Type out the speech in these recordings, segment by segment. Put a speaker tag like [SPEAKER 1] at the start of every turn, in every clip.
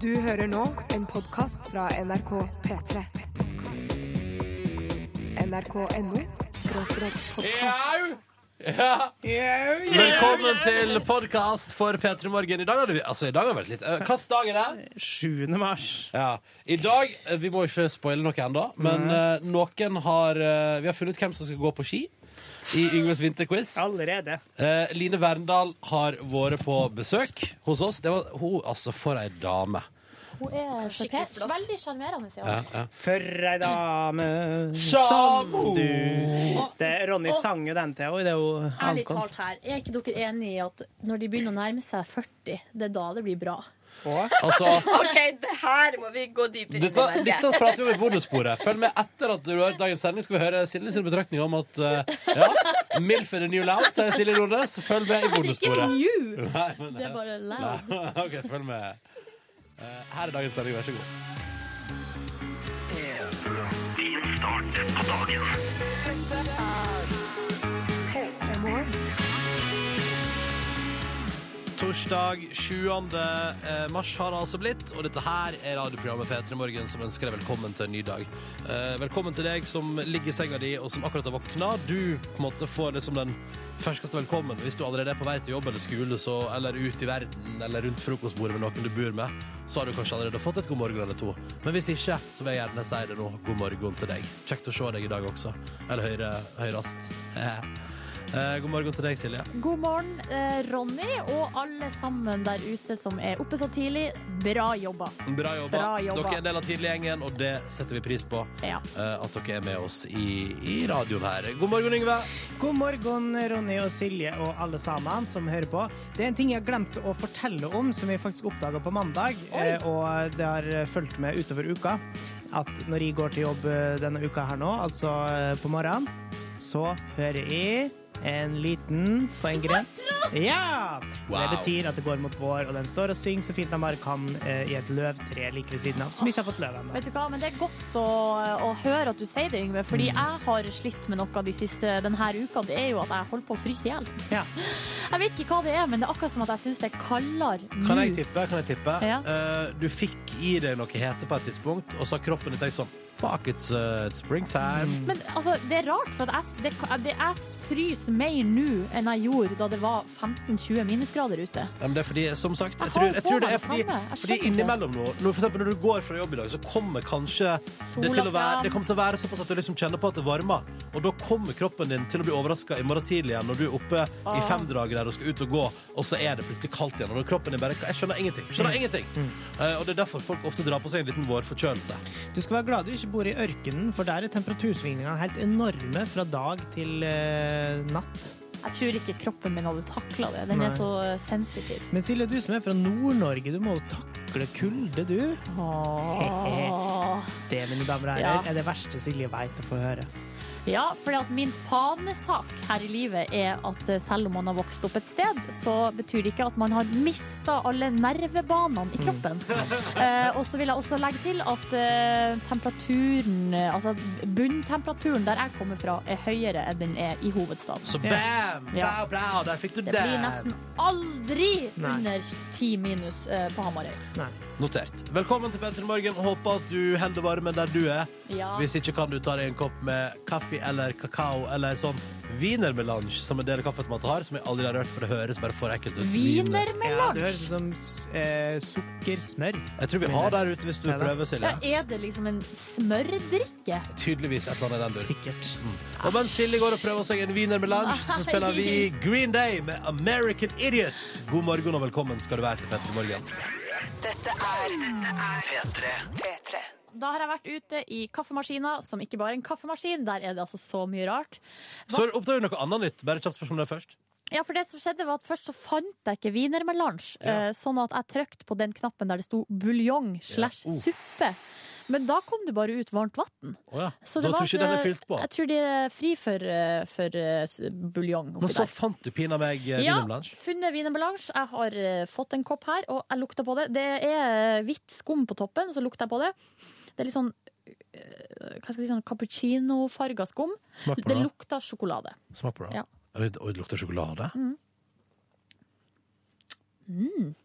[SPEAKER 1] Du hører nå en podkast fra NRK P3. NRK.no skråstrek podkast.
[SPEAKER 2] Velkommen til podkast for P3 Morgen. I dag har det, altså, i dag har det vært litt eh, Hvilken dag er det?
[SPEAKER 3] 7. mars.
[SPEAKER 2] Ja. I dag eh, Vi må ikke spoile noe ennå, men eh, noen har eh, Vi har funnet ut hvem som skal gå på ski i Yngves vinterquiz.
[SPEAKER 3] Allerede.
[SPEAKER 2] Eh, Line Verndal har vært på besøk hos oss. Det var hun, altså, for ei dame.
[SPEAKER 4] Hun er sjarpert. Veldig sjarmerende, ja.
[SPEAKER 3] For ei dame
[SPEAKER 2] Som
[SPEAKER 3] du Det er Ronny sang jo den til henne. Det er jo
[SPEAKER 4] Ærlig
[SPEAKER 3] Hankon.
[SPEAKER 4] talt her, er ikke dere enige i at når de begynner å nærme seg 40, det er da det blir bra?
[SPEAKER 2] Altså
[SPEAKER 5] OK, det her må vi gå dypere
[SPEAKER 2] Dette,
[SPEAKER 5] inn i.
[SPEAKER 2] dette prater vi om i bonussporet. Følg med etter at du har hørt dagens sending. Skal vi høre Silje sin betraktning om at eh, ja, Milf er the new loud, sier Silje Nordnes. Følg med i
[SPEAKER 4] Ikke
[SPEAKER 2] bonussporet.
[SPEAKER 4] new!
[SPEAKER 2] Nei, men, eh,
[SPEAKER 4] Det er bare loud.
[SPEAKER 2] OK, følg med. Eh, Her er dagens sending, vær så god.
[SPEAKER 1] P3 Morgen.
[SPEAKER 2] Torsdag 7. eh, mars har det altså blitt, og dette her er radioprogrammet P3 Morgen som ønsker deg velkommen til en ny dag. Eh, Velkommen til deg som ligger i senga di og som akkurat har våkna. Du på en måte får liksom den ferskeste velkommen hvis du allerede er på vei til jobb eller skole så, eller ut i verden eller rundt frokostbordet med noen du bor med. Så har du kanskje allerede fått et god morgen eller to. Men hvis ikke, så vil jeg gjerne si det nå. God morgen til deg. Kjekt å se deg i dag også. Eller høyre, høyrest. Eh, God morgen til deg, Silje.
[SPEAKER 4] God morgen, eh, Ronny, og alle sammen der ute som er oppe så tidlig. Bra jobba.
[SPEAKER 2] Bra jobba.
[SPEAKER 4] Bra jobba.
[SPEAKER 2] Dere er en del av tidliggjengen, og det setter vi pris på.
[SPEAKER 4] Ja.
[SPEAKER 2] eh, At dere er med oss i, i radioen her. God morgen, Yngve.
[SPEAKER 3] God morgen, Ronny og Silje og alle sammen som hører på. Det er en ting jeg har glemt å fortelle om, som jeg faktisk oppdaga på mandag, eh, og det har eh, fulgt med utover uka, at når jeg går til jobb eh, denne uka her nå, altså eh, på morgenen, så hører jeg en liten på en gren. Ja! Det
[SPEAKER 2] Wow.
[SPEAKER 3] betyr at det går mot vår, og den står og synger så fint den bare kan eh, i et løvtre like ved siden av, som ikke har fått løv ennå.
[SPEAKER 4] Vet du hva, men Det er godt å, å høre at du sier det, Yngve.
[SPEAKER 2] Mm.
[SPEAKER 4] Fordi jeg har slitt med noe de siste, denne uka. Det er jo at jeg holder på å fryse i hjel.
[SPEAKER 3] Ja.
[SPEAKER 4] Jeg vet ikke hva det er, men det er akkurat som at jeg syns det er kaldere
[SPEAKER 2] Kan jeg
[SPEAKER 4] nå.
[SPEAKER 2] tippe? Kan jeg tippe?
[SPEAKER 4] Mm. Ja.
[SPEAKER 2] Eh, du fikk i deg noe hete på et tidspunkt, og så har kroppen din tenkt sånn Fuck, it's, uh, it's springtime.
[SPEAKER 4] Men altså, det er rart, for at jeg, det, det, jeg fryser mer nå enn jeg gjorde da det var 15-20 minusgrader ute.
[SPEAKER 2] Ja, men det er fordi, som sagt, jeg
[SPEAKER 4] Jeg
[SPEAKER 2] tror,
[SPEAKER 4] holder
[SPEAKER 2] jeg
[SPEAKER 4] på
[SPEAKER 2] tror det
[SPEAKER 4] med
[SPEAKER 2] er
[SPEAKER 4] det
[SPEAKER 2] fordi,
[SPEAKER 4] samme. Jeg
[SPEAKER 2] fordi
[SPEAKER 4] skjønner ikke.
[SPEAKER 2] innimellom nå når, for eksempel, når du går fra jobb i dag, så kommer kanskje det til å
[SPEAKER 4] Sola
[SPEAKER 2] være,
[SPEAKER 4] fram.
[SPEAKER 2] det kommer til å være såpass at du liksom kjenner på at det varmer. Og da kommer kroppen din til å bli overraska i morgen tidlig igjen når du er oppe i femdraget der og skal ut og gå, og så er det plutselig kaldt igjen. Og når kroppen din bare Jeg skjønner ingenting.
[SPEAKER 4] Mm.
[SPEAKER 2] Skjønner ingenting. Eh, og det er derfor folk ofte drar på seg en liten vårforkjølelse.
[SPEAKER 3] Du skal være glad du ikke bor i ørkenen, for der er temperatursvingningene helt enorme fra dag til eh, natt.
[SPEAKER 4] Jeg tror ikke kroppen min hadde takla det. Den
[SPEAKER 3] Nei.
[SPEAKER 4] er så sensitiv.
[SPEAKER 3] Men Silje, du som er fra Nord-Norge, du må jo takle kulde, du.
[SPEAKER 4] Åh.
[SPEAKER 3] Det, mine damer og
[SPEAKER 4] Ja.
[SPEAKER 3] herrer, er det verste Silje veit å få høre.
[SPEAKER 4] Ja, for at min fanesak her i livet er at eh, selv om man har vokst opp et sted, så betyr det ikke at man har mista alle nervebanene i kroppen. Eh, og så vil jeg også legge til at eh, temperaturen, eh, altså bunntemperaturen der jeg kommer fra, er høyere enn den er i hovedstaden.
[SPEAKER 2] Så bam!
[SPEAKER 4] Ja.
[SPEAKER 2] Blau, blau, der fikk du
[SPEAKER 4] Det blir
[SPEAKER 2] den.
[SPEAKER 4] nesten aldri
[SPEAKER 3] Nei.
[SPEAKER 4] under ti minus eh, på Hamarøy.
[SPEAKER 3] Nei.
[SPEAKER 2] Notert. Velkommen til Petter i morgen. Håper at du holder varmen der du er.
[SPEAKER 4] Ja.
[SPEAKER 2] Hvis ikke kan du ta deg en kopp med kaffe eller kakao eller sånn wienermelange, som en del av kaffeautomater har, som jeg aldri har rørt, for det høres bare for ekkelt ut.
[SPEAKER 4] Wiener med
[SPEAKER 3] Ja, det
[SPEAKER 4] larm.
[SPEAKER 3] høres ut som s- eh, sukkersmør.
[SPEAKER 2] Jeg tror vi har der ute, hvis du
[SPEAKER 3] Ja da.
[SPEAKER 2] prøver, Silje.
[SPEAKER 4] Ja, er det liksom en smørdrikke?
[SPEAKER 2] Tydeligvis et eller annet i den dur.
[SPEAKER 3] Sikkert.
[SPEAKER 2] Og mens Silje går og prøver seg en wienermelange, så spiller vi Green Day med American Idiot. God morgen og velkommen skal du være til Petter i morgen.
[SPEAKER 1] Dette er P3.
[SPEAKER 4] Da har jeg vært ute i kaffemaskina, som ikke bare er en kaffemaskin. Der er det altså så mye rart.
[SPEAKER 2] Så oppdager du noe annet nytt. Bare kjapt spørsmål der først.
[SPEAKER 4] Ja, for det som skjedde var at Først så fant jeg ikke wienermelange, eh, sånn at jeg trykte på den knappen der det sto buljong slash
[SPEAKER 2] Ja. Uh.
[SPEAKER 4] suppe. Men da kom det bare ut varmt vann.
[SPEAKER 2] Å ja.
[SPEAKER 4] Så
[SPEAKER 2] Da tror
[SPEAKER 4] det var eh,
[SPEAKER 2] ikke den er fylt på.
[SPEAKER 4] Jeg tror de er fri for, eh, for eh, s- buljong. oppi
[SPEAKER 2] Men så
[SPEAKER 4] der.
[SPEAKER 2] fant du pinadø meg eh,
[SPEAKER 4] Ja,
[SPEAKER 2] wienermelange.
[SPEAKER 4] funnet wienermelange. Jeg har eh, fått en kopp her, og jeg lukter på det. Det er eh, hvitt skum på toppen, så lukter jeg på det. Det er litt sånn eh, hva skal jeg si, sånn cappuccinofarga skum.
[SPEAKER 2] Smak på
[SPEAKER 4] Det
[SPEAKER 2] det.
[SPEAKER 4] lukter sjokolade.
[SPEAKER 2] Smak på det.
[SPEAKER 4] Ja.
[SPEAKER 2] Oi, det- oi, det lukter sjokolade.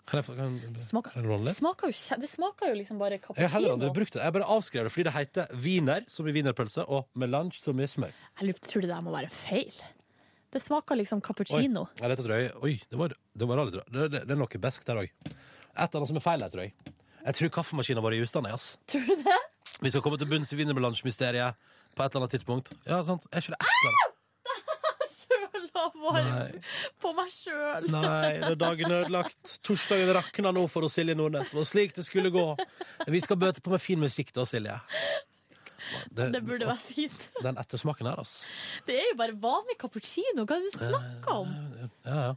[SPEAKER 2] Kan jeg få kan,
[SPEAKER 4] Smaker,
[SPEAKER 2] kan jeg låne litt?
[SPEAKER 4] smaker jo, kje- Mm. det smaker jo liksom bare
[SPEAKER 2] Jeg har heller
[SPEAKER 4] cappuccino.
[SPEAKER 2] aldri brukt det. Jeg bare avskrev det fordi det heter wiener, som i wienerpølse, og melange, som i smør.
[SPEAKER 4] Jeg lurer- tror det der må være feil. Det smaker liksom cappuccino.
[SPEAKER 2] Oi, ja, dette tror jeg, oi det, var, det var aldri det, det, det er noe besk der òg. Et eller annet som er feil her, tror jeg. Jeg tror kaffemaskinen vår er i ustand. ass.
[SPEAKER 4] Tror du det?
[SPEAKER 2] Vi skal komme til bunns i wienermelange-mysteriet på et eller annet tidspunkt. Ja, sant? Er ikke det et eller annet?
[SPEAKER 4] Søla vår
[SPEAKER 2] Nei.
[SPEAKER 4] på meg sjøl.
[SPEAKER 2] Nei, det er dagen ødelagt. Torsdagen rakna nå for oss, Silje Nordnes. Det var slik det skulle gå. Vi skal bøte på med fin musikk da, Silje. Det,
[SPEAKER 4] Det burde være fint.
[SPEAKER 2] Den ettersmaken her, altså.
[SPEAKER 4] Det er jo bare vanlig cappuccino. Hva er det du snakker om?
[SPEAKER 2] Ja, ja.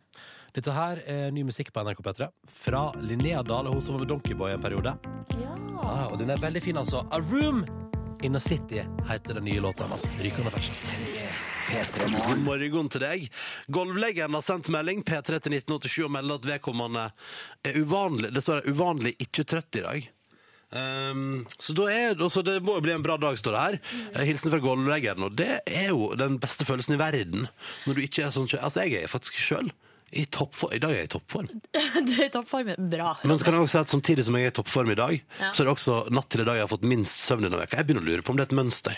[SPEAKER 2] Dette her er ny musikk på NRK P3 fra Linnea Dale, hun som var med Donkeyboy en periode.
[SPEAKER 4] Ja.
[SPEAKER 2] Ah, og den er veldig fin, altså. A Room In A City heter den nye låta hennes. Rykende fersk. God morgen til deg. Golvlegen har sendt melding P3 til 1987 og melder at vedkommende er uvanlig Det står her 'uvanlig ikke trøtt i dag'. Ehm, så da er, og så det må jo bli en bra dag, står det her. Eh, Hilsen fra golvleggeren. Og det er jo den beste følelsen i verden. Når du ikke er sånn Altså, jeg er faktisk sjøl i toppform. I dag er jeg i toppform.
[SPEAKER 4] Du er i toppformen. Bra.
[SPEAKER 2] Men så kan jeg også si at samtidig som jeg er i toppform i dag,
[SPEAKER 4] Ja.
[SPEAKER 2] så er det også natt til i dag jeg har fått minst søvn denne veka. Jeg begynner å lure på om det er et mønster.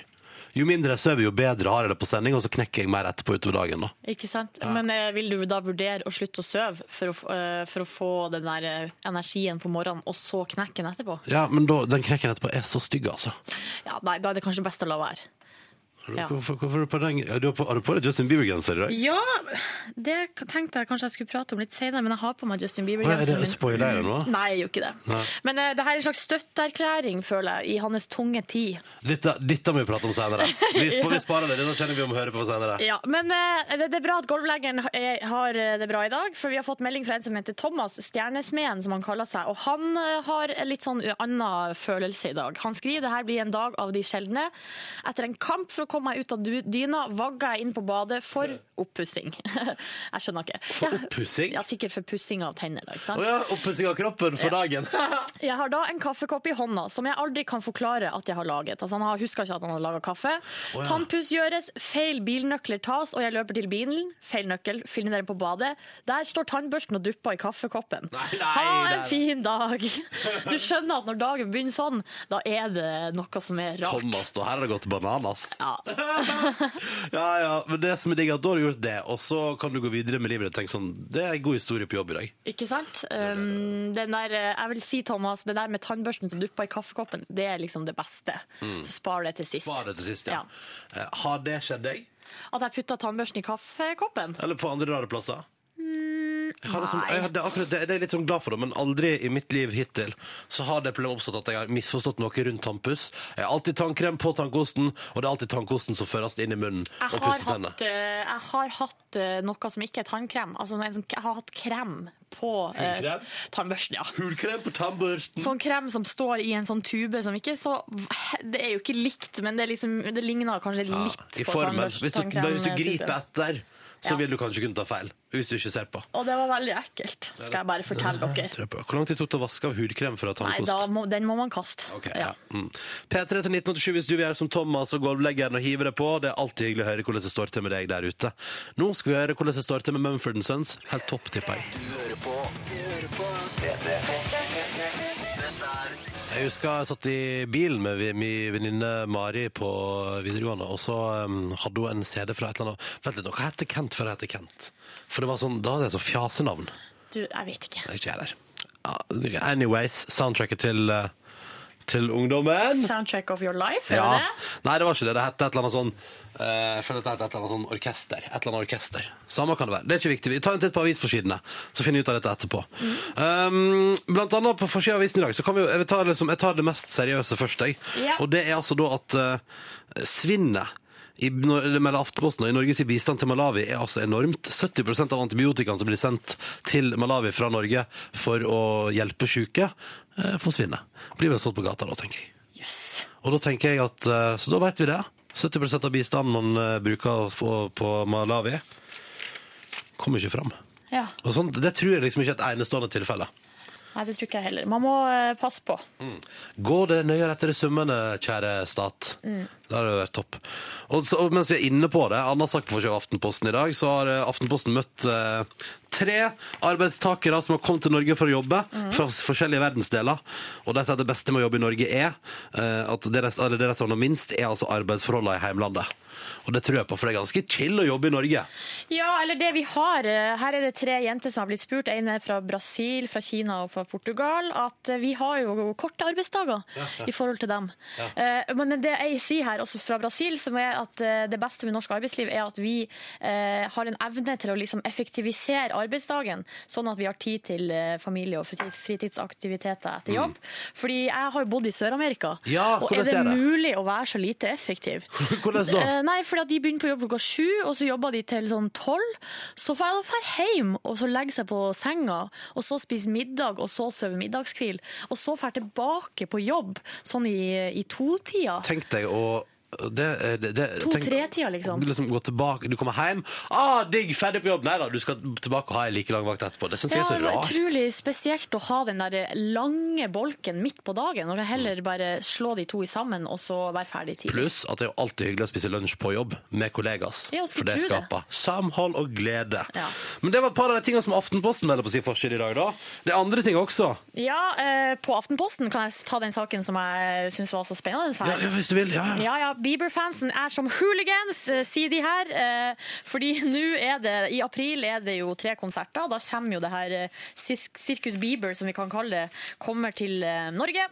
[SPEAKER 2] Jo mindre jeg sover, jo bedre har jeg det på sending, og så knekker jeg mer etterpå utover dagen. da.
[SPEAKER 4] Ikke sant? Men eh, vil du da vurdere å slutte å sove for å, f- eh, for å få den der eh, energien på morgenen, og så knekken etterpå?
[SPEAKER 2] Ja, Men da, den knekken etterpå er så stygg, altså.
[SPEAKER 4] Ja, nei, da er det kanskje best å la være. Ja.
[SPEAKER 2] Hvorfor, hvorfor er du på den? Ja, Du har på, har du på deg Justin Bieber-genser i dag?
[SPEAKER 4] Ja, det tenkte jeg kanskje jeg skulle prate om litt senere, men jeg har på meg Justin
[SPEAKER 2] Å, er det
[SPEAKER 4] Bieber-genseren min.
[SPEAKER 2] spoiler jeg nå?
[SPEAKER 4] Nei, jeg gjør ikke det.
[SPEAKER 2] Nei.
[SPEAKER 4] Men eh, det her er en slags støtteerklæring, føler jeg, i hans tunge tid.
[SPEAKER 2] Dette, dette må vi prate om senere. Vi, sp vi sparer det. Dette kjenner vi om å høre på senere.
[SPEAKER 4] Ja, Men eh, det det er bra at golvleggeren er- har eh, det bra i dag, for vi har fått melding fra en som heter Thomas, Stjernesmeden, som han kaller seg. Og han eh, har en litt sånn annen følelse i dag. Han skriver det her blir en dag av de sjeldne. Etter en kamp for å komme meg ut av du- dyna, vagga jeg inn på badet for oppussing. jeg skjønner ikke.
[SPEAKER 2] For
[SPEAKER 4] Ja.
[SPEAKER 2] oppussing?
[SPEAKER 4] Ja, Sikkert for pussing av tenner. da, ikke sant?
[SPEAKER 2] Å ja, oppussing av kroppen for dagen.
[SPEAKER 4] Jeg har da en kaffekopp i hånda som jeg aldri kan forklare at jeg har laget. Altså, han har- husker ikke at han har laget kaffe.
[SPEAKER 2] ja.
[SPEAKER 4] Tannpuss gjøres, feil bilnøkler tas, og jeg løper til bilen. Feil nøkkel, finner den på badet. Der står tannbørsten og dupper i kaffekoppen.
[SPEAKER 2] Nei, nei,
[SPEAKER 4] ha en
[SPEAKER 2] nei.
[SPEAKER 4] fin dag! Du skjønner at når dagen begynner sånn, da er det noe som er rart.
[SPEAKER 2] Thomas, da. Her har det gått bananas.
[SPEAKER 4] Ja.
[SPEAKER 2] Ja, ja, men det som er digg, er at da har du gjort det, og så kan du gå videre med livet ditt. og Tenk sånn, det er en god historie på jobb i dag.
[SPEAKER 4] Ikke sant? Um, den der, eh, jeg vil si, Thomas, det der med tannbørsten som dupper i kaffekoppen, det er liksom det beste. Så spar det til sist.
[SPEAKER 2] Spar det til sist, ja.
[SPEAKER 4] Ja.
[SPEAKER 2] Eh, Har det skjedd deg?
[SPEAKER 4] At jeg putta tannbørsten i kaffekoppen?
[SPEAKER 2] Eller på andre rare plasser? Jeg har det, som,
[SPEAKER 4] nei.
[SPEAKER 2] jeg har det, akkurat, det, det er jeg litt sånn glad for, det, men aldri i mitt liv hittil så har det problemet oppstått at jeg har misforstått noe rundt tannpuss. Jeg har alltid tannkrem på tannkosten, og det er alltid tannkosten som føres inn i munnen og
[SPEAKER 4] Jeg har,
[SPEAKER 2] pusser tennene.
[SPEAKER 4] hatt, eh, jeg har hatt eh, noe som ikke er tannkrem. Altså, en som- jeg har hatt krem på eh,
[SPEAKER 2] Hudkrem?
[SPEAKER 4] tannbørsten. ja.
[SPEAKER 2] Hulkrem på tannbørsten.
[SPEAKER 4] Sånn krem som står i en sånn tube som ikke er så Det er jo ikke likt, men det, er liksom, det ligner kanskje litt
[SPEAKER 2] Ja, I
[SPEAKER 4] på
[SPEAKER 2] formen.
[SPEAKER 4] tannbørst-
[SPEAKER 2] Hvis du,
[SPEAKER 4] tannkrem-
[SPEAKER 2] hvis du griper
[SPEAKER 4] typen.
[SPEAKER 2] etter, så
[SPEAKER 4] Ja.
[SPEAKER 2] vil du kanskje kunne ta feil. Hvis du ikke ser på.
[SPEAKER 4] Og det var veldig ekkelt, skal jeg bare fortelle dere.
[SPEAKER 2] Tror jeg på. Hvor lang tid tok det å vaske av hudkrem fra
[SPEAKER 4] Nei,
[SPEAKER 2] tannkost?
[SPEAKER 4] da må, den må man kaste.
[SPEAKER 2] Ok,
[SPEAKER 4] Ja.
[SPEAKER 2] ja. Mm. P3 til 1987 hvis du vil gjøre som Thomas og gulvleggeren og hive deg på. Det er alltid hyggelig å høre hvordan det står til med deg der ute. Nå skal vi høre hvordan det står til med Mumford Sons. Helt topp, tipper jeg. Jeg husker jeg satt i bilen med vi- min venninne Mari på videregående, og så um, hadde hun en CD fra et eller annet Vent litt, nå, hva heter Kent før jeg heter Kent? For det var sånn, da hadde jeg så fjasenavn.
[SPEAKER 4] Du, jeg vet ikke.
[SPEAKER 2] Det er ikke jeg der. Ja, Anyways, soundtracket til, eh, til ungdommen.
[SPEAKER 4] Soundtrack of your life, er
[SPEAKER 2] Ja.
[SPEAKER 4] det det?
[SPEAKER 2] Nei, det var ikke det. Det het et eller annet sånn eh, Jeg føler at det het et eller annet sånn orkester. Et eller annet orkester. Samme kan det være. Det er ikke viktig. Vi tar en titt på avisforsidene, så finner vi ut av dette etterpå. Um, blant annet på forsida av avisen i dag så kan vi jo Jeg, vil ta, liksom, jeg tar det mest seriøse først, jeg.
[SPEAKER 4] Ja.
[SPEAKER 2] Og det er altså da at eh, svinnet i, når, det melder Aftenposten, og i Norges bistand til Malawi er altså enormt. 70 av antibiotikaen som blir sendt til Malawi fra Norge for å hjelpe syke, eh, forsvinner. Blir vel solgt på gata da, tenker jeg.
[SPEAKER 4] Yes.
[SPEAKER 2] Og da tenker jeg at, eh, så da vet vi det. 70 av bistanden man eh, bruker å få på Malawi, kommer ikke fram.
[SPEAKER 4] Ja.
[SPEAKER 2] Og sånn, det tror jeg liksom ikke er et enestående tilfelle.
[SPEAKER 4] Nei, det tror ikke jeg
[SPEAKER 2] Mm.
[SPEAKER 4] heller. Man må eh, passe på.
[SPEAKER 2] Går det nøyere etter i summene, kjære stat? Det hadde vært topp. Og så, og mens vi er inne på det, annen sak på forsiden av Aftenposten i dag, så har eh, Aftenposten møtt eh, tre arbeidstakere som har kommet til Norge for å jobbe, fra s- forskjellige verdensdeler. Og de sier at det beste med å jobbe i Norge er eh, at det de eller det de savner minst, er altså arbeidsforholdene i heimlandet. Og det tror jeg på, for det er ganske chill å jobbe i Norge.
[SPEAKER 4] Ja, eller det vi har. eh, Her er det tre jenter som har blitt spurt. En er fra Brasil, fra Kina og fra Portugal. At eh, vi har jo korte arbeidsdager i forhold til dem. Eh, Men men det jeg sier her, også fra Brasil, som er at eh, det beste med norsk arbeidsliv er at vi eh, har en evne til å liksom effektivisere arbeidsdagen, sånn at vi har tid til eh, familie og fritid- fritidsaktiviteter etter jobb. Fordi jeg har jo bodd i Sør-Amerika,
[SPEAKER 2] Mm. Ja,
[SPEAKER 4] og
[SPEAKER 2] hvordan
[SPEAKER 4] er det
[SPEAKER 2] er det?
[SPEAKER 4] mulig å være så lite effektiv?
[SPEAKER 2] Hvordan da?
[SPEAKER 4] Eh, Nei, fordi at de begynner på jobb klokka sju, og så jobber de til sånn tolv. Så får jeg da dra hjem og så legge seg på senga, og så spise middag, og så sove middagskvil. Og så dra tilbake på jobb sånn i, i to-tida.
[SPEAKER 2] Tenk deg å det, det, det, tenk-
[SPEAKER 4] To-tre-tida, liksom.
[SPEAKER 2] gå tilbake, Du kommer hjem, ah, digg, ferdig på jobb. Nei da, du skal tilbake og ha en like lang vakt etterpå. Det syns jeg
[SPEAKER 4] Ja,
[SPEAKER 2] er så
[SPEAKER 4] det var
[SPEAKER 2] rart.
[SPEAKER 4] utrolig spesielt å ha den der lange bolken midt på dagen. Og heller bare slå de to i sammen, og så være ferdig tidlig.
[SPEAKER 2] Pluss at det er jo alltid hyggelig å spise lunsj på jobb med kollegas.
[SPEAKER 4] Ja,
[SPEAKER 2] for
[SPEAKER 4] skulle
[SPEAKER 2] det
[SPEAKER 4] tro det.
[SPEAKER 2] skaper samhold og glede.
[SPEAKER 4] Ja.
[SPEAKER 2] Men det var et par av de tingene som Aftenposten melder på sin forside i dag, da. Det er andre ting også.
[SPEAKER 4] Ja, eh, på Aftenposten kan jeg ta den saken som jeg syns var så spennende. her.
[SPEAKER 2] Ja, ja, hvis du vil. Ja, ja.
[SPEAKER 4] Ja, ja, Bieber-fansen er som hooligans, eh, sier de her. eh, Fordi nå er det, i april er det jo tre konserter. Da kommer jo det her eh, Sirk- Circus Bieber, som vi kan kalle det, kommer til eh, Norge.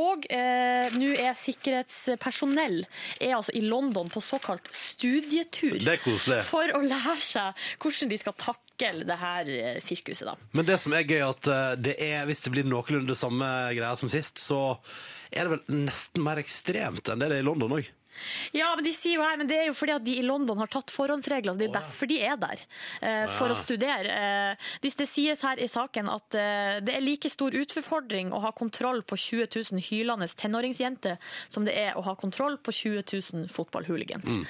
[SPEAKER 4] Og eh, nå er sikkerhetspersonell er altså i London på såkalt studietur.
[SPEAKER 2] Det er koselig.
[SPEAKER 4] For å lære seg hvordan de skal takle det her eh, sirkuset, da.
[SPEAKER 2] Men det som er gøy, er at eh, det er, hvis det blir noenlunde samme greia som sist, så er det vel nesten mer ekstremt enn det det er i London òg.
[SPEAKER 4] Ja, men de sier jo her, men det er jo fordi at de i London har tatt forhåndsregler. så Det er jo derfor de er der, eh, for å studere. Eh, Det, det sies her i saken at eh, det er like stor utfordring å ha kontroll på 20 000 hylende tenåringsjenter som det er å ha kontroll på 20 000 fotballhooligans.
[SPEAKER 2] Mm.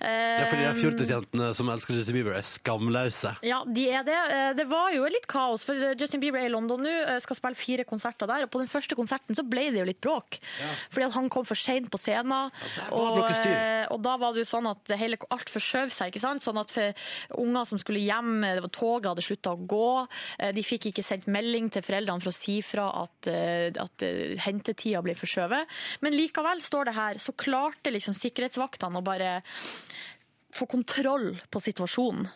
[SPEAKER 4] Eh,
[SPEAKER 2] Det er fordi de fjortisjentene som elsker Justin Bieber, er skamløse.
[SPEAKER 4] Ja, de er det. Eh, Det var jo litt kaos, for Justin Bieber er i London nå, eh, skal spille fire konserter der, og på den første konserten så ble det jo litt bråk, fordi at han kom for sent på scenen,
[SPEAKER 2] der var
[SPEAKER 4] og,
[SPEAKER 2] noe styr.
[SPEAKER 4] eh, og da var det jo sånn at det hele, alt forskjøv seg, ikke sant? Sånn at for unger som skulle hjem, eh, det var toget hadde sluttet å gå, eh, de fikk ikke sendt melding til foreldrene for å si fra at, eh, at eh, hentetida ble forskjøvet, men likevel står det her, så klarte liksom sikkerhetsvaktene å bare få kontroll på situasjonen.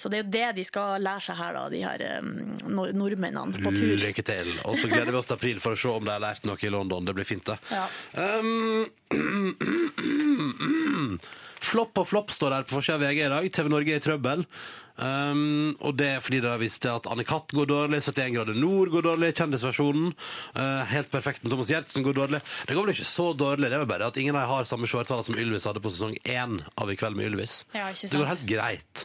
[SPEAKER 4] Så det er jo det de skal lære seg her, da, de her eh, nor nordmennene på tur.
[SPEAKER 2] Lykke til. Og så gleder vi oss til april for å se om de har lært noe i London. Det blir fint, det.
[SPEAKER 4] Ja.
[SPEAKER 2] Um, flopp og flopp står der på forsida av VG i dag. TV Norge er i trøbbel. Um, og det er fordi de har vist til at Anne-Cath går dårlig, 71 grader nord går dårlig, Kjendisversjonen, eh, Helt perfekt med Thomas Giertsen går dårlig. Det går vel ikke så dårlig, det er vel bare at ingen av dem har samme seertall som Ylvis hadde på sesong én av I kveld med Ylvis.
[SPEAKER 4] Ja, ikke sant.
[SPEAKER 2] Det går helt greit.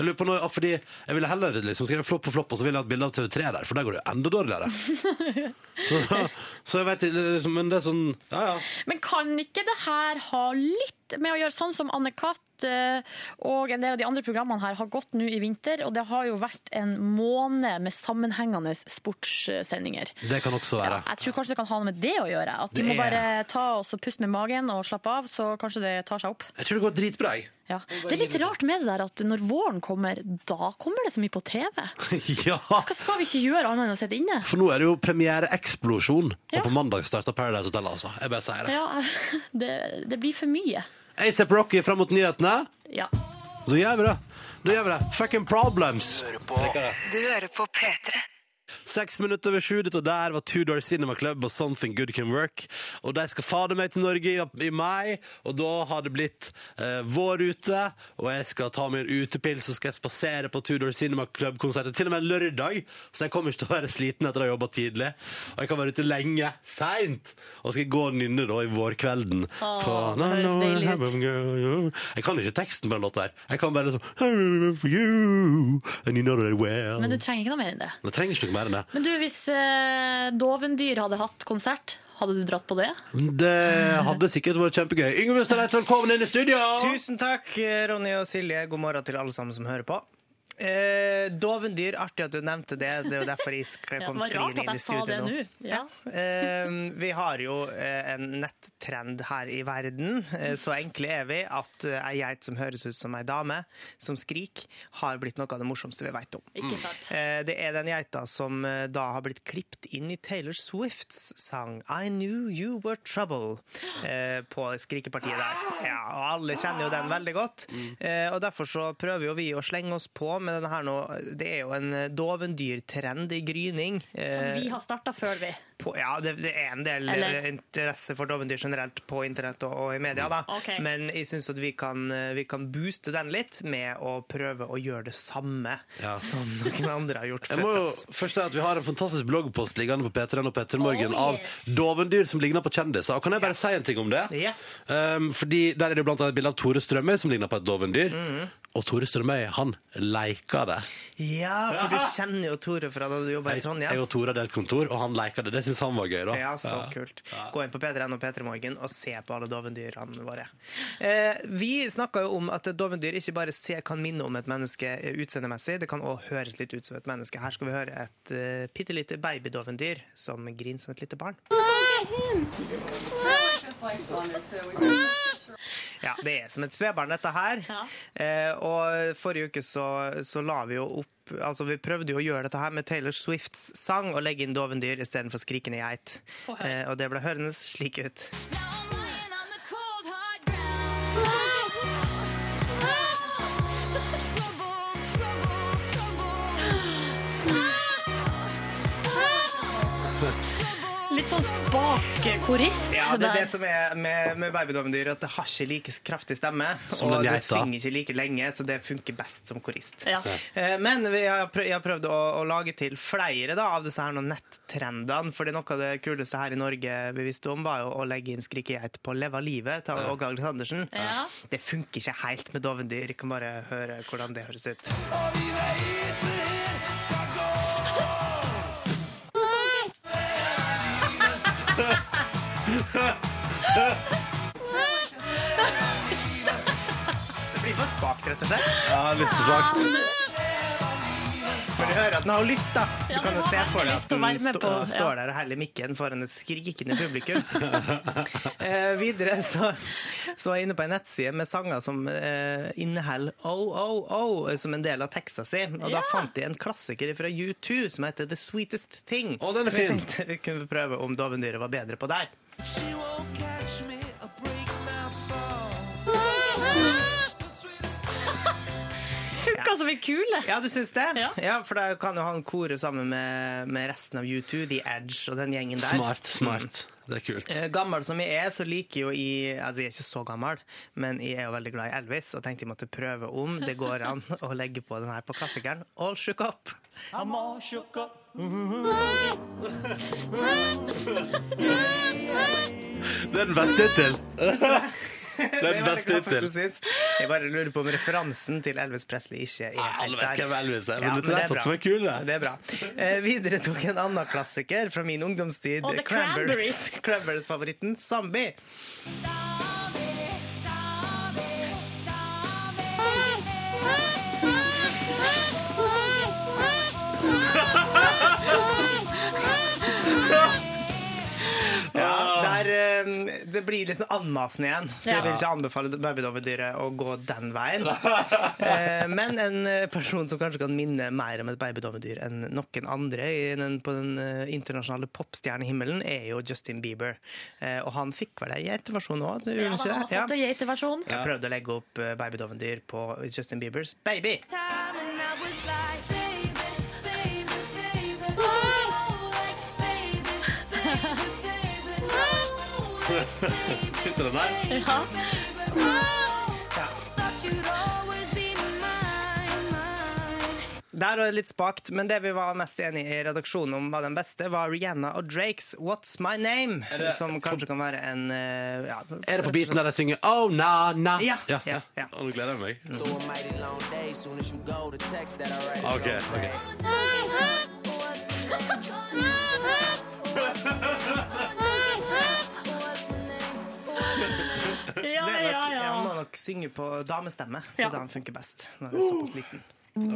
[SPEAKER 2] Jeg lurer på når, fordi jeg ville heller liksom skrevet flopp og flopp, og så ville jeg hatt bilde av TV3 der, for der går det jo enda dårligere. så, så jeg vet ikke, det er liksom- men det er sånn Ja, ja.
[SPEAKER 4] Men kan ikke det her ha litt med å gjøre sånn som Anne-Cath eh, og en del av de andre programmene her har gått nå i vinter, og det har jo vært en måned med sammenhengende sportssendinger.
[SPEAKER 2] Det kan også være.
[SPEAKER 4] Jeg tror kanskje det kan ha noe med det å gjøre. At de
[SPEAKER 2] Det
[SPEAKER 4] må
[SPEAKER 2] er-
[SPEAKER 4] bare ta oss og puste med magen og slappe av, så kanskje det tar seg opp.
[SPEAKER 2] Jeg tror det går dritbra, jeg.
[SPEAKER 4] Ja. Det er litt rart med det der at når våren kommer, da kommer det så mye på TV.
[SPEAKER 2] ja!
[SPEAKER 4] Hva skal vi ikke gjøre annet enn å sitte inne?
[SPEAKER 2] For nå er det jo premiereeksplosjon,
[SPEAKER 4] Ja.
[SPEAKER 2] og på mandag starter Paradise Hotel, altså. Jeg bare sier det.
[SPEAKER 4] Ja, det, det blir for mye.
[SPEAKER 2] ASAP Rocky fram mot nyhetene.
[SPEAKER 4] Ja.
[SPEAKER 2] Da gjør vi det. Da gjør vi det. Fucking problems.
[SPEAKER 6] Du hører på P3.
[SPEAKER 2] Seks minutter over sju, dette der var Two Door Cinema Club og Something Good Can Work. Og de skal fader meg til Norge i, i mai, og da har det blitt eh, vår ute. Og jeg skal ta meg en utepils og skal jeg spasere på Two Door Cinema Club-konsertet. Til og med en lørdag, så jeg kommer ikke til å være sliten etter å ha jobba tidlig. Og jeg kan være ute lenge, seint. Og skal jeg gå og nynne da i vårkvelden. på-
[SPEAKER 4] det høres deilig ut.
[SPEAKER 2] Jeg kan ikke teksten på den låta her. Jeg kan bare sånn for you, and you know that well.
[SPEAKER 4] Men du trenger ikke noe mer enn det.
[SPEAKER 2] Det trenger ikke noe mer enn det.
[SPEAKER 4] Men du, hvis eh, Dovendyr hadde hatt konsert, hadde du dratt på det?
[SPEAKER 2] Det hadde sikkert vært kjempegøy. Yngve Staleith, velkommen inn i studio!
[SPEAKER 7] Tusen takk, Ronny og Silje. God morgen til alle sammen som hører på.
[SPEAKER 3] Eh, dovendyr, artig at du nevnte det. Det er jo derfor jeg sk-
[SPEAKER 4] Ja,
[SPEAKER 3] kom
[SPEAKER 4] det var
[SPEAKER 3] skrivende inn
[SPEAKER 4] rart at jeg
[SPEAKER 3] i
[SPEAKER 4] sa det
[SPEAKER 3] studio nå.
[SPEAKER 4] nå. Ja.
[SPEAKER 3] Eh, vi har jo eh, en nettrend her i verden. Eh, så enkle er vi at eh, ei geit som høres ut som ei dame som skriker, har blitt noe av det morsomste vi veit om.
[SPEAKER 4] Ikke sant.
[SPEAKER 3] Eh, Det er den geita som eh, da har blitt klippt inn i Taylor Swifts sang I Knew You Were Trouble eh, på Skrikepartiet der. Ja, og alle kjenner jo den veldig godt. Eh, Og derfor så prøver jo vi å slenge oss på med denne her nå. Det er jo en eh, dovendyrtrend i gryning.
[SPEAKER 4] Som
[SPEAKER 3] eh,
[SPEAKER 4] vi har starta før, vi.
[SPEAKER 3] på, ja, det, det er en del
[SPEAKER 4] Eller-
[SPEAKER 3] eh, interesse for dovendyr generelt på internett og, og i media, da.
[SPEAKER 4] Mm, Ok.
[SPEAKER 3] Men jeg syns at vi kan, eh, vi kan booste den litt med å prøve å gjøre det samme
[SPEAKER 2] Ja.
[SPEAKER 3] som noen andre har gjort
[SPEAKER 2] Jeg må
[SPEAKER 3] før
[SPEAKER 2] jo
[SPEAKER 3] oss.
[SPEAKER 2] først si at Vi har en fantastisk bloggpost liggende på P3 og P3 Morgen
[SPEAKER 4] Oh,
[SPEAKER 2] av
[SPEAKER 4] yes.
[SPEAKER 2] dovendyr som ligner på kjendiser. Og Kan jeg bare si en ting om det?
[SPEAKER 3] Ja.
[SPEAKER 2] Um, fordi Der er det jo blant annet et bilde av Tore Strømøy som ligner på et dovendyr.
[SPEAKER 3] Mm.
[SPEAKER 2] Og Tore Strømøy, han leika det.
[SPEAKER 3] Ja, for du kjenner jo Tore fra da du jobba i
[SPEAKER 2] Jeg
[SPEAKER 3] Trondheim.
[SPEAKER 2] og Tore hadde et kontor, og han leika det. Det syns han var gøy, da.
[SPEAKER 3] Ja, så kult. Gå inn på P3N og P3morgen og se på alle dovendyrene våre. Eh, vi snakka jo om at et dovendyr ikke bare se, kan minne om et menneske eh, utseendemessig, det kan òg høres litt ut som et menneske. Her skal vi høre et uh, bitte lite babydovendyr som griner som et lite barn. Ja, det er som et spedbarn, dette her.
[SPEAKER 4] Ja.
[SPEAKER 3] Eh, og forrige uke så, så la vi jo opp Altså, vi prøvde jo å gjøre dette her med Taylor Swifts sang og legge inn dovendyr istedenfor skrikende geit.
[SPEAKER 4] Få høre.
[SPEAKER 3] Eh, og det ble hørende slik ut.
[SPEAKER 4] Litt sånn spak korist.
[SPEAKER 3] Ja, det er
[SPEAKER 4] der.
[SPEAKER 3] det som er med, med babydovendyr, at det har ikke like kraftig stemme.
[SPEAKER 2] Som
[SPEAKER 3] og
[SPEAKER 2] den
[SPEAKER 3] det
[SPEAKER 2] geita.
[SPEAKER 3] synger ikke like lenge, så det funker best som korist.
[SPEAKER 4] Ja.
[SPEAKER 3] Eh, Men vi har prøvd, jeg har prøvd å, å lage til flere da, av disse her noen nettrendene. For noe av det kuleste her i Norge vi visste om, var jo å legge inn 'Skrikegeit' på 'Leva livet' til Åge Aleksandersen.
[SPEAKER 4] Ja.
[SPEAKER 3] Det funker ikke helt med dovendyr. Jeg kan bare høre hvordan det høres ut. Det blir for spakt, rett og slett.
[SPEAKER 2] Ja, litt så svakt.
[SPEAKER 3] For du hører at den har lyst, da. Du
[SPEAKER 4] Ja,
[SPEAKER 3] kan
[SPEAKER 4] den
[SPEAKER 3] jo
[SPEAKER 4] har
[SPEAKER 3] se for deg
[SPEAKER 4] veldig lyst
[SPEAKER 3] at
[SPEAKER 4] til å
[SPEAKER 3] den
[SPEAKER 4] være med
[SPEAKER 3] stå,
[SPEAKER 4] på, ja.
[SPEAKER 3] står der og heller mikken foran et skrikende publikum. eh, videre så, så er jeg inne på en nettside med sanger som eh, inneholder OOO som en del av teksta si. Og da
[SPEAKER 4] Ja.
[SPEAKER 3] fant jeg en klassiker fra U2 som heter The Sweetest Thing.
[SPEAKER 2] Å, den er
[SPEAKER 3] som jeg
[SPEAKER 2] fin.
[SPEAKER 3] tenkte vi kunne prøve om dovendyret var bedre på der.
[SPEAKER 4] Funka som en kule.
[SPEAKER 3] Ja, du syns det?
[SPEAKER 4] Ja.
[SPEAKER 3] for da kan jo han kore sammen med, med resten av U2, The Edge og den gjengen der.
[SPEAKER 2] Smart, smart. Det er kult.
[SPEAKER 3] Eh, Gammel som jeg er, så liker jo jeg Altså, jeg er ikke så gammel, men jeg er jo veldig glad i Elvis, og tenkte jeg måtte prøve om det går an å legge på den her på klassikeren All Shook Up.
[SPEAKER 2] Det er den beste hittil. Det er
[SPEAKER 3] Jeg
[SPEAKER 2] den
[SPEAKER 3] er veldig
[SPEAKER 2] beste
[SPEAKER 3] glad for at du
[SPEAKER 2] hittil.
[SPEAKER 3] syns. Jeg bare lurer på om referansen til Elvis Presley ikke er
[SPEAKER 2] Alle
[SPEAKER 3] helt
[SPEAKER 2] vet
[SPEAKER 3] der.
[SPEAKER 2] hvem Elvis er,
[SPEAKER 3] Ja,
[SPEAKER 2] men dette
[SPEAKER 3] men
[SPEAKER 2] er sånn som er kul. det.
[SPEAKER 3] Det er bra. Eh, videre tok jeg en annen klassiker fra min ungdomstid.
[SPEAKER 4] Og The Cranberries.
[SPEAKER 3] Cranberries-favoritten Zombie. Ja, der, eh, det blir litt sånn anmasende igjen, så jeg
[SPEAKER 4] Ja.
[SPEAKER 3] vil ikke anbefale babydovendyret å gå den veien. Eh, Men en eh, person som kanskje kan minne mer om et babydovendyr enn noen andre i den, på den eh, internasjonale popstjernehimmelen, er jo Justin Bieber. Eh, Og han fikk vel ei geiteversjon òg, du gjorde
[SPEAKER 4] Ja, da,
[SPEAKER 3] ikke
[SPEAKER 4] han har
[SPEAKER 3] det? Ja.
[SPEAKER 4] fått en geiteversjon.
[SPEAKER 3] Jeg prøvde å legge opp eh, babydovendyr på Justin Biebers Baby.
[SPEAKER 2] Sitter den der?
[SPEAKER 4] Ja.
[SPEAKER 3] Der var det litt spakt, men det vi var mest enige i redaksjonen om var den beste, var Rihanna og Drakes What's My Name,
[SPEAKER 2] det-
[SPEAKER 3] som kanskje kan være en eh, ja,
[SPEAKER 2] Er det på beaten der de synger Oh, na, na?
[SPEAKER 3] Ja, ja, ja.
[SPEAKER 2] Å, nå gleder jeg meg. OK.
[SPEAKER 8] OK.
[SPEAKER 2] ok.
[SPEAKER 3] Det
[SPEAKER 4] Ja,
[SPEAKER 3] er nok,
[SPEAKER 4] ja,
[SPEAKER 3] Jeg
[SPEAKER 4] ja.
[SPEAKER 3] må nok synge på damestemme. Det
[SPEAKER 4] Ja.
[SPEAKER 3] er da han funker best, når jeg er såpass liten. Mm.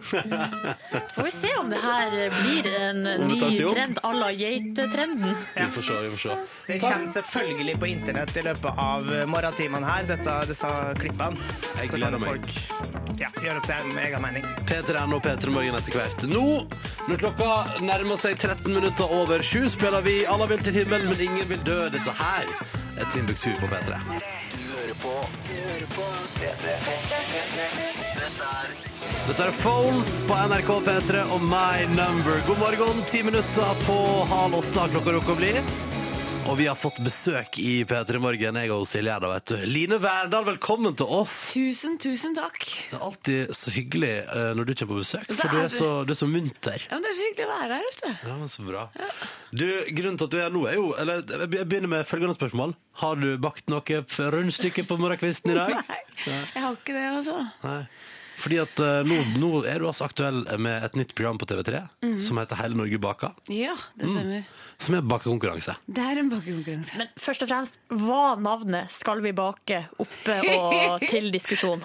[SPEAKER 4] Får vi se om det her blir en
[SPEAKER 2] det
[SPEAKER 4] ny
[SPEAKER 2] tas i opp.
[SPEAKER 4] trend à la geitetrenden.
[SPEAKER 2] Vi får se, vi får se.
[SPEAKER 3] Det kommer selvfølgelig på internett i løpet av morgentimene her, dette, disse klippene.
[SPEAKER 2] Jeg
[SPEAKER 3] Så
[SPEAKER 2] gleder
[SPEAKER 3] kan
[SPEAKER 2] meg.
[SPEAKER 3] folk ja, gjøre opp seg med egen mening.
[SPEAKER 2] P3N og P3 Morgen etter hvert. Nå, når klokka nærmer seg 13 minutter over sju, spiller vi Alla vil til himmelen, men ingen vil dø. Dette her er Timbuktu på P3. Dette er Phones på NRK P3 og My Number. God morgen, ti minutter på halv åtte har klokka rukket å bli. Og vi har fått besøk i P3 Morgen, jeg og Silje Erda, vet du. Line Verdal, velkommen til oss.
[SPEAKER 8] Tusen, tusen takk.
[SPEAKER 2] Det er alltid så hyggelig eh, når du kommer på besøk,
[SPEAKER 8] Det
[SPEAKER 2] for du
[SPEAKER 8] er
[SPEAKER 2] er så, du er så munter.
[SPEAKER 8] Ja, men det er så hyggelig å være her, vet du.
[SPEAKER 2] Ja, men Så bra. Du, Grunnen til at du er her nå, er jo Eller jeg begynner med følgende spørsmål. Har du bakt noe f- rundstykke på morgenkvisten i dag?
[SPEAKER 8] Nei, jeg har ikke det, altså.
[SPEAKER 2] Nei. Fordi at eh, nå, nå er du altså aktuell med et nytt program på TV3 som heter Hele Norge baker,
[SPEAKER 8] Ja, Mhm. det
[SPEAKER 2] Mm.
[SPEAKER 8] stemmer.
[SPEAKER 2] som er bakekonkurranse.
[SPEAKER 8] Det er en bakekonkurranse.
[SPEAKER 4] Men først og fremst, var navnet 'Skal vi bake' oppe og til diskusjon?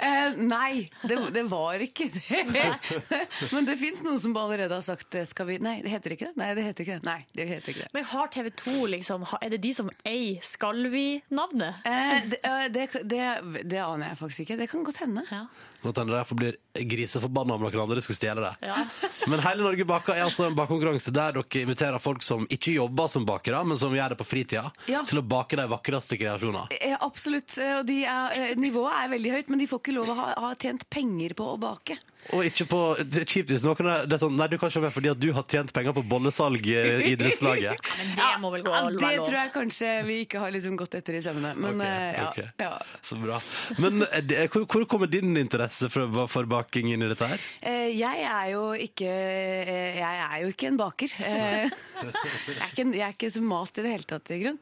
[SPEAKER 8] Eh, nei, det, det var ikke det. Men det fins noen som allerede har sagt eh, skal vi Nei, det heter ikke det. Nei, det heter ikke det. Nei, det heter ikke det.
[SPEAKER 4] Men har TV 2 liksom har- Er det de som eier 'Skal vi'-navnet?
[SPEAKER 8] Eh, det, eh, det, det, det aner jeg faktisk ikke. Det kan godt hende.
[SPEAKER 4] Ja.
[SPEAKER 2] Nå tenker jeg derfor blir griseforbanna om noen andre skulle stjele det.
[SPEAKER 4] Ja.
[SPEAKER 2] Men Hele Norge baker er altså en bakekonkurranse der dere inviterer folk som ikke jobber som bakere, men som gjør det på fritida,
[SPEAKER 8] Ja.
[SPEAKER 2] til å bake de vakreste kreasjoner.
[SPEAKER 8] Eh, absolutt. eh, Og de er, eh, nivået er veldig høyt, men de får ikke lov å ha, ha tjent penger på å bake.
[SPEAKER 2] Og ikke på det er kjipt hvis noen er, det er sånn, Nei, du kan ikke være med fordi at du har tjent penger på bollesalg eh, i idrettslaget.
[SPEAKER 4] Men det må vel gå
[SPEAKER 8] Ja,
[SPEAKER 4] all
[SPEAKER 8] det
[SPEAKER 4] være lov.
[SPEAKER 8] tror jeg kanskje vi ikke har liksom gått etter i sømmene. Men
[SPEAKER 2] Ok,
[SPEAKER 8] eh, ja,
[SPEAKER 2] ok.
[SPEAKER 8] ja.
[SPEAKER 2] Så bra. Men er det- hvor, hvor kommer din interesse for, for baking inn i dette her?
[SPEAKER 8] Eh, Jeg er jo ikke eh, Jeg er jo ikke en baker. Eh, Jeg er ikke, en- jeg er ikke så mat i det hele tatt, i grunn.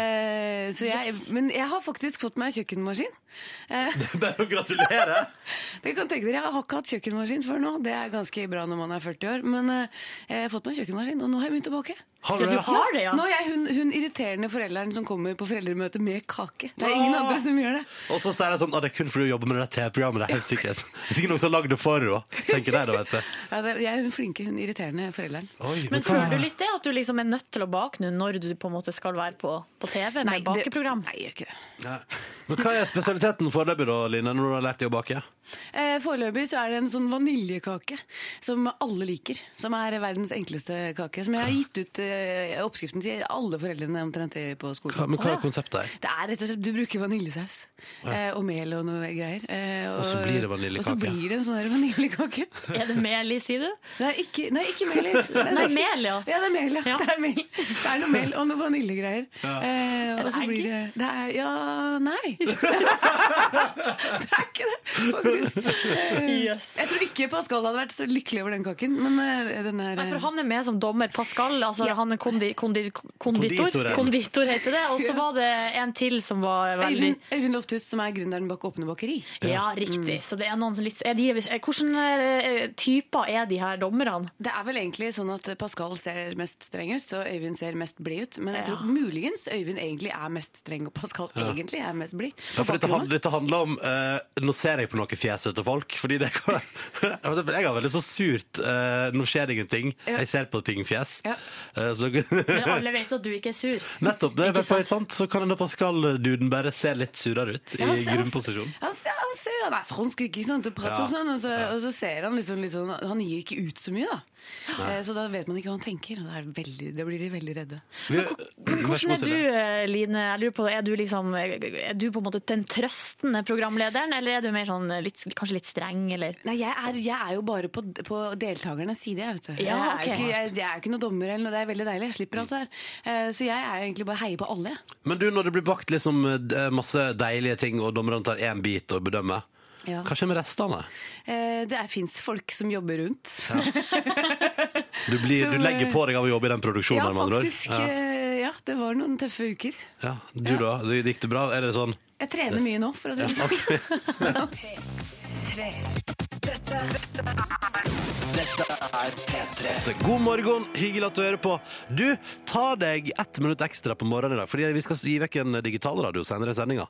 [SPEAKER 8] Eh, Så jeg, men jeg har faktisk fått meg kjøkkenmaskin. Eh,
[SPEAKER 2] Det er jo Gratulerer!
[SPEAKER 8] Dere kan tenke dere, Jeg har ikke hatt kjøkkenmaskin før nå. Det er ganske bra når man er 40 år. Men eh, jeg har fått meg kjøkkenmaskin, og nå har jeg begynt å bake.
[SPEAKER 2] Har
[SPEAKER 4] Ja, du har det, ja.
[SPEAKER 8] Nå er jeg hun, hun irriterende forelderen som kommer på foreldremøte med kake. Det er ingen
[SPEAKER 4] Ah.
[SPEAKER 8] andre som gjør det.
[SPEAKER 2] Og så sier jeg sånn at det er kun fordi du jobber med det der TV-programmet. Det er helt sikkert. Det er sikkert noen som har lagd det for henne, tenker de da, vet du.
[SPEAKER 8] Ja, det jeg er hun flinke, hun irriterende forelderen.
[SPEAKER 2] Oi,
[SPEAKER 4] Men føler du litt det, at du liksom er nødt til å bake nå når du på en måte skal være på, på TV med
[SPEAKER 8] det-
[SPEAKER 4] bakeprogram?
[SPEAKER 8] Nei, jeg gjør ikke det.
[SPEAKER 2] Ja. Men hva er spesialiteten foreløpig, da, Line, når du har lært deg å bake?
[SPEAKER 8] Eh, Foreløpig så er det en sånn vaniljekake som alle liker. Som er verdens enkleste kake. Som jeg har gitt ut eh, oppskriften til alle foreldrene omtrent i- på
[SPEAKER 2] Hva,
[SPEAKER 8] skolen.
[SPEAKER 2] men hva er konseptet her?
[SPEAKER 8] Det er rett og slett, Du bruker vaniljesaus eh, og mel og noe greier. eh,
[SPEAKER 2] Og så blir det vaniljekake.
[SPEAKER 8] Og så blir det en sånn der vaniljekake.
[SPEAKER 4] Er det mel i, sier du?
[SPEAKER 8] Nei, ikke, nei, ikke melis. Det er-
[SPEAKER 4] Nei, mel, ja.
[SPEAKER 8] Ja, det er mel, ja.
[SPEAKER 4] Ja.
[SPEAKER 8] Det, er mel. det er noe mel og noe vaniljegreier. Eh,
[SPEAKER 4] Er
[SPEAKER 8] og
[SPEAKER 4] det
[SPEAKER 8] så
[SPEAKER 4] egg
[SPEAKER 8] blir
[SPEAKER 4] i?
[SPEAKER 8] det, det er, Ja, nei. det er ikke det, faktisk. Eh,
[SPEAKER 4] Jøss.
[SPEAKER 8] Jeg tror ikke Pascal hadde vært så lykkelig over den kaken, men eh, den er
[SPEAKER 4] Nei, for han er med som dommer. Pascal, altså han er kondi, kondi, konditor.
[SPEAKER 2] Konditoren.
[SPEAKER 4] Konditor heter det. Og så var det en til som var veldig
[SPEAKER 8] Øyvind, Øyvind Lofthus, som er gründeren bak Åpne bakeri. Mm.
[SPEAKER 4] Ja, riktig. Så det er noen som litt er de, er, Hvordan eh, typer er de her dommerne?
[SPEAKER 8] Det er vel egentlig sånn at Pascal ser mest streng ut, så Øyvind ser mest blid ut. Men jeg
[SPEAKER 4] Ja.
[SPEAKER 8] tror muligens Øyvind egentlig er mest streng, og Pascal egentlig er mest blid.
[SPEAKER 2] Ja, for dette,
[SPEAKER 8] På
[SPEAKER 2] hand- dette handler om eh, Nå ser jeg på noe fjeset til folk. Fordi det kan, jeg har veldig så surt eh, Nå skjer det ingenting.
[SPEAKER 8] Ja.
[SPEAKER 2] Jeg ser på ting-fjes.
[SPEAKER 8] Ja.
[SPEAKER 2] Eh, så
[SPEAKER 4] Men alle vet jo at du ikke er sur.
[SPEAKER 2] Nettopp. Det er
[SPEAKER 4] Ikke
[SPEAKER 2] i hvert fall sant. Så kan hende Pascal-duden bare se litt surere ut i
[SPEAKER 8] Ja, han ser-
[SPEAKER 2] grunnposisjon.
[SPEAKER 8] Han ser, han ser han er fransk, ikke sant, og prater
[SPEAKER 2] Ja.
[SPEAKER 8] sånn, og så, og så ser han liksom litt sånn Han gir ikke ut så mye, da. Eh, Så da vet man ikke hva han tenker. og Det, er veldig, det blir de veldig redde.
[SPEAKER 2] Vi-
[SPEAKER 4] Men
[SPEAKER 2] Vær så
[SPEAKER 4] hvordan
[SPEAKER 2] god,
[SPEAKER 4] er du,
[SPEAKER 2] Silje.
[SPEAKER 4] eh, Line? Jeg lurer på, er du, liksom, er du på en måte den trøstende programlederen, eller er du mer sånn eh, litt, kanskje litt streng, eller?
[SPEAKER 8] Nei, jeg er, jeg er jo bare på, på deltakernes side, jeg, vet du. jeg,
[SPEAKER 4] Ja,
[SPEAKER 8] er
[SPEAKER 4] ok.
[SPEAKER 8] jo ikke, jeg, jeg er ikke noen dommer eller noe, det er veldig deilig. Jeg slipper alt det der. Eh, Så jeg er jo egentlig bare heier på alle, jeg.
[SPEAKER 2] Men du, når det blir bakt liksom, eh, masse deilige ting, og dommerne tar én bit og bedømmer,
[SPEAKER 8] Ja.
[SPEAKER 2] hva skjer med restene?
[SPEAKER 8] Eh, Det fins folk som jobber rundt.
[SPEAKER 2] Du, blir,
[SPEAKER 8] Som,
[SPEAKER 2] du legger
[SPEAKER 8] eh,
[SPEAKER 2] på deg av å jobbe i den produksjonen?
[SPEAKER 8] Ja,
[SPEAKER 2] her, med andre ord.
[SPEAKER 8] faktisk. eh, Ja, det var noen tøffe uker.
[SPEAKER 2] Ja. Ja. Du, da? Det gikk det bra? Er det sånn
[SPEAKER 8] Jeg trener mye nå, for å si det sånn.
[SPEAKER 2] Dette er God morgen, hyggelig at du hører på. Du, ta deg ett minutt ekstra på morgenen i dag, fordi vi skal gi vekk en digitalradio senere i sendinga.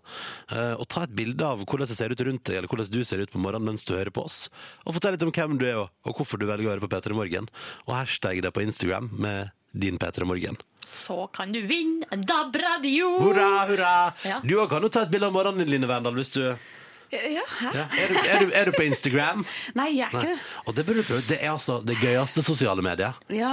[SPEAKER 2] Eh, og ta et bilde av hvordan det ser ut rundt deg, eller hvordan du ser ut på morgenen mens du hører på oss. Og fortell litt om hvem du er, og, og hvorfor du velger å høre på P3 Morgen. Og hashtag det på Instagram med din P3 Morgen.
[SPEAKER 4] Så kan du vinne en DAB-radio!
[SPEAKER 2] Hurra, hurra!
[SPEAKER 4] Ja.
[SPEAKER 2] Du òg kan jo ta et bilde av morgenen din, Line Vendal, hvis du
[SPEAKER 8] Ja, hæ?
[SPEAKER 2] ja. er, du, er, du, er du på Instagram?
[SPEAKER 8] Nei, jeg er ikke
[SPEAKER 2] Nei.
[SPEAKER 8] det.
[SPEAKER 2] Og det burde du prøve. Det er altså det gøyeste sosiale mediet.
[SPEAKER 8] Ja.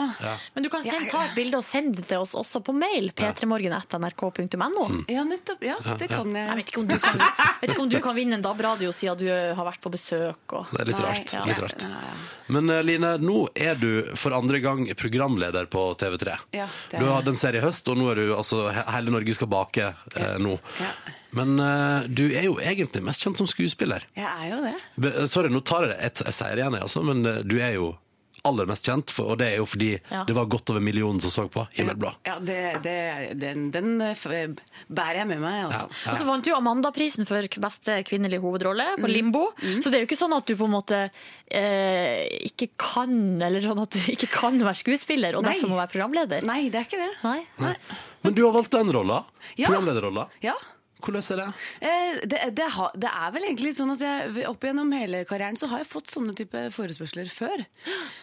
[SPEAKER 4] Men du kan sende, ta et bilde og sende det til oss også på mail. p3morgen.nrk.no.
[SPEAKER 2] Mm.
[SPEAKER 8] ja, nettopp. Ja, det kan
[SPEAKER 4] Jeg
[SPEAKER 8] jeg.
[SPEAKER 4] vet ikke om du kan, vet ikke om du kan vinne en DAB-radio siden du har vært på besøk. Og...
[SPEAKER 2] Det er litt
[SPEAKER 8] Nei,
[SPEAKER 2] rart.
[SPEAKER 8] ja.
[SPEAKER 2] Litt rart.
[SPEAKER 8] Ja, ja.
[SPEAKER 2] Men eh, Line, nå er du for andre gang programleder på TV3.
[SPEAKER 8] Ja, det er
[SPEAKER 2] du har
[SPEAKER 8] jeg.
[SPEAKER 2] hatt en serie i høst, og nå er du altså he- Hele Norge skal bake eh, nå.
[SPEAKER 8] Ja.
[SPEAKER 2] Men eh, du er jo egentlig mest kjent som skuespiller.
[SPEAKER 8] Jeg er jo det.
[SPEAKER 2] Be- eh, Sorry, nå tar jeg det. Jeg, jeg sier det igjen, jeg, altså, men eh, du er jo aller mest kjent, for, og det er jo fordi
[SPEAKER 4] Ja.
[SPEAKER 2] det var godt over millionen som så på. Himmelblå.
[SPEAKER 8] Ja, det, det, den, den eh, f- bærer jeg med meg, altså.
[SPEAKER 4] Og så vant jo Amanda-prisen for beste kvinnelige hovedrolle på
[SPEAKER 8] Mm.
[SPEAKER 4] Limbo. Så det er jo ikke sånn at du på en måte eh, ikke kan Eller sånn at du ikke kan være skuespiller og
[SPEAKER 8] Nei.
[SPEAKER 4] derfor må være programleder.
[SPEAKER 8] Nei, det er ikke det.
[SPEAKER 4] Nei.
[SPEAKER 2] Men du har valgt den rolla.
[SPEAKER 8] Ja.
[SPEAKER 2] Programlederrolla.
[SPEAKER 8] Ja.
[SPEAKER 2] Hvordan er det?
[SPEAKER 8] Eh, Det, det, ha- det er vel egentlig sånn at jeg, opp gjennom hele karrieren så har jeg fått sånne type forespørsler før.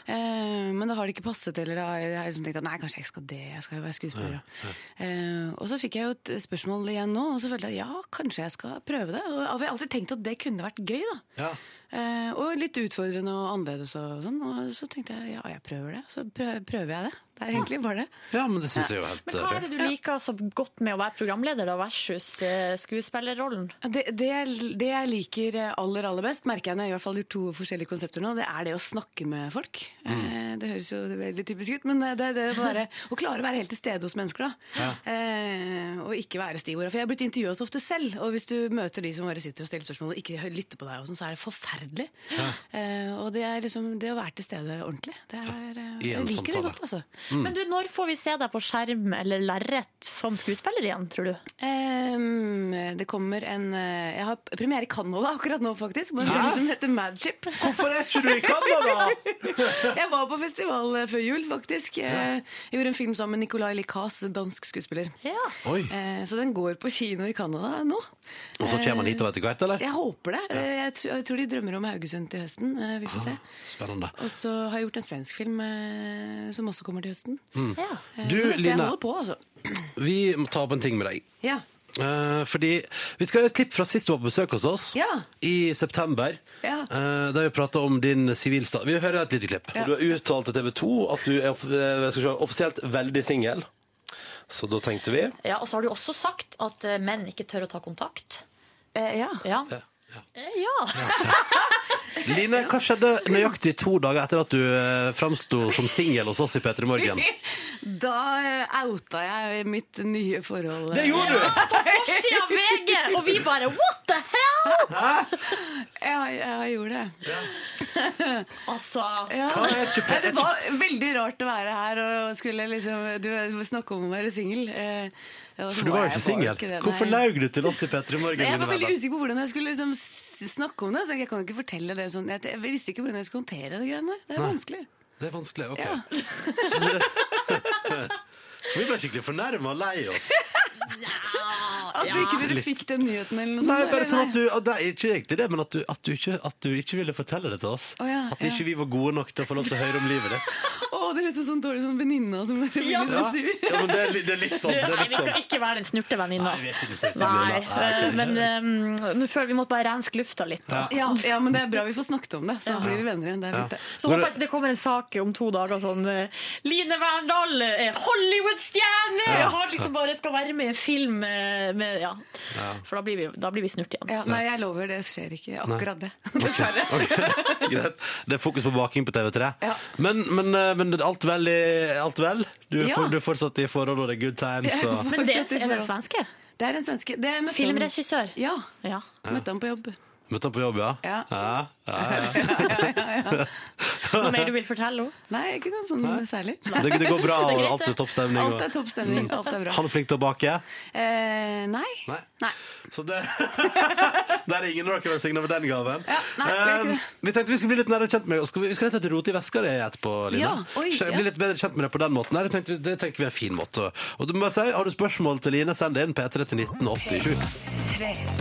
[SPEAKER 8] Eh, men da har det ikke passet, eller da har jeg jeg liksom tenkt at nei, kanskje jeg ikke skal det, jeg skal jo være skuespiller. ja. Eh, og så fikk jeg jo et spørsmål igjen nå, og så følte jeg ja, kanskje jeg skal prøve det. Og jeg har alltid tenkt at det kunne vært gøy, da.
[SPEAKER 2] Ja.
[SPEAKER 8] Eh, og litt utfordrende og annerledes og sånn. Og så tenkte jeg ja, jeg prøver det. Så prø- prøver jeg det. Det er egentlig bare det.
[SPEAKER 2] ja, men det syns jeg jo er helt
[SPEAKER 4] Men hva
[SPEAKER 2] eh,
[SPEAKER 4] er det du liker så godt med å være programleder da, versus eh, skuespillerrollen?
[SPEAKER 8] Det, det, jeg- det jeg liker aller aller best, merker jeg når jeg i hvert fall gjør to forskjellige konsepter nå, det er det å snakke med folk. Eh, Det høres jo veldig typisk ut, men eh, det er det å bare å klare å være helt til stede hos mennesker. da. Eh, Og ikke være stiv i orda. For jeg har blitt intervjua så ofte selv, og hvis du møter de som bare sitter og stiller spørsmål og ikke hø- lytter på deg, og sånn, så er det forferdelig. Eh, Og det er liksom det å være til stede ordentlig. Det er, eh,
[SPEAKER 2] I en
[SPEAKER 8] jeg liker
[SPEAKER 2] samtale. Mm.
[SPEAKER 8] det godt, altså.
[SPEAKER 4] Men du, når får vi se deg på skjerm eller lerret som skuespiller igjen, tror du?
[SPEAKER 8] Ehm, det kommer en eh, Jeg har premiere i Canada akkurat nå, faktisk. På en film som heter Madship.
[SPEAKER 2] Hvorfor er ikke du i Canada?
[SPEAKER 8] Jeg var på festival eh, før jul, faktisk. Eh, Jeg gjorde en film sammen med Nicolay Licas, dansk skuespiller.
[SPEAKER 4] Ja.
[SPEAKER 2] Oi.
[SPEAKER 8] Eh, Så den går på kino i Canada nå. Eh,
[SPEAKER 2] Og så kommer han hit og etter hvert, eller?
[SPEAKER 8] Jeg håper det. Eh, Jeg tr- jeg tror de drømmer om Haugesund til høsten. Eh, Vi får se.
[SPEAKER 2] Ah. Spennende.
[SPEAKER 8] Og så har jeg gjort en svensk film eh, som også kommer til høsten. Eh,
[SPEAKER 4] ja.
[SPEAKER 2] Mm. Du,
[SPEAKER 8] så jeg
[SPEAKER 2] Line.
[SPEAKER 8] holder på, altså.
[SPEAKER 2] Vi må ta opp en ting med deg.
[SPEAKER 8] Ja.
[SPEAKER 2] Eh, fordi Vi skal ha et klipp fra sist du var på besøk hos oss,
[SPEAKER 8] Ja.
[SPEAKER 2] i september.
[SPEAKER 8] Ja.
[SPEAKER 2] Eh, der vi prata om din sivilstat. Vi hører et lite klipp.
[SPEAKER 8] Ja.
[SPEAKER 9] Du har uttalt til TV 2 at du er off- eh, skal vi se, offisielt veldig singel. Så da tenkte vi
[SPEAKER 4] ja, Og så har du også sagt at eh, menn ikke tør å ta kontakt.
[SPEAKER 8] ja.
[SPEAKER 4] Ja.
[SPEAKER 2] Ja.
[SPEAKER 4] Eh, ja.
[SPEAKER 2] Line, hva skjedde nøyaktig to dager etter at du uh, framsto som singel hos oss i P3 Morgen?
[SPEAKER 8] Da eh, outa jeg mitt nye forhold. eh,
[SPEAKER 2] gjorde du!
[SPEAKER 4] Forsida av VG! Og vi bare what the hell?!
[SPEAKER 8] Ja, jeg gjorde det.
[SPEAKER 4] Altså,
[SPEAKER 8] Ja.
[SPEAKER 2] Hva er ikke
[SPEAKER 8] Nei, Det var veldig rart å være her og skulle liksom Du snakke om å være singel. eh, og så
[SPEAKER 2] For du var jo
[SPEAKER 8] jeg
[SPEAKER 2] ikke singel.
[SPEAKER 8] det, nei.
[SPEAKER 2] Hvorfor laug du til oss i P3 Morgen?
[SPEAKER 8] Nei, Jeg var
[SPEAKER 2] Line
[SPEAKER 8] veldig
[SPEAKER 2] Verdal?
[SPEAKER 8] usikker på hvordan jeg skulle liksom s- snakke om det. Så jeg kan jo ikke fortelle det sånn. Jeg, jeg visste ikke hvordan jeg skulle håndtere det greiene der. Det er
[SPEAKER 2] Nei.
[SPEAKER 8] vanskelig.
[SPEAKER 2] Det er vanskelig, ok.
[SPEAKER 8] Ja.
[SPEAKER 2] Så det- For vi ble skikkelig fornærma og lei oss.
[SPEAKER 8] At du ikke dere fikk den nyheten eller noe
[SPEAKER 2] Nei,
[SPEAKER 8] sånt.
[SPEAKER 2] bare sånn at du at det er Ikke egentlig det, men at du, at du, ikke, at du ikke ville fortelle det til oss.
[SPEAKER 8] Å ja,
[SPEAKER 2] at ikke vi var gode nok til å få lov til å høre om livet ditt.
[SPEAKER 8] Å, dere er så sånn dårlig sånn venninna som bare blir
[SPEAKER 4] Ja.
[SPEAKER 8] litt
[SPEAKER 2] Ja,
[SPEAKER 8] sånn sur.
[SPEAKER 2] ja men det er, li- det er litt sånn.
[SPEAKER 4] du,
[SPEAKER 2] Det er
[SPEAKER 4] nei,
[SPEAKER 2] litt
[SPEAKER 4] vi
[SPEAKER 2] sånn.
[SPEAKER 4] skal ikke være den snurtevenninna.
[SPEAKER 2] Nei, vi er ikke interessert i det,
[SPEAKER 4] Nei,
[SPEAKER 2] Lina. Nei,
[SPEAKER 4] eh,
[SPEAKER 2] ok.
[SPEAKER 4] men eh, nå føler vi måtte bare renske lufta litt. Da.
[SPEAKER 8] Ja, ja, men det er bra vi får snakket om det. Så
[SPEAKER 4] Ja.
[SPEAKER 8] blir vi venner igjen. Det er fint, det.
[SPEAKER 4] Så håper jeg ikke det kommer en sak om to dager sånn eh, Line Verndal er Hollywood-stjerne! Har liksom bare skal være med i en film eh, med Ja. For da blir vi, da blir vi snurt igjen.
[SPEAKER 8] Ja, nei, jeg lover, det skjer ikke akkurat det. Dessverre.
[SPEAKER 2] Greit. Det er fokus på baking på TV3.
[SPEAKER 8] Ja.
[SPEAKER 2] Men, men, eh, men alt vel? i- Alt vel? Du, er
[SPEAKER 8] Ja.
[SPEAKER 2] for, du er fortsatt i forhold, og det er good times. Og...
[SPEAKER 4] Men det er det en svenske?
[SPEAKER 8] Det er en svenske. Det møtte han-
[SPEAKER 4] Filmregissør?
[SPEAKER 8] Ja.
[SPEAKER 4] Ja.
[SPEAKER 8] Møtte han på jobb.
[SPEAKER 2] Møtte han på jobb, ja?
[SPEAKER 8] Ja.
[SPEAKER 2] ja, ja, ja.
[SPEAKER 4] Noe mer du vil fortelle henne?
[SPEAKER 8] Nei, ikke noe sånn særlig.
[SPEAKER 2] Det, det går bra,
[SPEAKER 4] Det er
[SPEAKER 2] og
[SPEAKER 4] greit,
[SPEAKER 2] alt er
[SPEAKER 4] det.
[SPEAKER 2] toppstemning.
[SPEAKER 8] Alt er
[SPEAKER 2] Og... Mm.
[SPEAKER 8] toppstemning. Alt er bra.
[SPEAKER 2] Han er flink til å bake.
[SPEAKER 8] Eh, nei.
[SPEAKER 2] Nei.
[SPEAKER 8] Nei.
[SPEAKER 2] Så det Der er ingen rocker velsigna med den gaven.
[SPEAKER 8] Ja, nei, det er ikke det.
[SPEAKER 2] Eh, vi tenkte vi skulle bli litt nærmere kjent med deg. og skal Vi vi skal rett og slett rote i veska di etterpå, Line.
[SPEAKER 8] Ja, oi,
[SPEAKER 2] Skjø-
[SPEAKER 8] ja.
[SPEAKER 2] Bli litt bedre kjent med deg på den måten. her. Det tenkte, vi- det tenker vi er en fin måte. Og du må jeg si, har du spørsmål til Line, send det inn P3 til 1987.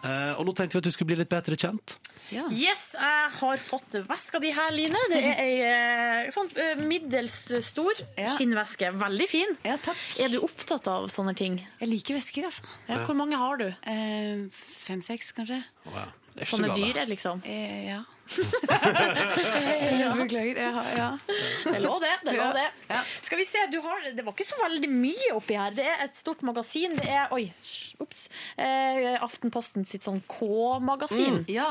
[SPEAKER 2] Eh, og nå tenkte vi at du skulle bli litt bedre kjent.
[SPEAKER 4] Yes, jeg har fått veska di her, Line. Det er ei eh, sånn eh, middels stor
[SPEAKER 8] Ja.
[SPEAKER 4] skinnveske. Veldig fin.
[SPEAKER 8] Ja, takk.
[SPEAKER 4] Er du opptatt av sånne ting?
[SPEAKER 8] Jeg liker vesker, altså.
[SPEAKER 4] Ja, hvor mange har du?
[SPEAKER 8] Eh, Fem-seks, kanskje.
[SPEAKER 2] Wow. Det er ikke så
[SPEAKER 4] Sånne
[SPEAKER 2] galt, da.
[SPEAKER 4] dyre, liksom.
[SPEAKER 8] Eh, ja. Beklager. Jeg har, ja.
[SPEAKER 4] Det lå det. det, lå
[SPEAKER 8] Ja.
[SPEAKER 4] det.
[SPEAKER 8] Ja.
[SPEAKER 4] Skal vi se, du har, Det var ikke så veldig mye oppi her. Det er et stort magasin. Det er oi, sj, ups, eh, Aftenposten sitt sånn K-magasin.
[SPEAKER 8] Mm, ja.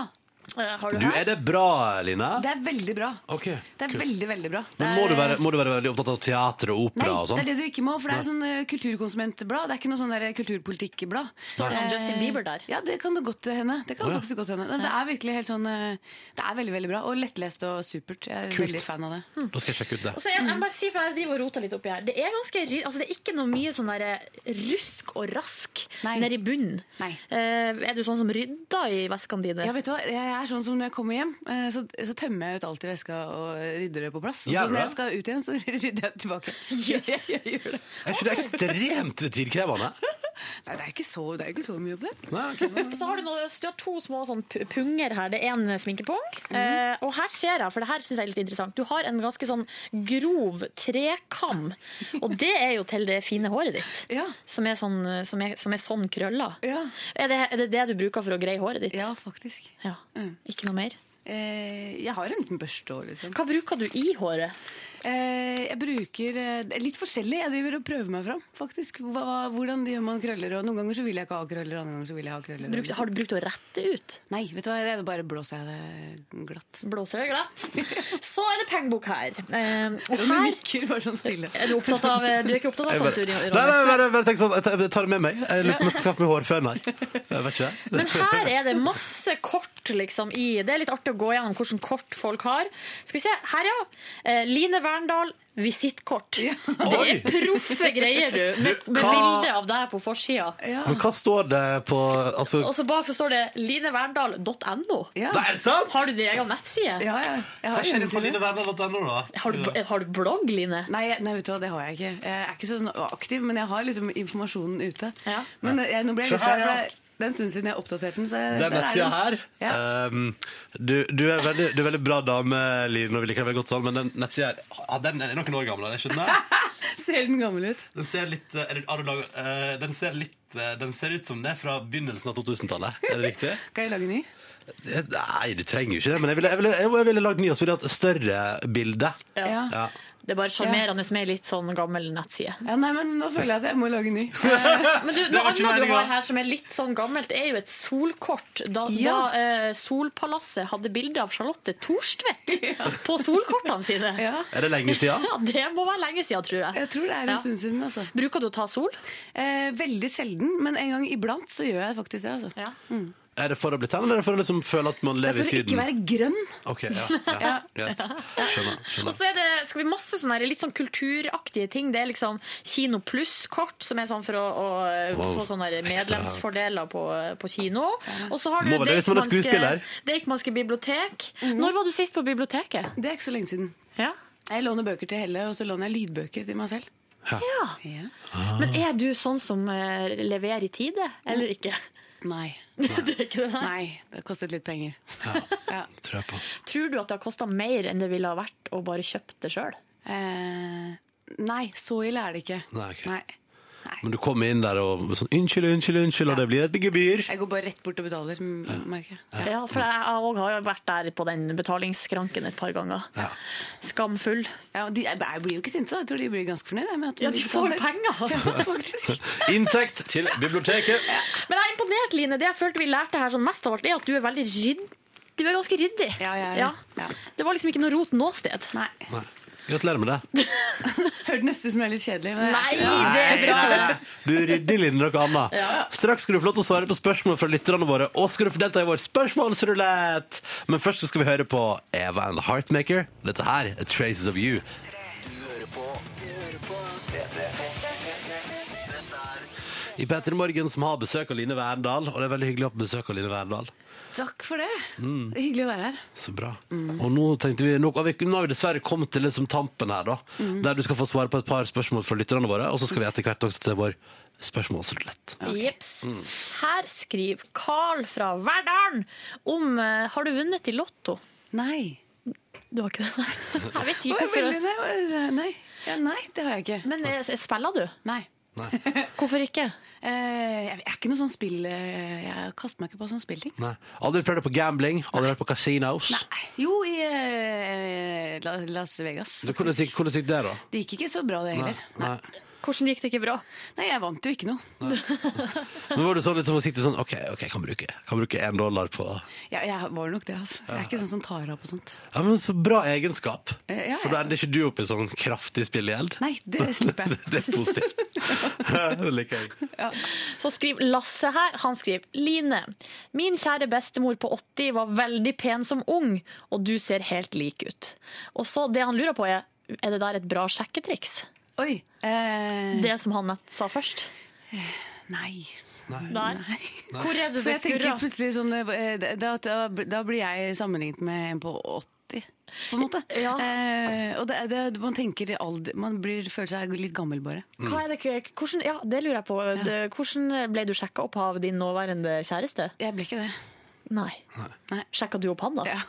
[SPEAKER 4] Eh, har du
[SPEAKER 2] Du,
[SPEAKER 4] her?
[SPEAKER 2] er det bra, Line?
[SPEAKER 8] Det er veldig bra.
[SPEAKER 2] Ok,
[SPEAKER 8] Det er
[SPEAKER 2] kult.
[SPEAKER 8] veldig, veldig bra.
[SPEAKER 2] Men må du, være, må du være veldig opptatt av teater og
[SPEAKER 8] Nei,
[SPEAKER 2] opera og
[SPEAKER 8] det er
[SPEAKER 2] sånn?
[SPEAKER 8] det du ikke må, for det er sånn eh, kulturkonsumentblad. Det er ikke noe sånn der kulturpolitikkblad. Eh,
[SPEAKER 4] Står det om Justin Bieber der?
[SPEAKER 8] Ja, det kan det godt hende. Det kan
[SPEAKER 2] Å, ja.
[SPEAKER 8] faktisk godt hende. Nei, Det er virkelig helt sånn eh, Det er veldig, veldig bra. Og lettlest og supert. Jeg er
[SPEAKER 2] Kult.
[SPEAKER 8] veldig fan av det.
[SPEAKER 2] Da skal jeg sjekke ut det.
[SPEAKER 4] Og så jeg, jeg bare sier, for jeg driver og roter litt oppi her. Det er, ganske, ry- altså det er ikke noe mye sånn der rusk og rask
[SPEAKER 8] Nei.
[SPEAKER 4] nedi bunnen.
[SPEAKER 8] Nei.
[SPEAKER 4] Eh, er du sånn som rydder i veskene dine?
[SPEAKER 8] Ja, vet du hva? Jeg er sånn som når jeg kommer hjem, eh, så, så tømmer jeg ut alt i veska og rydder det på plass. Og så
[SPEAKER 2] Gjør du
[SPEAKER 8] når jeg
[SPEAKER 2] det?
[SPEAKER 8] skal ut igjen, så rydder jeg tilbake. Yes. Jeg, gjør det.
[SPEAKER 2] Er ikke det ekstremt tidkrevende?
[SPEAKER 8] Nei, det er ikke så, det er ikke så mye jobb, det.
[SPEAKER 2] Nei, ok.
[SPEAKER 4] Og så har du, noe, så du har to små sånn pu- punger her. Det er en sminkepung.
[SPEAKER 8] Mhm.
[SPEAKER 4] eh, og her ser jeg, for det her syns jeg er litt interessant, du har en ganske sånn grov trekam. og det er jo til det fine håret ditt.
[SPEAKER 8] Ja.
[SPEAKER 4] Som er sånn, som er, som er sånn krøller.
[SPEAKER 8] Ja,
[SPEAKER 4] Er, det, er det det du bruker for å greie håret ditt?
[SPEAKER 8] ja faktisk.
[SPEAKER 4] Ja. Ikke noe mer?
[SPEAKER 8] Mm. Eh, jeg har en liten børste òg, liksom.
[SPEAKER 4] Hva bruker du i håret?
[SPEAKER 8] Eh, jeg bruker eh, det er litt forskjellig. Jeg driver og prøver meg fram, faktisk. Hva, hva- hvordan gjør man krøller? Og noen ganger så vil jeg ikke ha krøller, andre ganger så vil jeg ha krøller.
[SPEAKER 4] Bruk, har du brukt å rette ut?
[SPEAKER 8] Nei, vet du hva, det er bare blåser jeg det glatt.
[SPEAKER 4] Blåser det glatt? Så er det pengebok her. Eh, og
[SPEAKER 8] Hun
[SPEAKER 4] her
[SPEAKER 8] nikker bare sånn stille.
[SPEAKER 4] er du, opptatt av, du er ikke opptatt av
[SPEAKER 2] Jeg
[SPEAKER 4] sånt,
[SPEAKER 2] bare,
[SPEAKER 4] du,
[SPEAKER 2] nei,
[SPEAKER 4] Ronny?
[SPEAKER 2] nei, bare, bare tenk sånn, jeg tar- jeg tar det med meg. Jeg lurer på om jeg skal skaffe meg hårføn her. Jeg vet ikke.
[SPEAKER 4] Men her er det masse kort liksom, i. Det er litt artig å gå gjennom hvilke kort folk har. Skal vi se. Her, ja. Eh, Line Verndal, visittkort. Det
[SPEAKER 2] Oi!
[SPEAKER 4] er proffe greier, du. Med, med
[SPEAKER 2] Hva-
[SPEAKER 4] bilde av deg på forsida.
[SPEAKER 2] Men hva står det på altså,
[SPEAKER 4] Og så bak så står det lineverndal.no.
[SPEAKER 8] Ja,
[SPEAKER 2] Det er sant!
[SPEAKER 4] Har du din egen nettside?
[SPEAKER 8] ja, ja. Jeg har hjemmeside.
[SPEAKER 4] Har du, har du blogg, Line?
[SPEAKER 8] Nei, jeg- nei, vet du hva, det har jeg ikke. Jeg er ikke så sånn aktiv, men jeg har liksom informasjonen ute.
[SPEAKER 4] Ja.
[SPEAKER 8] Men eh, jeg, nå ble jeg
[SPEAKER 2] Se
[SPEAKER 8] litt flau,
[SPEAKER 2] her,
[SPEAKER 8] for
[SPEAKER 2] ja.
[SPEAKER 8] det- det er en stund siden jeg oppdaterte den. Så
[SPEAKER 2] Den
[SPEAKER 8] der er
[SPEAKER 2] nettsida
[SPEAKER 8] den.
[SPEAKER 2] her
[SPEAKER 8] Ja.
[SPEAKER 2] ehm, du, du, er veldig, du er veldig bra dame, Liv, når vi liker deg veldig godt sånn, men den nettsida her ah, Den er noen år gammel, er det ikke den der?
[SPEAKER 8] Ser den gammel ut?
[SPEAKER 2] Den ser litt, eh, er det, har du laget, eh, den ser litt eh, Den ser ut som det er fra begynnelsen av 2000-tallet. Er det riktig?
[SPEAKER 8] Kan jeg lage en ny?
[SPEAKER 2] Nei, du trenger jo ikke det, men jeg ville, jeg ville, jeg ville, lagd ny og så ville jeg hatt større bilde.
[SPEAKER 8] Ja.
[SPEAKER 2] Ja.
[SPEAKER 4] Det er bare sjarmerende med litt sånn gammel nettside. Eh,
[SPEAKER 8] Ja, nei, men nå føler jeg at jeg må lage en ny.
[SPEAKER 4] Men du,
[SPEAKER 2] Det
[SPEAKER 4] Noe
[SPEAKER 2] var ikke
[SPEAKER 4] annet du
[SPEAKER 2] meningen.
[SPEAKER 4] har her som er litt sånn gammelt, er jo et solkort. Da,
[SPEAKER 8] Ja.
[SPEAKER 4] da eh, Solpalasset hadde bilde av Charlotte Thorstvedt på solkortene sine. Ja.
[SPEAKER 8] Ja,
[SPEAKER 2] Er det lenge siden?
[SPEAKER 4] Det må være lenge siden, tror jeg.
[SPEAKER 8] jeg tror det er en
[SPEAKER 4] Ja.
[SPEAKER 8] stund siden, altså.
[SPEAKER 4] Bruker du å ta sol?
[SPEAKER 8] Eh, veldig sjelden, men en gang iblant så gjør jeg faktisk det, altså.
[SPEAKER 4] Ja.
[SPEAKER 2] Er det for å bli tan, eller er det for å liksom føle at man
[SPEAKER 8] Det er
[SPEAKER 2] lever i
[SPEAKER 8] for å ikke
[SPEAKER 2] Syden?
[SPEAKER 8] være grønn.
[SPEAKER 2] Ok, ja, ja, greit. Skjønner.
[SPEAKER 4] Og
[SPEAKER 2] skjønner.
[SPEAKER 4] så er det skal vi masse sånne her, litt sånn kulturaktige ting. Det er liksom Kino Pluss-kort, som er sånn for å, å
[SPEAKER 2] Wow.
[SPEAKER 4] få sånne her medlemsfordeler på, på kino. Og så har du
[SPEAKER 2] Må være det hvis man er skuespiller.
[SPEAKER 4] Deichmanske bibliotek.
[SPEAKER 8] Mhm.
[SPEAKER 4] Når var du sist på biblioteket?
[SPEAKER 8] Det er ikke så lenge siden.
[SPEAKER 4] Ja.
[SPEAKER 8] Jeg låner bøker til Helle, og så låner jeg lydbøker til meg selv.
[SPEAKER 4] ja.
[SPEAKER 8] Ja.
[SPEAKER 2] Ah.
[SPEAKER 4] Men er du sånn som eh, leverer i tide, eller ikke?
[SPEAKER 8] Nei.
[SPEAKER 4] det er ikke det. Nei.
[SPEAKER 8] Nei, det har kostet litt penger.
[SPEAKER 2] Tror jeg på.
[SPEAKER 4] Tror du at det har kosta mer enn det ville ha vært å bare kjøpt det sjøl?
[SPEAKER 8] Eh, nei, så ille er det ikke.
[SPEAKER 2] Nei, ok.
[SPEAKER 8] nei.
[SPEAKER 2] Men du kommer inn der og sånn unnskyld, unnskyld, unnskyld, og det blir et gebyr.
[SPEAKER 8] Jeg går bare rett bort og betaler, m- merker jeg.
[SPEAKER 4] Mm. Ja. for jeg jeg òg har jo vært der på den betalingsskranken et par ganger.
[SPEAKER 2] Ja.
[SPEAKER 4] Skamfull.
[SPEAKER 8] Ja, de, jeg blir jo ikke sinte, da. jeg tror de blir ganske fornøyde med at
[SPEAKER 4] Ja, de får
[SPEAKER 8] betaler.
[SPEAKER 4] penger!
[SPEAKER 8] Ja, faktisk.
[SPEAKER 2] Inntekt til biblioteket.
[SPEAKER 4] Men jeg er imponert, Line. Det jeg følte vi lærte her sånn mest av alt, er at du er veldig rydd... Du er ganske ryddig.
[SPEAKER 8] Ja, jeg er det. Ja.
[SPEAKER 4] Det var liksom ikke noe rot noe sted.
[SPEAKER 8] Nei.
[SPEAKER 2] Gratulerer med det.
[SPEAKER 8] Hørte nesten ut som jeg er litt kjedelig. Men
[SPEAKER 4] Nei,
[SPEAKER 2] Du rydder litt noe annet.
[SPEAKER 8] Ja.
[SPEAKER 2] Straks skal du få lov til å svare på spørsmål fra lytterne våre, og skal du få delta i vår spørsmålsrulett. Men først så skal vi høre på Eva and the Heartmaker. Dette her er Traces of You. I P3 Morgen som har besøk av Line Verndal, og det er veldig hyggelig å ha besøk av Line Verndal.
[SPEAKER 8] Takk for det.
[SPEAKER 2] Mm.
[SPEAKER 8] Det er Hyggelig å være her. Mm.
[SPEAKER 2] Så bra. Og nå tenkte vi, nå, har vi, nå har vi dessverre kommet til liksom tampen her, da.
[SPEAKER 8] Mm.
[SPEAKER 2] Der du skal få svare på et par spørsmål fra lytterne våre, og så skal vi etter hvert også til vår spørsmålsrulett.
[SPEAKER 4] Jeps.
[SPEAKER 2] Mm.
[SPEAKER 4] Her skriver Carl fra Verdalen om eh, Har du vunnet i Lotto?
[SPEAKER 8] Nei.
[SPEAKER 4] Du har ikke det? Nei. Jeg vet ikke
[SPEAKER 8] Oi,
[SPEAKER 4] hvorfor.
[SPEAKER 8] veldig nei, nei. Ja, nei, det har jeg ikke.
[SPEAKER 4] Men eh, spiller du?
[SPEAKER 8] Nei.
[SPEAKER 4] Hvorfor ikke?
[SPEAKER 8] Jeg er ikke noe sånn spill... eh, Jeg kaster meg ikke på sånn spillting.
[SPEAKER 2] Nei. Aldri prøvd deg på gambling, aldri vært på casinos.
[SPEAKER 8] Jo, i eh, La- Las Vegas.
[SPEAKER 2] Du, hvordan, gikk, hvordan gikk det, da?
[SPEAKER 8] Det gikk ikke så bra, det heller.
[SPEAKER 2] Nei.
[SPEAKER 4] Hvordan gikk det ikke bra?
[SPEAKER 8] Nei, jeg vant jo ikke noe.
[SPEAKER 2] Men var du sånn litt så forsiktig sånn OK, ok, jeg kan bruke jeg kan bruke én dollar på
[SPEAKER 8] Ja, jeg var nok det, altså. Jeg er ikke sånn som tar av på sånt.
[SPEAKER 2] Ja, men Så bra egenskap!
[SPEAKER 8] Eh, ja,
[SPEAKER 2] For da ender ikke du opp i sånn kraftig spillegjeld.
[SPEAKER 8] Nei, det slipper jeg.
[SPEAKER 2] det er positivt. det liker jeg.
[SPEAKER 4] Så skriver Lasse her. Han skriver Line. Min kjære bestemor på 80 var veldig pen som ung, og du ser helt lik ut. Og så det han lurer på er er det der et bra sjekketriks?
[SPEAKER 8] Oi.
[SPEAKER 4] Det som han nett sa først.
[SPEAKER 8] Nei.
[SPEAKER 4] Nei. Hvor er det
[SPEAKER 8] For
[SPEAKER 4] det
[SPEAKER 8] jeg tenker
[SPEAKER 4] skurrer?
[SPEAKER 8] plutselig sånn eh, da, da, da blir jeg sammenlignet med en på 80, på en måte. Eh, og det, det, man tenker alder Man blir, føler seg litt gammel, bare.
[SPEAKER 4] Hva er det, hvordan, ja, det lurer jeg på. Det- Hvordan ble du sjekka opp av din nåværende kjæreste?
[SPEAKER 8] Jeg ble ikke det.
[SPEAKER 4] Nei.
[SPEAKER 8] Nei.
[SPEAKER 4] Sjekka du opp han, da?
[SPEAKER 8] Ja.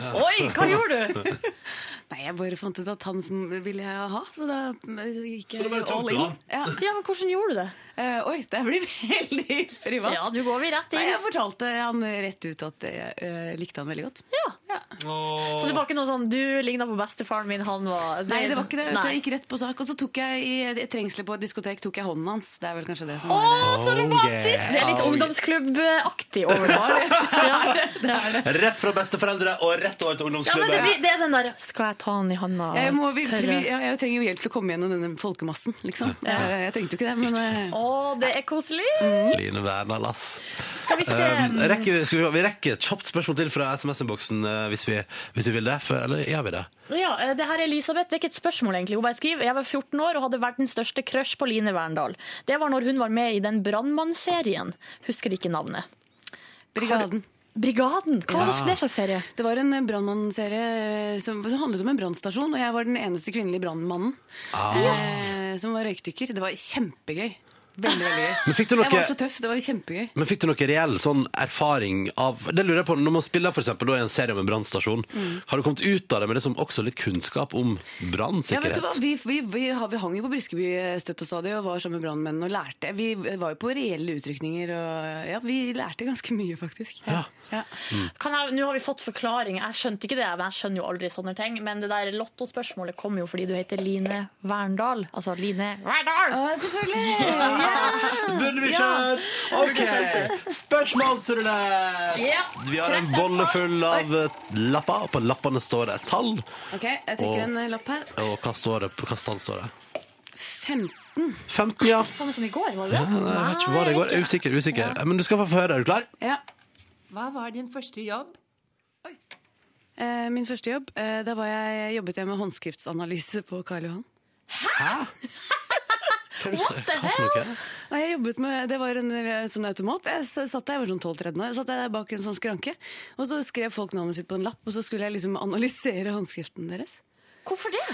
[SPEAKER 4] Oi, hva gjorde du?
[SPEAKER 8] Nei, jeg bare fant ut at han som ville jeg ha, så da eh, gikk
[SPEAKER 2] Så du bare
[SPEAKER 8] jeg
[SPEAKER 2] tok
[SPEAKER 8] all
[SPEAKER 2] det,
[SPEAKER 8] in.
[SPEAKER 2] da?
[SPEAKER 8] Ja.
[SPEAKER 4] Ja, men Hvordan gjorde du det?
[SPEAKER 8] Eh, oi, det blir veldig privat.
[SPEAKER 4] Ja, nå går vi rett
[SPEAKER 8] Nei,
[SPEAKER 4] inn.
[SPEAKER 8] jeg fortalte han rett ut at jeg eh, likte han veldig godt.
[SPEAKER 4] Så det var ikke noe sånn du ligna på bestefaren min, han var
[SPEAKER 8] Nei, det var ikke det. vet du.
[SPEAKER 4] Nei.
[SPEAKER 8] Jeg gikk rett på sak. Og så tok jeg i et trengsel på et diskotek tok jeg hånden hans. Det er vel kanskje det som
[SPEAKER 4] Å, så
[SPEAKER 2] Oh,
[SPEAKER 4] romantisk!
[SPEAKER 2] yeah.
[SPEAKER 4] Det er litt
[SPEAKER 2] Oh, yeah.
[SPEAKER 4] ungdomsklubbaktig over det. Ja.
[SPEAKER 2] Rett fra besteforeldre og rett over til
[SPEAKER 4] Ja, men
[SPEAKER 2] ungdomsklubben.
[SPEAKER 4] det, blir- det er den der 'skal jeg ta han i handa'?
[SPEAKER 8] jeg, må virkelig,
[SPEAKER 4] tørre».
[SPEAKER 8] ja, jeg trenger jo hjelp til å komme gjennom denne folkemassen, liksom. Jeg, jeg trengte jo ikke det, men eh, Mm.
[SPEAKER 4] Å, det er koselig!
[SPEAKER 2] Line Verna, lass.
[SPEAKER 4] Skal vi se
[SPEAKER 2] Um, rekker, vi- skal vi, vi rekker et kjapt spørsmål til fra SMS-innboksen eh, hvis, vi- hvis vi vil det. For, eller gjør vi det?
[SPEAKER 4] Ja, eh, det her er Elisabeth. Det er ikke et spørsmål, egentlig. Hun bare skriver jeg var 14 år og hadde verdens største crush på Line Verndal. Det var når hun var med i den Brannmann-serien. Husker ikke navnet.
[SPEAKER 8] Brigaden.
[SPEAKER 4] Brigaden! Hva var
[SPEAKER 2] Ja.
[SPEAKER 4] det slags serie?
[SPEAKER 8] Det var en eh, brannmannserie eh, som, som handlet om en brannstasjon, og jeg var den eneste kvinnelige brannmannen
[SPEAKER 4] Ah.
[SPEAKER 8] eh, som var røykdykker. Det var kjempegøy. Veldig, veldig gøy.
[SPEAKER 2] Men fikk du
[SPEAKER 8] Jeg
[SPEAKER 2] noe-
[SPEAKER 8] var så tøff. Det var kjempegøy.
[SPEAKER 2] Men fikk du noe reell sånn erfaring av Det lurer jeg på, Når man spiller for eksempel, da, i en serie om en brannstasjon,
[SPEAKER 4] Mm.
[SPEAKER 8] Mm.
[SPEAKER 2] har du kommet ut av det med liksom også litt kunnskap om
[SPEAKER 8] Ja, vet du
[SPEAKER 2] brannsikkerhet?
[SPEAKER 8] hva? Vi, vi, vi, har- vi hang jo på Briskeby støtt og stadig og var sammen med brannmennene og lærte. Vi var jo på reelle utrykninger og ja, vi lærte ganske mye, faktisk.
[SPEAKER 2] Ja. Mm.
[SPEAKER 8] Ja.
[SPEAKER 4] Kan jeg, nå har vi fått forklaring. Jeg skjønte ikke det, men jeg skjønner jo aldri sånne ting. Men det der lottospørsmålet kom jo fordi du heter Line Verndal. Altså Line Verndal!
[SPEAKER 8] selvfølgelig!
[SPEAKER 2] Burde vi skjønt? OK! Spørsmålsrulett!
[SPEAKER 4] Ja.
[SPEAKER 2] Vi har en
[SPEAKER 4] Trekk deg
[SPEAKER 2] bolle
[SPEAKER 4] tall.
[SPEAKER 2] full av eh, lapper, og på lappene står det et tall.
[SPEAKER 8] Ok, jeg trekker en lapp her.
[SPEAKER 2] Og hva står det? Hva tall står det?
[SPEAKER 8] 15.
[SPEAKER 2] 15, ja.
[SPEAKER 4] Samme som i går, var det
[SPEAKER 2] Ja,
[SPEAKER 4] det?
[SPEAKER 2] nei, Jeg vet ikke hva det går. Jeg er Usikker, usikker. Men du skal få høre. Er du klar?
[SPEAKER 8] Ja.
[SPEAKER 10] Hva var din første jobb?
[SPEAKER 8] Eh, Min første jobb, eh, da var jeg, jobbet jeg med håndskriftsanalyse på Karl Johan.
[SPEAKER 2] Hva er det du sier? Hva for noe?
[SPEAKER 8] Nei, jeg jobbet med, Det var en eh, sånn automat. Jeg s- satt der, jeg var sånn 12-13 år, satt jeg der bak en sånn skranke. Og så skrev folk navnet sitt på en lapp, og så skulle jeg liksom analysere håndskriften deres.
[SPEAKER 4] Hvorfor det?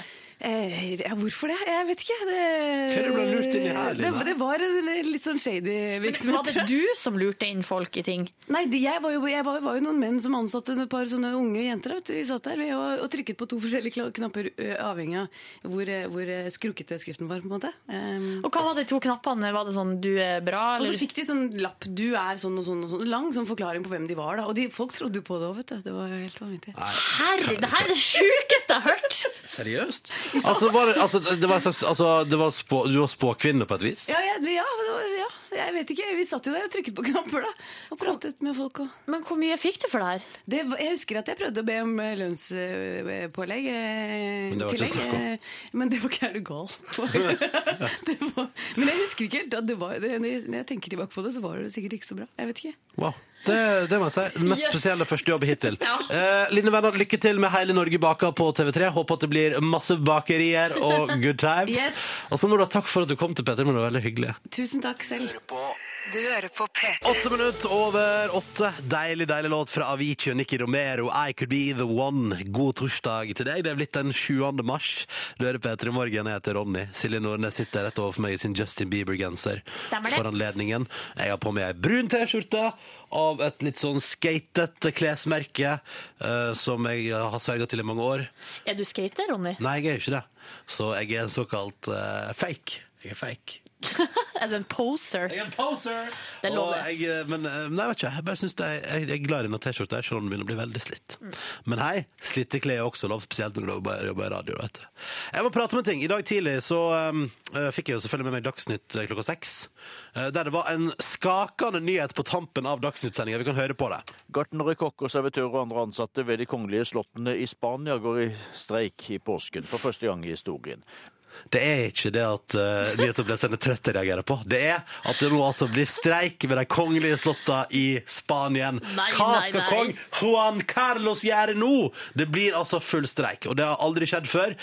[SPEAKER 8] Eh, ja, hvorfor det? Jeg vet ikke. Det,
[SPEAKER 2] Hva er det du ble lurt inn i her,
[SPEAKER 8] det,
[SPEAKER 2] Line?
[SPEAKER 8] det var en litt sånn shady virksomhet.
[SPEAKER 4] Var det du som lurte inn folk i ting?
[SPEAKER 8] Nei, de, jeg, var jo, jeg var, var jo noen menn som ansatte et par sånne unge jenter. Vet, du. vi satt der vi, og, og trykket på to forskjellige kla- knapper, ø, avhengig av hvor, eh, hvor eh, skrukkete skriften var. på en måte. Ehm,
[SPEAKER 4] Og hva var de to knappene? Var det sånn 'du er bra'?
[SPEAKER 8] og så
[SPEAKER 4] Eller?
[SPEAKER 8] fikk de sånn lapp 'du er sånn og sånn' og sånn. Lang sånn forklaring på hvem de var. da. Og de, folk trodde jo på det òg, vet du. Det var helt vanvittig.
[SPEAKER 4] Herre, det her er det sjukeste jeg har hørt!
[SPEAKER 2] Seriøst? Altså, var det, altså, det var, en slags- altså, det var spå, du var spåkvinne på et vis?
[SPEAKER 8] Ja, jeg, ja, det var, ja. Jeg, jeg vet ikke, vi satt jo der og trykket på knapper da, og pratet med folk. Og...
[SPEAKER 4] Men hvor mye fikk du for det her?
[SPEAKER 8] Det, var- jeg husker at jeg prøvde å be om eh, lønnspålegg. eh,
[SPEAKER 2] Men det var ikke
[SPEAKER 8] tillegg,
[SPEAKER 2] snakk om.
[SPEAKER 8] eh, Men det var ikke er du gal. Det var- Men jeg husker ikke helt. At det var, det, når jeg tenker tilbake på det, så var det sikkert ikke så bra. Jeg vet ikke.
[SPEAKER 2] Wow. Det, det må jeg si. Den mest
[SPEAKER 8] Yes.
[SPEAKER 2] spesielle første jobb hittil.
[SPEAKER 8] Ja.
[SPEAKER 2] Eh, Line Venner, lykke til med Hele Norge baker på TV3. Håper at det blir masse bakerier og good times.
[SPEAKER 8] Yes.
[SPEAKER 2] Og så må du ha takk for at du kom til Peter, men det var veldig hyggelig.
[SPEAKER 8] Tusen takk selv.
[SPEAKER 11] Du hører på P3.
[SPEAKER 2] Åtte minutter over åtte. Deilig, deilig låt fra Avicii og Nicky Romero. I could be the one. God torsdag til deg. Det er blitt den 7. mars. Du hører Peter i morgen. Jeg heter Ronny. Silje Nordnes sitter rett overfor meg i sin Justin Bieber-genser.
[SPEAKER 3] Stemmer det.
[SPEAKER 2] For anledningen. Jeg har på meg ei brun T-skjorte av et litt sånn skatete klesmerke eh, som jeg har sverga til i mange år.
[SPEAKER 4] Er du skater, Ronny?
[SPEAKER 2] Nei, jeg er jo ikke det. Så jeg er en såkalt eh, fake. Jeg er fake.
[SPEAKER 4] Er du en poser?
[SPEAKER 2] er
[SPEAKER 4] Jeg
[SPEAKER 2] en poser!
[SPEAKER 4] Det
[SPEAKER 2] Og
[SPEAKER 4] lover jeg.
[SPEAKER 2] jeg, eh, men eh, nei, vet ikke, jeg bare synes det, er- jeg, jeg er glad i denne T-skjorta, her, selv om den begynner å bli veldig slitt.
[SPEAKER 4] Mm.
[SPEAKER 2] Men hei, slitte klær er også lov, spesielt når du jobber- jobber i radio. Vet du. Jeg må prate om en ting. I dag tidlig så um, eh, fikk jeg jo selvfølgelig med meg Dagsnytt eh, klokka seks, eh, der det var en skakende nyhet på tampen av Dagsnytt-sendinga. Vi kan høre på det.
[SPEAKER 12] Gartnere, kokker, servitører og andre ansatte ved de kongelige slottene i Spania går i streik i påsken for første gang i historien.
[SPEAKER 2] Det er ikke det at uh, nyhetsoppleserne er trøtte jeg reagerer på. Det er at det nå altså blir streik ved de kongelige slotta i Spanien.
[SPEAKER 13] Nei,
[SPEAKER 2] Hva
[SPEAKER 13] nei,
[SPEAKER 2] skal
[SPEAKER 13] nei.
[SPEAKER 2] kong Juan Carlos gjøre nå? Det blir altså full streik, og det har aldri skjedd før.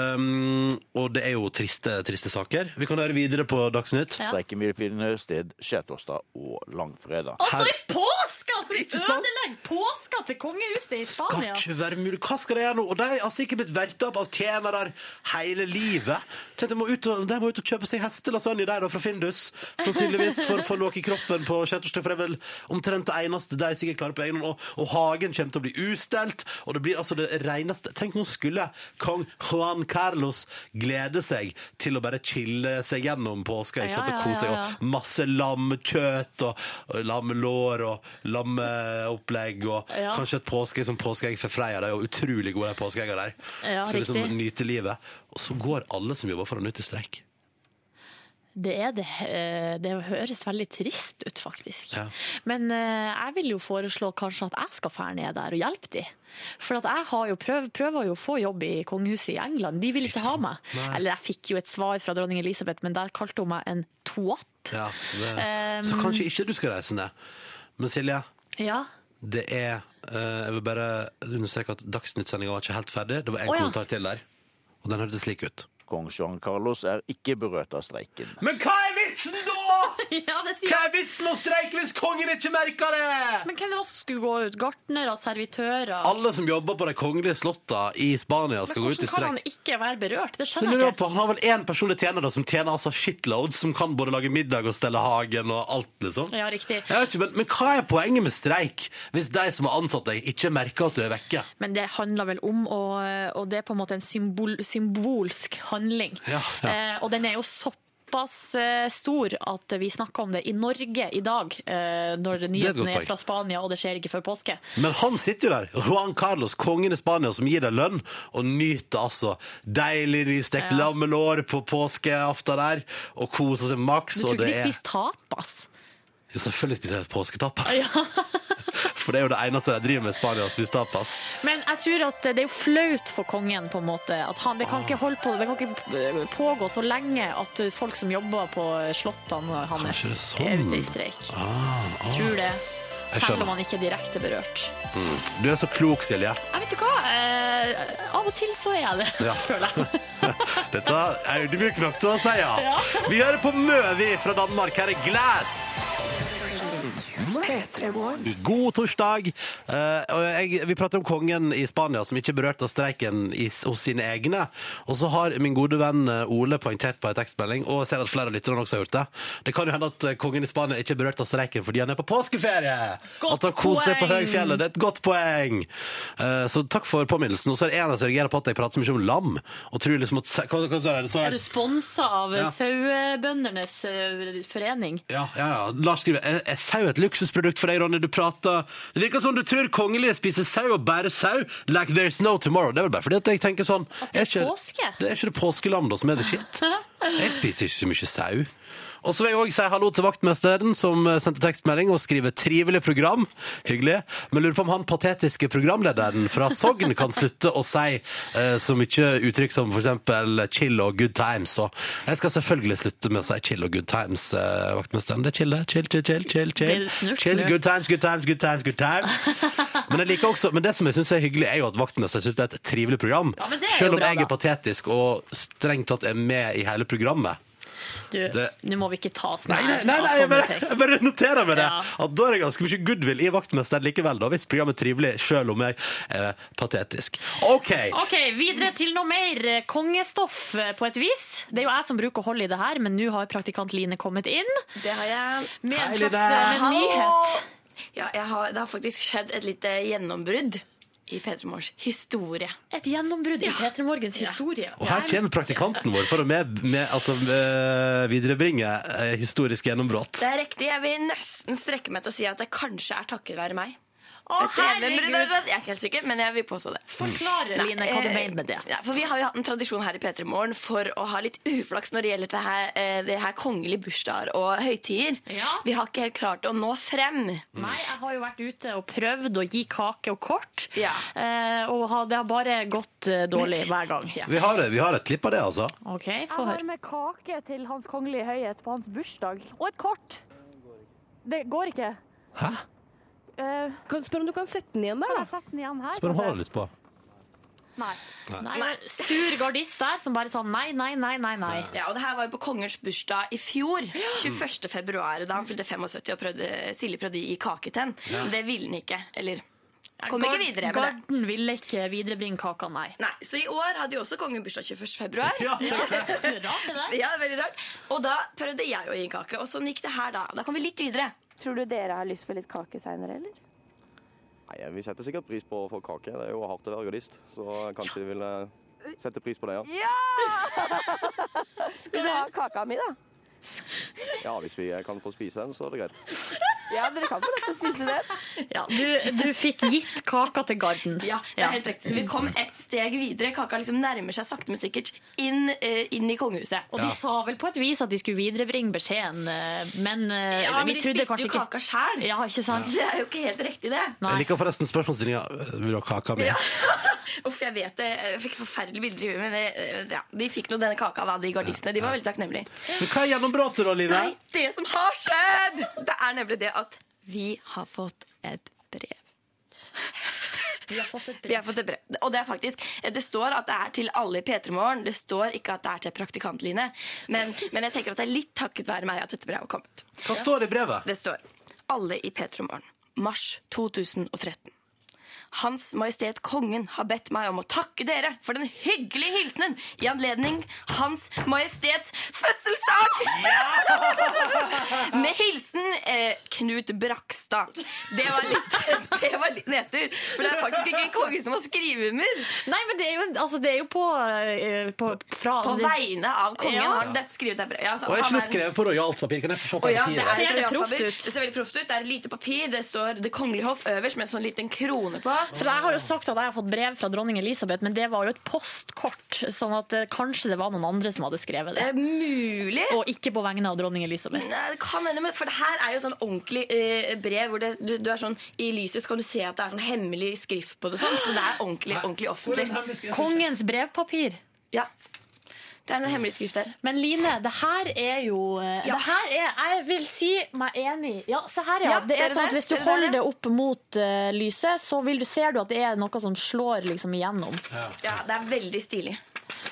[SPEAKER 2] Um, og det er jo triste, triste saker. Vi kan høre videre på Dagsnytt.
[SPEAKER 4] Ja.
[SPEAKER 12] Streiken vil finne sted skjærtorsdag og langfredag.
[SPEAKER 4] Altså, i påska! at Vi
[SPEAKER 2] Ikke sant?
[SPEAKER 4] ødelegger påska til kongehuset i
[SPEAKER 2] Skal
[SPEAKER 4] Spania!
[SPEAKER 2] ikke være mulig. Hva skal de gjøre nå? Og de har altså ikke blitt verta opp av tjenere hele livet. Tenk, de, må ut og, de må ut og kjøpe seg hestelasagne der da, fra Findus. Sannsynligvis for å få noe i kroppen på skjærtorsdag, for det er vel omtrent det eneste de sikkert klarer på egen hånd. Og, og hagen kommer til å bli ustelt, og det blir altså det reneste Tenk, nå skulle kong Juan Carlos glede seg til å bare chille seg gjennom påska, ikke sant,
[SPEAKER 13] Ja,
[SPEAKER 2] og
[SPEAKER 13] ja,
[SPEAKER 2] kose seg.
[SPEAKER 13] ja,
[SPEAKER 2] og
[SPEAKER 13] ja.
[SPEAKER 2] Masse lammekjøtt og, og lammelår og lammeopplegg og
[SPEAKER 13] Ja.
[SPEAKER 2] kanskje et påskeegg som påskeegg for Freia. De er jo utrolig gode, de påskeeggene der.
[SPEAKER 4] Ja,
[SPEAKER 2] Skal liksom
[SPEAKER 4] riktig.
[SPEAKER 2] nyte livet. Og så går alle som jobber for han ut i streik.
[SPEAKER 4] Det, er det, eh, det høres veldig trist ut, faktisk.
[SPEAKER 2] Ja.
[SPEAKER 4] Men eh, jeg vil jo foreslå kanskje at jeg skal fære ned der og hjelpe de. For at jeg har jo prøv, prøver jo å få jobb i kongehuset i England. De vil ikke ha meg.
[SPEAKER 2] Nei.
[SPEAKER 4] Eller jeg fikk jo et svar fra dronning Elisabeth, men der kalte hun meg en toat.
[SPEAKER 2] Ja, så, det,
[SPEAKER 4] Um.
[SPEAKER 2] så kanskje ikke du skal reise ned. Men Silje,
[SPEAKER 4] Ja.
[SPEAKER 2] det er eh, Jeg vil bare understreke at Dagsnytt-sendinga var ikke helt ferdig. Det var en
[SPEAKER 4] Å, ja.
[SPEAKER 2] kommentar til der, og den hørtes slik ut.
[SPEAKER 12] Kong Juan Carlos er ikke berørt av streiken.
[SPEAKER 2] Men hva er vitsen da?! Hva er vitsen å streike hvis kongen ikke merker det?!
[SPEAKER 4] Men hvem det var som skulle gå ut? Gartnere, servitører?
[SPEAKER 2] Alle som jobber på de kongelige slotta i Spania skal gå ut i
[SPEAKER 4] Hvordan kan han
[SPEAKER 2] streik.
[SPEAKER 4] ikke være berørt? Det
[SPEAKER 2] Men
[SPEAKER 4] skjønner
[SPEAKER 2] lurer
[SPEAKER 4] jeg
[SPEAKER 2] jeg
[SPEAKER 4] ikke.
[SPEAKER 2] på, Han har vel én personlig tjener da, som tjener altså shitloads, som kan både lage middag og stelle hagen og alt, liksom.
[SPEAKER 4] Ja, riktig.
[SPEAKER 2] Jeg vet ikke, men, men hva er poenget med streik hvis de som har ansatt deg, ikke merker at du er vekke?
[SPEAKER 4] Men det handler vel om, og, og det er på en måte en symbol, symbolsk handling.
[SPEAKER 2] Ja, ja.
[SPEAKER 4] Eh, og den er jo såpass eh, stor at vi snakker om det i Norge i dag, eh, når
[SPEAKER 2] et godt
[SPEAKER 4] nyheten er,
[SPEAKER 2] poeng.
[SPEAKER 4] fra Spania og det skjer ikke før påske.
[SPEAKER 2] Men han sitter jo der, Juan Carlos, kongen i Spania, som gir deg lønn, og nyter altså deilig nystekt
[SPEAKER 4] Ja.
[SPEAKER 2] lammelår på påskeaften der, og koser seg maks.
[SPEAKER 4] Du tror
[SPEAKER 2] og
[SPEAKER 4] ikke
[SPEAKER 2] det
[SPEAKER 4] de
[SPEAKER 2] er-
[SPEAKER 4] spiser tapas?
[SPEAKER 2] Jo, Selvfølgelig spiser jeg påsketapas. For det er jo det eneste de driver med i Spania, å spise tapas.
[SPEAKER 4] Men jeg tror at det er jo flaut for kongen, på en måte. At han, det,
[SPEAKER 2] Ah.
[SPEAKER 4] kan ikke holde på, det kan ikke eh, pågå så lenge at folk som jobber på slottene hans,
[SPEAKER 2] Kanskje det er sånn?
[SPEAKER 4] er ute i streik.
[SPEAKER 2] Ah, ah.
[SPEAKER 4] Tror det.
[SPEAKER 2] Jeg
[SPEAKER 4] Selv
[SPEAKER 2] skjønner.
[SPEAKER 4] om han ikke er direkte berørt.
[SPEAKER 2] Mm. Du er så klok, Silje.
[SPEAKER 4] Jeg vet du hva, eh, av og til så er jeg det,
[SPEAKER 2] Ja.
[SPEAKER 4] føler jeg.
[SPEAKER 2] Dette er audmjuk nok til å si ja.
[SPEAKER 4] Ja.
[SPEAKER 2] Vi hører på Møvi fra Danmark. Her er Glass. I god torsdag. Eh, og jeg, vi prater om kongen i Spania som ikke er berørt av streiken i, hos sine egne. Og så har min gode venn eh, Ole poengtert på en tekstmelding, og jeg ser at flere av lytterne også har gjort det. Det kan jo hende at eh, kongen i Spania ikke er berørt av streiken fordi han er på påskeferie!
[SPEAKER 13] Godt
[SPEAKER 2] at han koser seg på
[SPEAKER 13] poeng.
[SPEAKER 2] høyfjellet. Det er et godt poeng! Eh, så takk for påminnelsen. Og så er det en som reagerer på at jeg prater så mye om lam, og tror liksom at hva, hva står det? Det står-
[SPEAKER 4] Er du sponsa av
[SPEAKER 2] Ja.
[SPEAKER 4] sauebøndenes eh, forening?
[SPEAKER 2] Ja, ja, ja. Lars skriver Er, er sau et luksusprodukt for deg, Ronny? Du prater Det virker som du tror kongelige spiser sau og bærer sau like there's no tomorrow. Det er vel bare fordi at jeg tenker sånn
[SPEAKER 4] At det er påske?
[SPEAKER 2] Det er ikke det påskelam da som er det shit? Jeg
[SPEAKER 4] Nei,
[SPEAKER 2] spiser ikke så mye sau. Og så vil jeg òg si hallo til vaktmesteren som sendte tekstmelding og skriver 'trivelig program'. Hyggelig. Men lurer på om han patetiske programlederen fra Sogn kan slutte å si eh, så mye uttrykk som f.eks. 'chill' og 'good times'. Og jeg skal selvfølgelig slutte med å si 'chill' og 'good times', eh, vaktmesteren. Det er chill, det. Chill, chill, chill,
[SPEAKER 13] Blir
[SPEAKER 2] chill. chill.
[SPEAKER 13] du snurt,
[SPEAKER 2] chill
[SPEAKER 13] du?
[SPEAKER 2] good times, good times, good times, good times. Men, jeg liker også, men det som jeg syns er hyggelig, er jo at vaktmesteren syns det er et trivelig program.
[SPEAKER 4] Ja, men det er jo
[SPEAKER 2] Selv om
[SPEAKER 4] bra,
[SPEAKER 2] jeg er
[SPEAKER 4] da.
[SPEAKER 2] patetisk og strengt tatt er med i hele programmet.
[SPEAKER 4] Du,
[SPEAKER 2] Det-
[SPEAKER 4] nå må vi ikke ta oss
[SPEAKER 2] Nei, nei, nei,
[SPEAKER 4] nær av
[SPEAKER 2] nei jeg,
[SPEAKER 4] sånne
[SPEAKER 2] bare,
[SPEAKER 4] ting.
[SPEAKER 2] jeg bare noterer meg det.
[SPEAKER 4] sånn Ja.
[SPEAKER 2] At da er det ganske mye goodwill i Vaktmesteren likevel, da, hvis programmet er trivelig, selv om jeg er patetisk. OK!
[SPEAKER 4] OK, videre til noe mer kongestoff eh, på et vis. Det er jo jeg som bruker å holde i det her, men nå har praktikant Line kommet inn.
[SPEAKER 5] Det har jeg.
[SPEAKER 4] Med en slags eh, med nyhet.
[SPEAKER 5] Ja, jeg har, det har faktisk skjedd et lite gjennombrudd i P3 Morgens historie.
[SPEAKER 4] Et gjennombrudd i P3 Morgens historie.
[SPEAKER 2] Og her kommer praktikanten vår for å med, med, altså, eh, viderebringe eh, historisk gjennombrudd.
[SPEAKER 5] Det er riktig. Jeg vil nesten strekke meg til å si at det kanskje er takket være meg.
[SPEAKER 4] Å,
[SPEAKER 5] Dette gjennombrudd er-
[SPEAKER 4] herregud.
[SPEAKER 5] Jeg er ikke helt sikker, men jeg vil påstå det.
[SPEAKER 4] Forklar,
[SPEAKER 5] Nei,
[SPEAKER 4] Line, hva du
[SPEAKER 5] eh,
[SPEAKER 4] mener med det.
[SPEAKER 5] Ja, for Vi har jo hatt en tradisjon her i P3 Morgen for å ha litt uflaks når det gjelder det her, eh, det her kongelige bursdager og høytider. Vi har ikke helt klart å nå frem.
[SPEAKER 4] Nei, jeg har jo vært ute og prøvd å gi kake og kort,
[SPEAKER 5] Ja.
[SPEAKER 4] eh, og ha- det har bare gått eh, dårlig hver gang.
[SPEAKER 2] Vi har, vi har et klipp av det, altså.
[SPEAKER 4] OK, få høre. med kake til Hans Kongelige Høyhet på hans bursdag, og et kort. Det går ikke. Eh,
[SPEAKER 2] Hæ?
[SPEAKER 14] Kan spør om du kan sette den igjen der, da.
[SPEAKER 4] Sett den igjen her.
[SPEAKER 2] Spør om han har lyst på.
[SPEAKER 4] Nei.
[SPEAKER 2] Nei.
[SPEAKER 4] Nei, det var Sur gardist der som bare sa nei, nei, nei, nei. nei.
[SPEAKER 5] Ja, og det her var jo på kongens bursdag i fjor. 21. februar, da han fylte 75 og prøvde, Silje prøvde å gi kake til ham.
[SPEAKER 4] Ja.
[SPEAKER 5] Men det ville han ikke. Eller kom ikke
[SPEAKER 4] Gard-
[SPEAKER 5] videre med det.
[SPEAKER 4] Garden ville ikke viderebringe kaka, nei.
[SPEAKER 5] Nei, Så i år hadde jo også kongen bursdag 21. februar.
[SPEAKER 4] Ja, det er rart, det der.
[SPEAKER 5] Ja, det er veldig rart. Og da prøvde jeg å gi en kake, og sånn gikk det her da. Da kom vi litt videre. Tror du dere har lyst på litt kake seinere, eller?
[SPEAKER 12] Nei, Vi setter sikkert pris på å få kake. Det er jo hardt å være gardist, så kanskje vi vil eh, sette pris på det, ja.
[SPEAKER 5] Skal du ha kaka mi, da?
[SPEAKER 12] Ja, Hvis vi eh, kan få spise den, så er det greit.
[SPEAKER 5] Ja, dere kan få lov til å spise den.
[SPEAKER 4] Ja, du, du fikk gitt kaka til Garden.
[SPEAKER 5] Ja, det er helt riktig. Så vi kom et steg videre. Kaka liksom nærmer seg sakte, men sikkert inn, eh, inn i kongehuset.
[SPEAKER 4] Og de sa vel på et vis at de skulle viderebringe beskjeden, eh, men eh,
[SPEAKER 5] Ja, men
[SPEAKER 4] vi
[SPEAKER 5] de
[SPEAKER 4] trodde
[SPEAKER 5] spiste
[SPEAKER 4] kanskje
[SPEAKER 5] jo
[SPEAKER 4] ikke
[SPEAKER 5] kaka sjøl.
[SPEAKER 4] Ja, ikke sant?
[SPEAKER 5] Det er jo ikke helt riktig, det.
[SPEAKER 2] Jeg liker forresten spørsmålsstillinga. eh, Vil du ha kaka mi?
[SPEAKER 5] Uff, jeg vet det. Jeg fikk forferdelige bilder i huet, men eh, ja, de fikk nå denne kaka, da, de gardistene. De var veldig takknemlige.
[SPEAKER 2] Men hva er gjennombruddet, da, Line?
[SPEAKER 5] Nei, det som har skjedd, det er nemlig det at vi har fått et brev.
[SPEAKER 4] Vi har fått et brev.
[SPEAKER 5] Vi har fått et brev. Og det er faktisk Det står at det er til alle i P3 Morgen. Det står ikke at det er til praktikantline. Men, men jeg tenker at det er litt takket være meg at dette brevet har kommet.
[SPEAKER 2] Hva står det i brevet?
[SPEAKER 5] Det står Alle i P3 Morgen. Mars 2013. Hans Majestet Kongen har bedt meg om å takke dere for den hyggelige hilsenen i anledning Hans Majestets fødselsdag! Med hilsen eh, Knut Brakstad. Det var litt, det var litt nedtur, for det er faktisk ikke en konge som har skrevet under.
[SPEAKER 4] Nei, men det er jo, altså, det er jo på, eh, på, fra,
[SPEAKER 5] På
[SPEAKER 4] altså, det-
[SPEAKER 5] vegne av kongen
[SPEAKER 4] Ja.
[SPEAKER 5] har han dette skrevet et brev. Ja, altså,
[SPEAKER 2] Og er ikke
[SPEAKER 5] han
[SPEAKER 2] det skrevet på rojalt papir? Kan jeg få se
[SPEAKER 5] Å ja, det,
[SPEAKER 2] papiret?
[SPEAKER 5] er
[SPEAKER 4] Ser
[SPEAKER 5] et
[SPEAKER 4] det
[SPEAKER 5] rojalt
[SPEAKER 4] proft
[SPEAKER 5] papir.
[SPEAKER 4] ut?
[SPEAKER 5] det ser veldig proft ut. Det er et lite papir. Det står Det kongelige hoff øverst med en sånn liten krone på.
[SPEAKER 4] For Jeg har jo sagt at jeg har fått brev fra dronning Elisabeth, men det var jo et postkort. Sånn at eh, kanskje det var noen andre som hadde skrevet det.
[SPEAKER 5] mulig.
[SPEAKER 4] Og ikke på vegne av dronning Elisabeth.
[SPEAKER 5] Nei, det kan hende, men for det her er jo sånn ordentlig eh, brev hvor det, du, du er sånn I lyset så kan du se at det er sånn hemmelig skrift på det og sånn, så det er ordentlig, ordentlig offentlig.
[SPEAKER 4] Kongens brevpapir.
[SPEAKER 5] Ja. Det er en hemmelig skrift der.
[SPEAKER 4] Men Line, det her er jo eh,
[SPEAKER 5] Ja.
[SPEAKER 4] det her er, Jeg vil si meg enig. Ja, se her, ja.
[SPEAKER 5] Ja,
[SPEAKER 4] det
[SPEAKER 5] ser
[SPEAKER 4] er
[SPEAKER 5] du
[SPEAKER 4] sånn
[SPEAKER 5] det?
[SPEAKER 4] at Hvis du
[SPEAKER 5] Ser du det,
[SPEAKER 4] holder
[SPEAKER 5] ja?
[SPEAKER 4] det opp mot eh, lyset, så vil du, ser du at det er noe som slår liksom igjennom.
[SPEAKER 5] Ja, det er veldig stilig.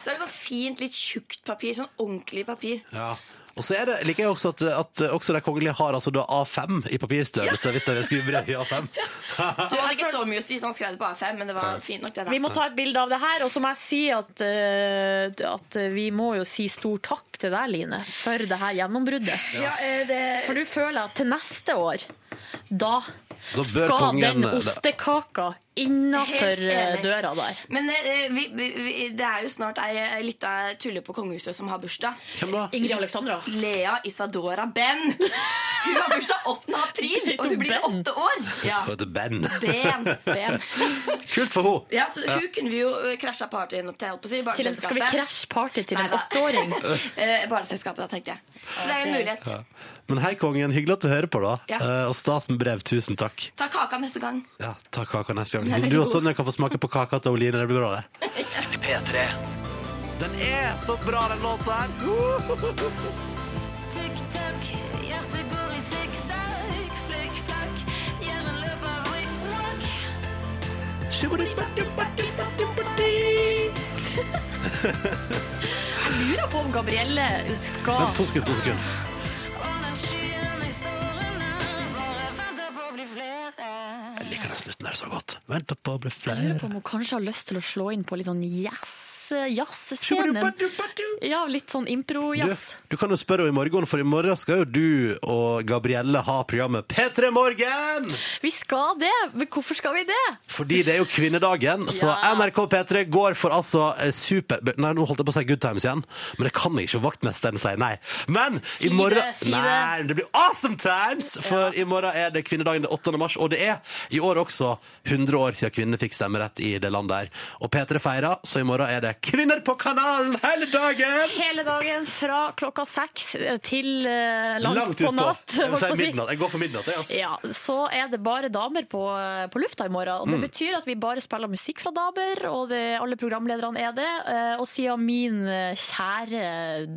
[SPEAKER 5] Så er det sånn fint, litt tjukt papir. Sånn ordentlig papir.
[SPEAKER 2] Ja. Og så er det, liker jeg også at, at også de kongelige har altså da A5 i papirstørrelse, hvis dere skriver brev i A5.
[SPEAKER 5] Du hadde ikke så mye å si, så han skrev det på A5, men det var fint nok, det. da.
[SPEAKER 4] Vi må ta et bilde av det her, og så må jeg si at, eh, at vi må jo si stor takk til deg, Line, for det her gjennombruddet.
[SPEAKER 5] Ja, eh, det-
[SPEAKER 4] For du føler at til neste år, da,
[SPEAKER 2] Da bør
[SPEAKER 4] skal
[SPEAKER 2] kongen-
[SPEAKER 4] den ostekaka innafor
[SPEAKER 5] Helt enig.
[SPEAKER 4] døra der.
[SPEAKER 5] Men eh, vi, vi, vi, det er jo snart ei ei lita tulle på kongehuset som har bursdag.
[SPEAKER 2] Hvem da?
[SPEAKER 4] Ingrid Alexandra.
[SPEAKER 5] Lea Isadora Ben. Hun har bursdag 8. april, og hun blir åtte år. Ja.
[SPEAKER 2] Hun heter Ben.
[SPEAKER 5] Ben. ben.
[SPEAKER 2] Kult for henne.
[SPEAKER 5] Ja, så Hun kunne vi jo eh, krasja partyen til. holdt på å si,
[SPEAKER 4] Til en- skal vi
[SPEAKER 5] barneselskapet.
[SPEAKER 4] krasje party til en
[SPEAKER 5] Neida.
[SPEAKER 4] åtteåring?
[SPEAKER 5] Eh, Barneselskapet, da, tenkte jeg. Så det er jo en mulighet.
[SPEAKER 2] Ja. Men hei, kongen. Hyggelig at du hører på, da.
[SPEAKER 5] Ja.
[SPEAKER 2] Eh, og stas med brev. Tusen takk.
[SPEAKER 5] Ta kaka neste gang.
[SPEAKER 2] Ja, Ta kaka neste
[SPEAKER 5] Den er
[SPEAKER 2] gang.
[SPEAKER 5] veldig
[SPEAKER 2] Du
[SPEAKER 5] god.
[SPEAKER 2] også, Sonja, kan få smake på kaka til Oline. Det blir bra, det. P3. Den er så bra, den låta her.
[SPEAKER 4] Jeg lurer på om Gabrielle skal
[SPEAKER 2] Vent to sekunder, to sekunder. Jeg liker den slutten der så godt. Venter på å bli
[SPEAKER 4] Jeg lurer
[SPEAKER 2] flere.
[SPEAKER 4] på om hun kanskje har lyst til å slå inn på litt sånn jazz- jazz-scenen. Ja, litt sånn
[SPEAKER 2] Du,
[SPEAKER 4] impro-jazz.
[SPEAKER 2] du kan jo spørre henne i morgen, for i morgen skal jo du og Gabrielle ha programmet P3 Morgen!
[SPEAKER 4] Vi skal det, men hvorfor skal vi det?
[SPEAKER 2] Fordi det er jo kvinnedagen, så NRK P3 går for altså eh, super... Nei, nå holdt jeg på å si good times igjen, men det kan jeg ikke vaktmesteren si nei. Men i
[SPEAKER 15] det,
[SPEAKER 2] morgen...
[SPEAKER 15] si det.
[SPEAKER 2] Nei, det blir awesome times, for i morgen er det kvinnedagen den 8. mars, og det er i år også 100 år siden kvinnene fikk stemmerett i det landet her. Og P3 feirer, så i morgen er det kvinner på kanalen hele dagen!
[SPEAKER 4] Hele dagen fra klokka seks til eh, langt, på
[SPEAKER 2] utpå.
[SPEAKER 4] natt.
[SPEAKER 2] Jeg vil
[SPEAKER 4] holdt
[SPEAKER 2] si
[SPEAKER 4] på å si.
[SPEAKER 2] midnatt. Jeg går for midnatt, jeg, ass.
[SPEAKER 4] Ja, så er det bare damer på, på lufta i morgen. Og det
[SPEAKER 2] Mm.
[SPEAKER 4] betyr at vi bare spiller musikk fra damer, og det, alle programlederne er det. Eh, Og siden min eh, kjære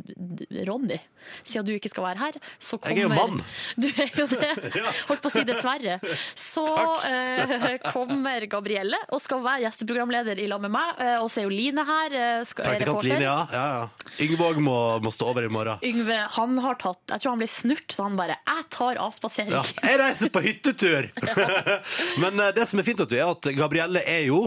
[SPEAKER 4] d- Ronny, siden du ikke skal være her, så
[SPEAKER 2] Jeg
[SPEAKER 4] kommer
[SPEAKER 2] er jo mann.
[SPEAKER 4] Du er jo det.
[SPEAKER 2] Ja.
[SPEAKER 4] Holdt på å si dessverre. Så eh, kommer Gabrielle og skal være gjesteprogramleder i lag med meg. Eh, Og så er jo Line her. eh, Skal, er
[SPEAKER 2] Praktikant
[SPEAKER 4] reporter.
[SPEAKER 2] Line, ja. ja, ja. Yngvåg må, må stå over i morgen.
[SPEAKER 4] Yngve, han har tatt Jeg tror han ble snurt, så han bare 'jeg tar avspasering'.
[SPEAKER 2] Ja, jeg reiser på hyttetur! Men eh, det som er fint at du er, at Gabrielle er jo,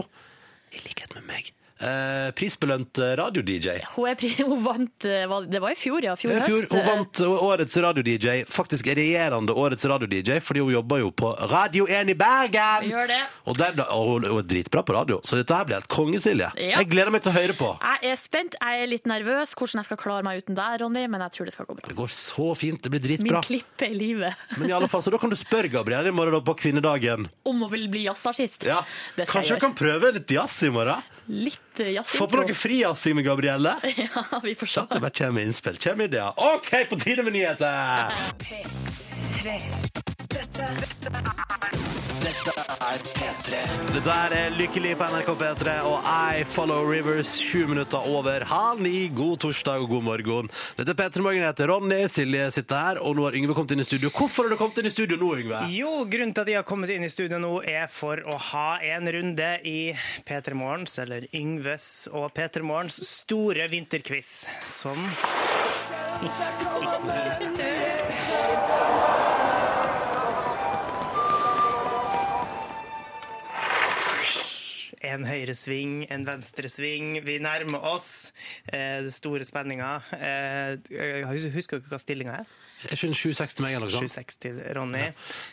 [SPEAKER 2] i likhet med meg, eh, prisbelønt eh, radio-DJ.
[SPEAKER 4] Hun, er, pri- hun vant eh, hva- Det var i fjor, ja. Fjor,
[SPEAKER 2] I fjor
[SPEAKER 4] høst.
[SPEAKER 2] hun vant eh, årets radio-DJ, faktisk regjerende årets radio-DJ, fordi hun jobber jo på Radio 1 i Bergen!
[SPEAKER 4] Gjør det.
[SPEAKER 2] Og, der, og hun hun er dritbra på radio, så dette her blir helt konge, Silje.
[SPEAKER 4] Ja.
[SPEAKER 2] Jeg gleder meg til å høre på.
[SPEAKER 4] Jeg er spent, jeg er litt nervøs hvordan jeg skal klare meg uten deg, Ronny, men jeg tror det skal gå bra.
[SPEAKER 2] Det går så fint, det blir
[SPEAKER 4] Min
[SPEAKER 2] dritbra.
[SPEAKER 4] klippe i livet
[SPEAKER 2] Men i alle fall, så da kan du spørre Gabrielle i morgen da, på kvinnedagen.
[SPEAKER 4] om å ville bli jazzartist.
[SPEAKER 2] Ja.
[SPEAKER 4] Det skal jeg
[SPEAKER 2] Kanskje
[SPEAKER 4] gjøre.
[SPEAKER 2] du kan prøve litt jazz i morgen?
[SPEAKER 4] Litt eh, jazz.
[SPEAKER 2] Få på noe frijazzing med Gabrielle.
[SPEAKER 4] Ja, vi får se.
[SPEAKER 2] Det bare kommer innspill, kommer ideer. OK, på tide med nyheter!
[SPEAKER 8] P3. Dette, dette
[SPEAKER 2] Dette er P3. Dette her er Lykkelig på NRK P3 og I Follow Rivers, sju minutter over halv ni. God torsdag og god morgen. Dette er P3 Morgen. Jeg heter Ronny, Silje sitter her, og nå har Yngve kommet inn i studio. Hvorfor har du kommet inn i studio nå, Yngve?
[SPEAKER 3] Jo, grunnen til at de har kommet inn i studio nå, er for å ha en runde i P3 Morgens, eller Yngves og P3 Morgens store vinterquiz, som En høyre sving, en venstre sving. Vi nærmer oss eh, det store spenninga. Eh, jeg hus- husker dere hva stillinga er?
[SPEAKER 2] Jeg skjønner 7-6 til meg. eller noe sånt.
[SPEAKER 3] 7-6 til Ronny.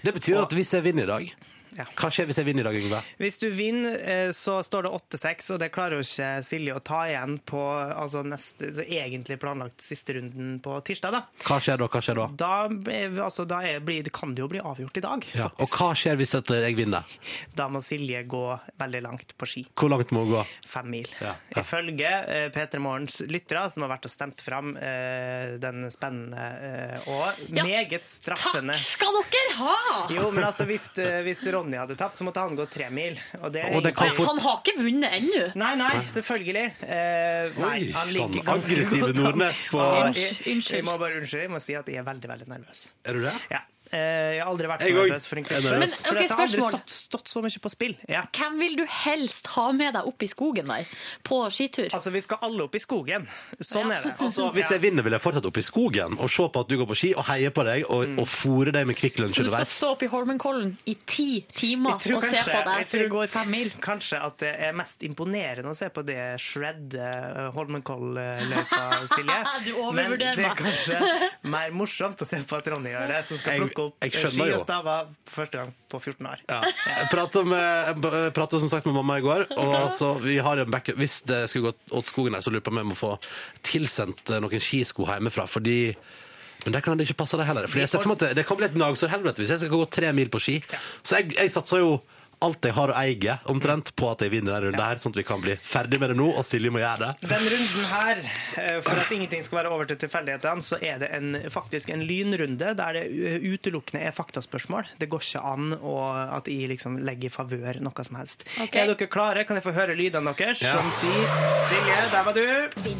[SPEAKER 2] Det betyr at hvis jeg vinner i dag Hva skjer hvis jeg vinner i dag, Yngve?
[SPEAKER 3] Hvis du vinner, eh, så står det 8-6, og det klarer jo ikke Silje å ta igjen på altså neste, så egentlig planlagt siste runden på tirsdag. Da,
[SPEAKER 2] Hva skjer da? Hva skjer da?
[SPEAKER 3] da, eh, altså, da er, blir, det kan det jo bli avgjort i dag.
[SPEAKER 2] Ja. Og hva skjer hvis at jeg vinner?
[SPEAKER 3] Da må Silje gå veldig langt på ski.
[SPEAKER 2] Hvor langt må hun gå?
[SPEAKER 3] Fem mil.
[SPEAKER 2] Ja.
[SPEAKER 3] Ifølge eh, P3 Morgens lyttere, som har vært og stemt fram eh, den spennende eh, og
[SPEAKER 4] Ja.
[SPEAKER 3] meget straffende
[SPEAKER 4] Skal dere ha?!
[SPEAKER 3] Jo, men altså, hvis, eh, hvis Ronny hadde tapt, så måtte han gå tre mil. Og det, er
[SPEAKER 2] Og det kan
[SPEAKER 3] egentlig-
[SPEAKER 2] fort- Han
[SPEAKER 4] har ikke vunnet ennå.
[SPEAKER 3] Nei, nei, selvfølgelig. Eh, nei,
[SPEAKER 2] Oi,
[SPEAKER 3] han
[SPEAKER 2] sånn
[SPEAKER 3] ligger ganske
[SPEAKER 2] aggressive
[SPEAKER 3] godt an.
[SPEAKER 2] Nordnes på-
[SPEAKER 3] Og jeg-
[SPEAKER 2] Unnskyld, unnskyld.
[SPEAKER 3] Jeg må bare unnskylde, jeg må si at jeg er veldig, veldig nervøs.
[SPEAKER 2] Er du det?
[SPEAKER 3] Ja. Eh, jeg har aldri vært så
[SPEAKER 2] Jeg òg.
[SPEAKER 3] nervøs for en
[SPEAKER 2] Jeg er nervøs.
[SPEAKER 3] quiz. Men,
[SPEAKER 2] Men,
[SPEAKER 3] for
[SPEAKER 4] ok,
[SPEAKER 3] jeg har aldri
[SPEAKER 4] spørsmål.
[SPEAKER 3] satt, stått så mye på spill. Ja.
[SPEAKER 4] Hvem vil du helst ha med deg opp i skogen der, på skitur?
[SPEAKER 3] Altså, vi skal alle opp i skogen. Sånn er det.
[SPEAKER 2] Altså, hvis jeg vinner, vil jeg fortsatt opp i skogen og se på at du går på ski, og heie på deg
[SPEAKER 3] Mm.
[SPEAKER 2] og, og fôre deg med Kvikk Lunsj
[SPEAKER 4] Så du skal
[SPEAKER 2] underveis.
[SPEAKER 4] stå opp i Holmenkollen i ti timer og
[SPEAKER 3] Jeg tror
[SPEAKER 4] se på deg
[SPEAKER 3] jeg
[SPEAKER 4] som
[SPEAKER 3] tror
[SPEAKER 4] går fem mil?
[SPEAKER 3] Kanskje at det er mest imponerende å se på det shred eh, Holmenkoll-løypa, Silje.
[SPEAKER 4] Du overvurderer
[SPEAKER 3] Men det er
[SPEAKER 4] meg.
[SPEAKER 3] kanskje mer morsomt å se på at Ronny gjør det, som skal
[SPEAKER 2] Jeg,
[SPEAKER 3] plukke opp
[SPEAKER 2] Jeg
[SPEAKER 3] eh,
[SPEAKER 2] skjønner
[SPEAKER 3] ski
[SPEAKER 2] jo.
[SPEAKER 3] og staver for første gang på 14 år.
[SPEAKER 2] Ja. Jeg prata med- jeg b- jeg prata som sagt med mamma i går, og altså, vi har en backup. Hvis det skulle gått åt skogen her, så lurer jeg på om jeg må få tilsendt eh, noen skisko hjemmefra, fordi men der kan det ikke passe det heller. Fordi jeg ser for meg at det, det kan bli et nagsårhelvete hvis jeg skal gå tre mil på ski. Så jeg, jeg satser jo alt jeg har å eie, omtrent, på at jeg vinner denne runden her, sånn at vi kan bli ferdig med det nå, og Silje må gjøre det.
[SPEAKER 3] Den runden her, eh, for at ingenting skal være over til tilfeldighetene, så er det en, faktisk en lynrunde der det u- utelukkende er faktaspørsmål. Det går ikke an å, at jeg liksom legger i favør noe som helst.
[SPEAKER 13] Ok.
[SPEAKER 3] Er dere klare? Kan jeg få høre lydene deres?
[SPEAKER 13] Ja.
[SPEAKER 3] Som sier Silje, der var du.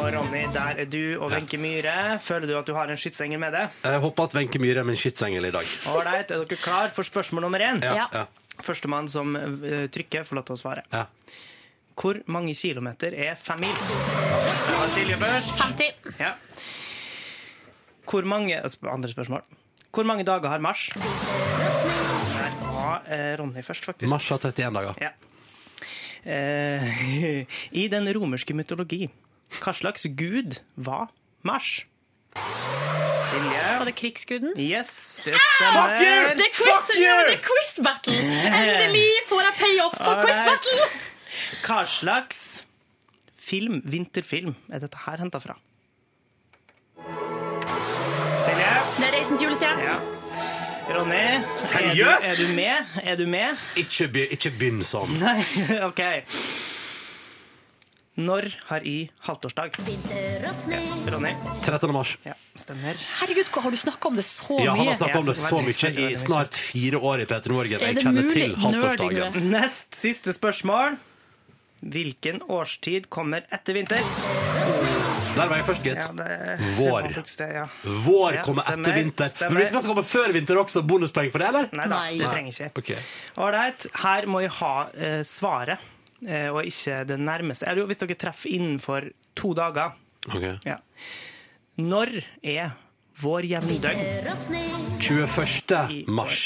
[SPEAKER 3] Og Ronny, der er du. Og Wenche Myhre, føler du at du har en skytsengel med deg?
[SPEAKER 2] Jeg håper at Wenche Myhre er min skytsengel i dag.
[SPEAKER 3] Ålreit, er dere klar for spørsmål nummer én?
[SPEAKER 2] Ja, ja.
[SPEAKER 3] Førstemann som eh, trykker, får lov til å svare. Hvor mange kilometer er fem mil? Det var Silje først.
[SPEAKER 16] 50.
[SPEAKER 3] Ja. Hvor mange sp- Andre spørsmål. Hvor mange dager har Mars? Der var eh, Ronny først, faktisk.
[SPEAKER 2] Mars har 31 dager.
[SPEAKER 3] Ja. Eh, I den romerske mytologi, hva slags gud var Mars? Silje?
[SPEAKER 4] Var det krigsguden? Ah,
[SPEAKER 3] Yes, det stemmer.
[SPEAKER 4] Det er quiz, det er quiz battle! Endelig får jeg payoff for quiz
[SPEAKER 3] Alright.
[SPEAKER 4] battle!
[SPEAKER 3] Hva slags film, vinterfilm, er dette her henta fra? Silje?
[SPEAKER 4] Det er Reisens julestjerne.
[SPEAKER 3] Ja. Ronny?
[SPEAKER 2] Seriøst?
[SPEAKER 3] Er du, er du med? Er du med?
[SPEAKER 2] Ikke, be, ikke begynn sånn.
[SPEAKER 3] Nei, OK. Når har I halvtårsdag? Ronny?
[SPEAKER 2] 13. mars.
[SPEAKER 3] Ja, stemmer.
[SPEAKER 4] Herregud, har du snakka om det så mye?
[SPEAKER 2] Ja, han har snakket om det så mye i snart fire år i Peter Morgen. Jeg kjenner til halvtårsdagen.
[SPEAKER 3] Nest siste spørsmål. Hvilken årstid kommer etter vinter?
[SPEAKER 2] Der var jeg først, gitt.
[SPEAKER 3] Ja, det-
[SPEAKER 2] Vår.
[SPEAKER 3] det var faktisk det, ja.
[SPEAKER 2] Vår
[SPEAKER 3] Ja,
[SPEAKER 2] kommer
[SPEAKER 3] stemmer,
[SPEAKER 2] etter vinter. Men
[SPEAKER 3] stemmer.
[SPEAKER 2] vet du hva som kommer før vinter også? Bonuspoeng for det, eller?
[SPEAKER 3] Nei da, det trenger ikke.
[SPEAKER 2] Ok.
[SPEAKER 3] Ålreit, her må jeg ha eh, svaret, eh, og ikke det nærmeste. Eller jo, hvis dere treffer innenfor to dager.
[SPEAKER 2] Ok.
[SPEAKER 3] Ja. Når er vår jevndøgn?
[SPEAKER 2] 21. mars.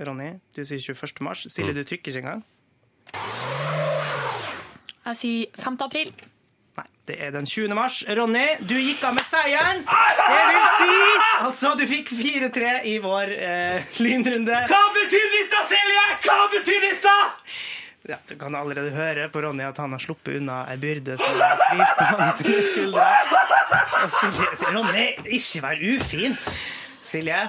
[SPEAKER 3] Ronny, du sier 21. mars.
[SPEAKER 2] Mm.
[SPEAKER 3] Silje, du trykker ikke engang.
[SPEAKER 4] Jeg sier 5. april.
[SPEAKER 3] Det er den 20. mars. Ronny, du gikk av med seieren. Det vil si Altså, du fikk 4-3 i vår eh, lynrunde.
[SPEAKER 13] Hva betyr dette, Silje? Hva betyr dette?
[SPEAKER 3] Ja, du kan allerede høre på Ronny at han har sluppet unna ei byrde som hviler på hans skuldre. Og Silje sier, Ronny, ikke vær ufin! Silje,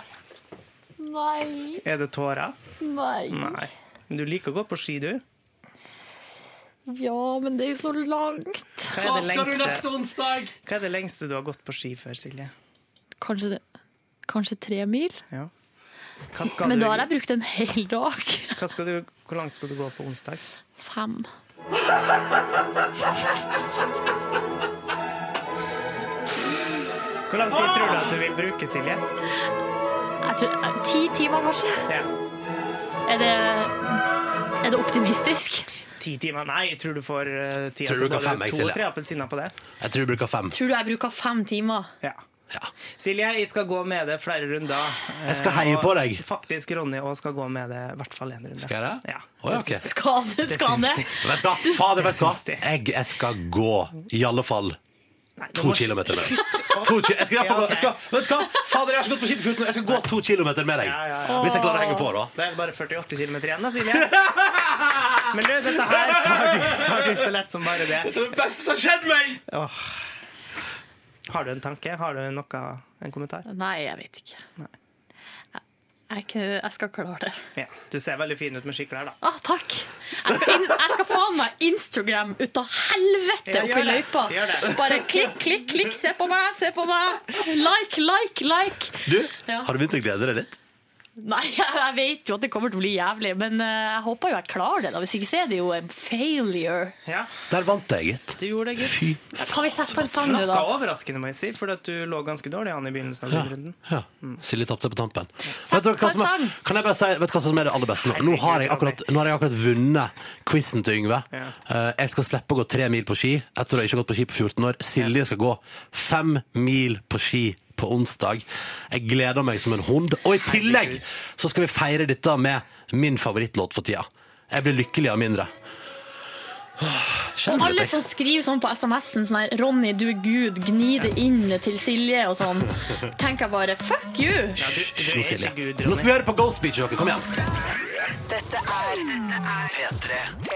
[SPEAKER 13] Nei.
[SPEAKER 3] er det tårer?
[SPEAKER 13] Nei.
[SPEAKER 3] Nei. Men du liker å gå på ski, du?
[SPEAKER 4] Ja, men det er jo så langt.
[SPEAKER 3] Hva er det lengste?
[SPEAKER 2] onsdag?
[SPEAKER 3] Hva er det lengste du har gått på ski før, Silje?
[SPEAKER 4] Kanskje, det, kanskje tre mil?
[SPEAKER 3] Ja. Hva skal
[SPEAKER 4] men
[SPEAKER 3] du-
[SPEAKER 4] da har jeg brukt en hel dag.
[SPEAKER 3] Hva skal du, hvor langt skal du gå på onsdag?
[SPEAKER 4] Fem.
[SPEAKER 3] Hvor lang tid tror du at du vil bruke, Silje?
[SPEAKER 4] Jeg tror, eh, ti timer, kanskje. Er, det, er det optimistisk?
[SPEAKER 3] Ti timer? Nei, jeg tror du får eh, ti.
[SPEAKER 2] Tror du bruker
[SPEAKER 3] altså, både
[SPEAKER 2] fem, jeg,
[SPEAKER 3] To
[SPEAKER 2] Silje?
[SPEAKER 3] og tre appelsiner på det.
[SPEAKER 2] Jeg tror jeg bruker fem.
[SPEAKER 4] Tror du jeg bruker fem timer?
[SPEAKER 3] Ja. Silje, jeg skal gå med det flere runder. eh,
[SPEAKER 2] Jeg skal heie
[SPEAKER 3] og
[SPEAKER 2] på deg.
[SPEAKER 3] Faktisk Ronny òg skal gå med det i hvert fall én runde.
[SPEAKER 2] Skal jeg det?
[SPEAKER 3] Ja.
[SPEAKER 2] Å, ja, ok.
[SPEAKER 3] Det syns jeg.
[SPEAKER 4] Skal du-
[SPEAKER 3] Det
[SPEAKER 4] skal
[SPEAKER 3] syns
[SPEAKER 4] det?
[SPEAKER 3] jeg.
[SPEAKER 2] Vet du hva? Fader, vet du hva? Jeg, jeg skal gå i alle fall to
[SPEAKER 3] må-
[SPEAKER 2] kilometer med deg. To ki jeg skal i hvert fall gå jeg skal, Vet du hva? Fader, jeg har ikke gått på ski på 14 år. Jeg skal gå to kilometer med deg. Hvis jeg klarer å henge på, da.
[SPEAKER 3] Da er det bare 48 km igjen, da, Silje. Men du, dette her tar du, tar du så lett som bare det.
[SPEAKER 2] Det er det beste som har skjedd meg!
[SPEAKER 3] Åh. Har du en tanke? Har du noe, en kommentar?
[SPEAKER 4] Nei, jeg vet ikke. Jeg, jeg, kan- jeg skal klare det.
[SPEAKER 3] Ja. Du ser veldig fin ut med skiklær, da.
[SPEAKER 4] Ah, takk. Jeg skal, inn, jeg skal faen meg Instagram ut av helvete
[SPEAKER 3] Ja, gjør
[SPEAKER 4] oppi
[SPEAKER 3] det.
[SPEAKER 4] løypa.
[SPEAKER 3] Gjør det.
[SPEAKER 4] Bare klikk, klikk, klikk. Se på meg, se på meg. Like, like, like.
[SPEAKER 2] Du,
[SPEAKER 4] Ja.
[SPEAKER 2] har du begynt å glede deg litt?
[SPEAKER 4] Nei, jeg, jeg vet jo at det kommer til å bli jævlig, men eh, jeg håper jo jeg klarer det. da. Hvis ikke så er det jo en failure.
[SPEAKER 2] Der vant jeg, gitt.
[SPEAKER 3] Du gjorde det, gutt.
[SPEAKER 4] Kan vi sette på en sang nå,
[SPEAKER 3] Noe
[SPEAKER 4] da?
[SPEAKER 3] overraskende, må jeg si, for at du lå ganske dårlig an i begynnelsen av
[SPEAKER 2] Ja.
[SPEAKER 3] lydrunden.
[SPEAKER 2] Ja. Mm. Silje tapte på tampen. Vet du hva som er, kan jeg bare si, vet du hva som er det aller beste nå? Nå har jeg akkurat, nå har jeg akkurat vunnet quizen til Yngve.
[SPEAKER 3] Ja.
[SPEAKER 2] Eh, jeg skal slippe å gå tre mil på ski etter å ha ikke gått på ski på 14 år. Silje skal gå fem mil på ski på onsdag. Jeg gleder meg som en hund. Og i tillegg så skal vi feire dette med min favorittlåt for tida. Jeg blir lykkelig av mindre.
[SPEAKER 4] Og alle som skriver sånn på SMS-en sånn her 'Ronny, du er Gud', gni det inn til Silje og sånn, tenker jeg bare 'fuck you'.
[SPEAKER 2] Nå, Silje. Nå skal vi høre på Ghost Beach, dere. Kom igjen.
[SPEAKER 4] Dette er P3.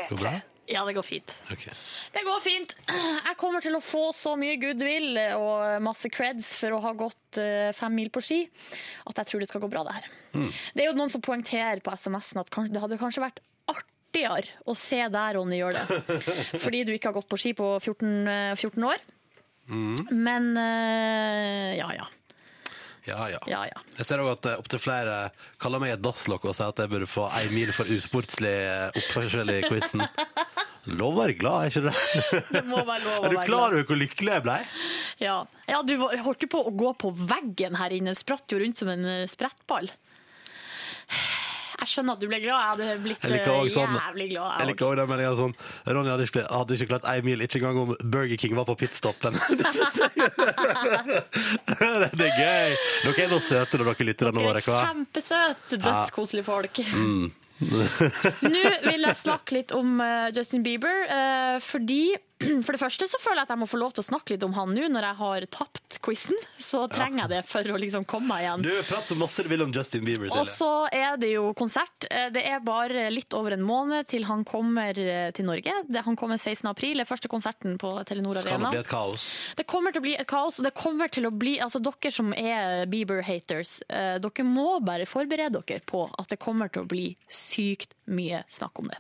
[SPEAKER 2] Går det bra?
[SPEAKER 4] Ja, det går fint.
[SPEAKER 2] Ok.
[SPEAKER 4] Det går fint. Jeg kommer til å få så mye goodwill og masse creds for å ha gått eh, fem mil på ski, at jeg tror det skal gå bra, det her. Det er jo noen som poengterer på SMS-en at kanskje, det hadde kanskje vært artigere å se deg, Ronny, gjøre det. Fordi du ikke har gått på ski på 14, eh, 14 år. Men eh, ja, ja.
[SPEAKER 2] Ja, ja.
[SPEAKER 4] Ja, ja.
[SPEAKER 2] Jeg ser også at eh, opptil flere kaller meg et dasslokk og sier at jeg burde få ei mil for usportslig eh, oppførsel i quizen. Lov å være glad, er ikke det?
[SPEAKER 4] Det må være lov å
[SPEAKER 2] Er du
[SPEAKER 4] være
[SPEAKER 2] klar
[SPEAKER 4] glad.
[SPEAKER 2] over hvor lykkelig jeg ble?
[SPEAKER 4] Ja, ja du var- holdt jo på å gå på veggen her inne. Spratt jo rundt som en eh, sprettball. Jeg skjønner at du ble glad. Jeg hadde blitt
[SPEAKER 2] Jeg
[SPEAKER 4] eh,
[SPEAKER 2] liker også sånn
[SPEAKER 4] jævlig glad.
[SPEAKER 2] Jeg
[SPEAKER 4] Jeg
[SPEAKER 2] liker også den meldinga sånn Ronny hadde ikke, hadde ikke klart ei mil, ikke engang om Burger King var på pitstoppen. det er gøy! Dere er nå søte når dere lytter nå,
[SPEAKER 4] også.
[SPEAKER 2] dere. hva?
[SPEAKER 4] Kjempesøt, dødskoselige folk.
[SPEAKER 2] Mm.
[SPEAKER 4] Nå vil jeg snakke litt om eh, Justin Bieber, eh, fordi for det første så føler jeg at jeg må få lov til å snakke litt om han nå når jeg har tapt quizen. Så trenger jeg det for å liksom komme meg igjen.
[SPEAKER 2] Du prater så masse du vil om Justin Bieber,
[SPEAKER 4] Og
[SPEAKER 2] Silje.
[SPEAKER 4] så er det jo konsert. Eh, Det er bare litt over en måned til han kommer eh, til Norge. Det- Han kommer 16. april, det er første konserten på Telenor
[SPEAKER 2] Så kan det
[SPEAKER 4] Arena.
[SPEAKER 2] bli et kaos.
[SPEAKER 4] Det kommer til å bli et kaos, og det kommer til å bli Altså, dere som er Bieber-haters, eh, dere må bare forberede dere på at det kommer til å bli sykt mye snakk om det.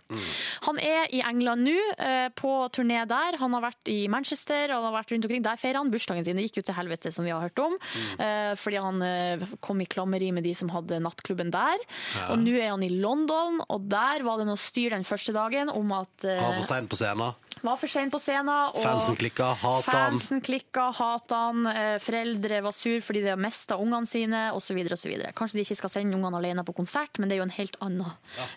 [SPEAKER 4] Han er i England nå, eh, på turné der. Han har vært i Manchester, han har vært rundt omkring. Der feirer han bursdagen sin. Det gikk jo til helvete, som vi har hørt om.
[SPEAKER 2] Mm.
[SPEAKER 4] eh, Fordi han eh, kom i klammeri med de som hadde nattklubben der.
[SPEAKER 2] Ja.
[SPEAKER 4] Og nå er han i London, og der var det noe styr den første dagen om at eh,
[SPEAKER 2] Han var for sein på scenen.
[SPEAKER 4] var for sein på scenen. Og
[SPEAKER 2] Fansen klikka, hata han.
[SPEAKER 4] Fansen klikka, hata han. eh, Foreldre var sur fordi de har mista ungene sine, osv. Kanskje de ikke skal sende ungene alene på konsert, men det er jo en helt annen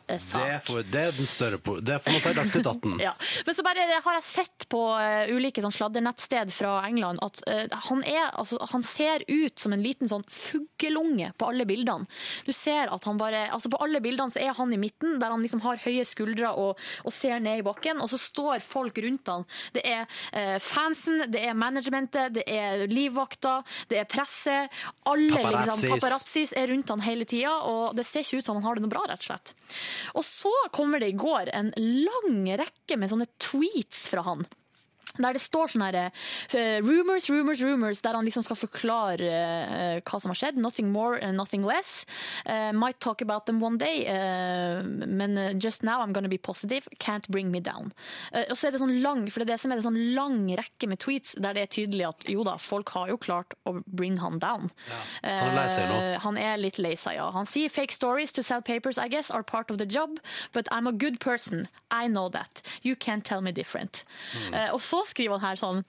[SPEAKER 4] eh, sak.
[SPEAKER 2] Det, får, det er den større po- Det får man ta i Dagsnytt 18.
[SPEAKER 4] Ja. Men så bare har jeg sett på eh, ulike sånn sladdernettsted fra England at eh, han, er, altså, han ser ut som en liten sånn fugleunge på alle bildene. Du ser at han bare, altså På alle bildene så er han i midten, der han liksom har høye skuldre og, og ser ned i bakken. Og så står folk rundt han. Det er eh, fansen, det er managementet, det er livvakta, det er presse. Alle
[SPEAKER 5] Paparazzis.
[SPEAKER 4] liksom, paparazzis er rundt han hele tida, og det ser ikke ut som han har det noe bra, rett og slett. Og så kommer det i går en lang rekke med sånne tweets fra han. Der det står sånne her, eh, rumors, rumors, rumors, der han liksom skal forklare eh, hva som har skjedd. Nothing more and nothing less. Eh, might talk about them one day, eh, men eh, just now I'm gonna be positive. Can't bring me down. Eh, og så er det sånn lang, for det er det som er det sånn lang rekke med tweets der det er tydelig at jo da, folk har jo klart å bring han down.
[SPEAKER 2] Han er lei seg nå.
[SPEAKER 4] Eh, han er litt lei seg, ja. Han sier fake stories to sell papers, I guess, are part of the job, but I'm a good person. I know that. You can't tell me different. Eh, og så skriver han her sånn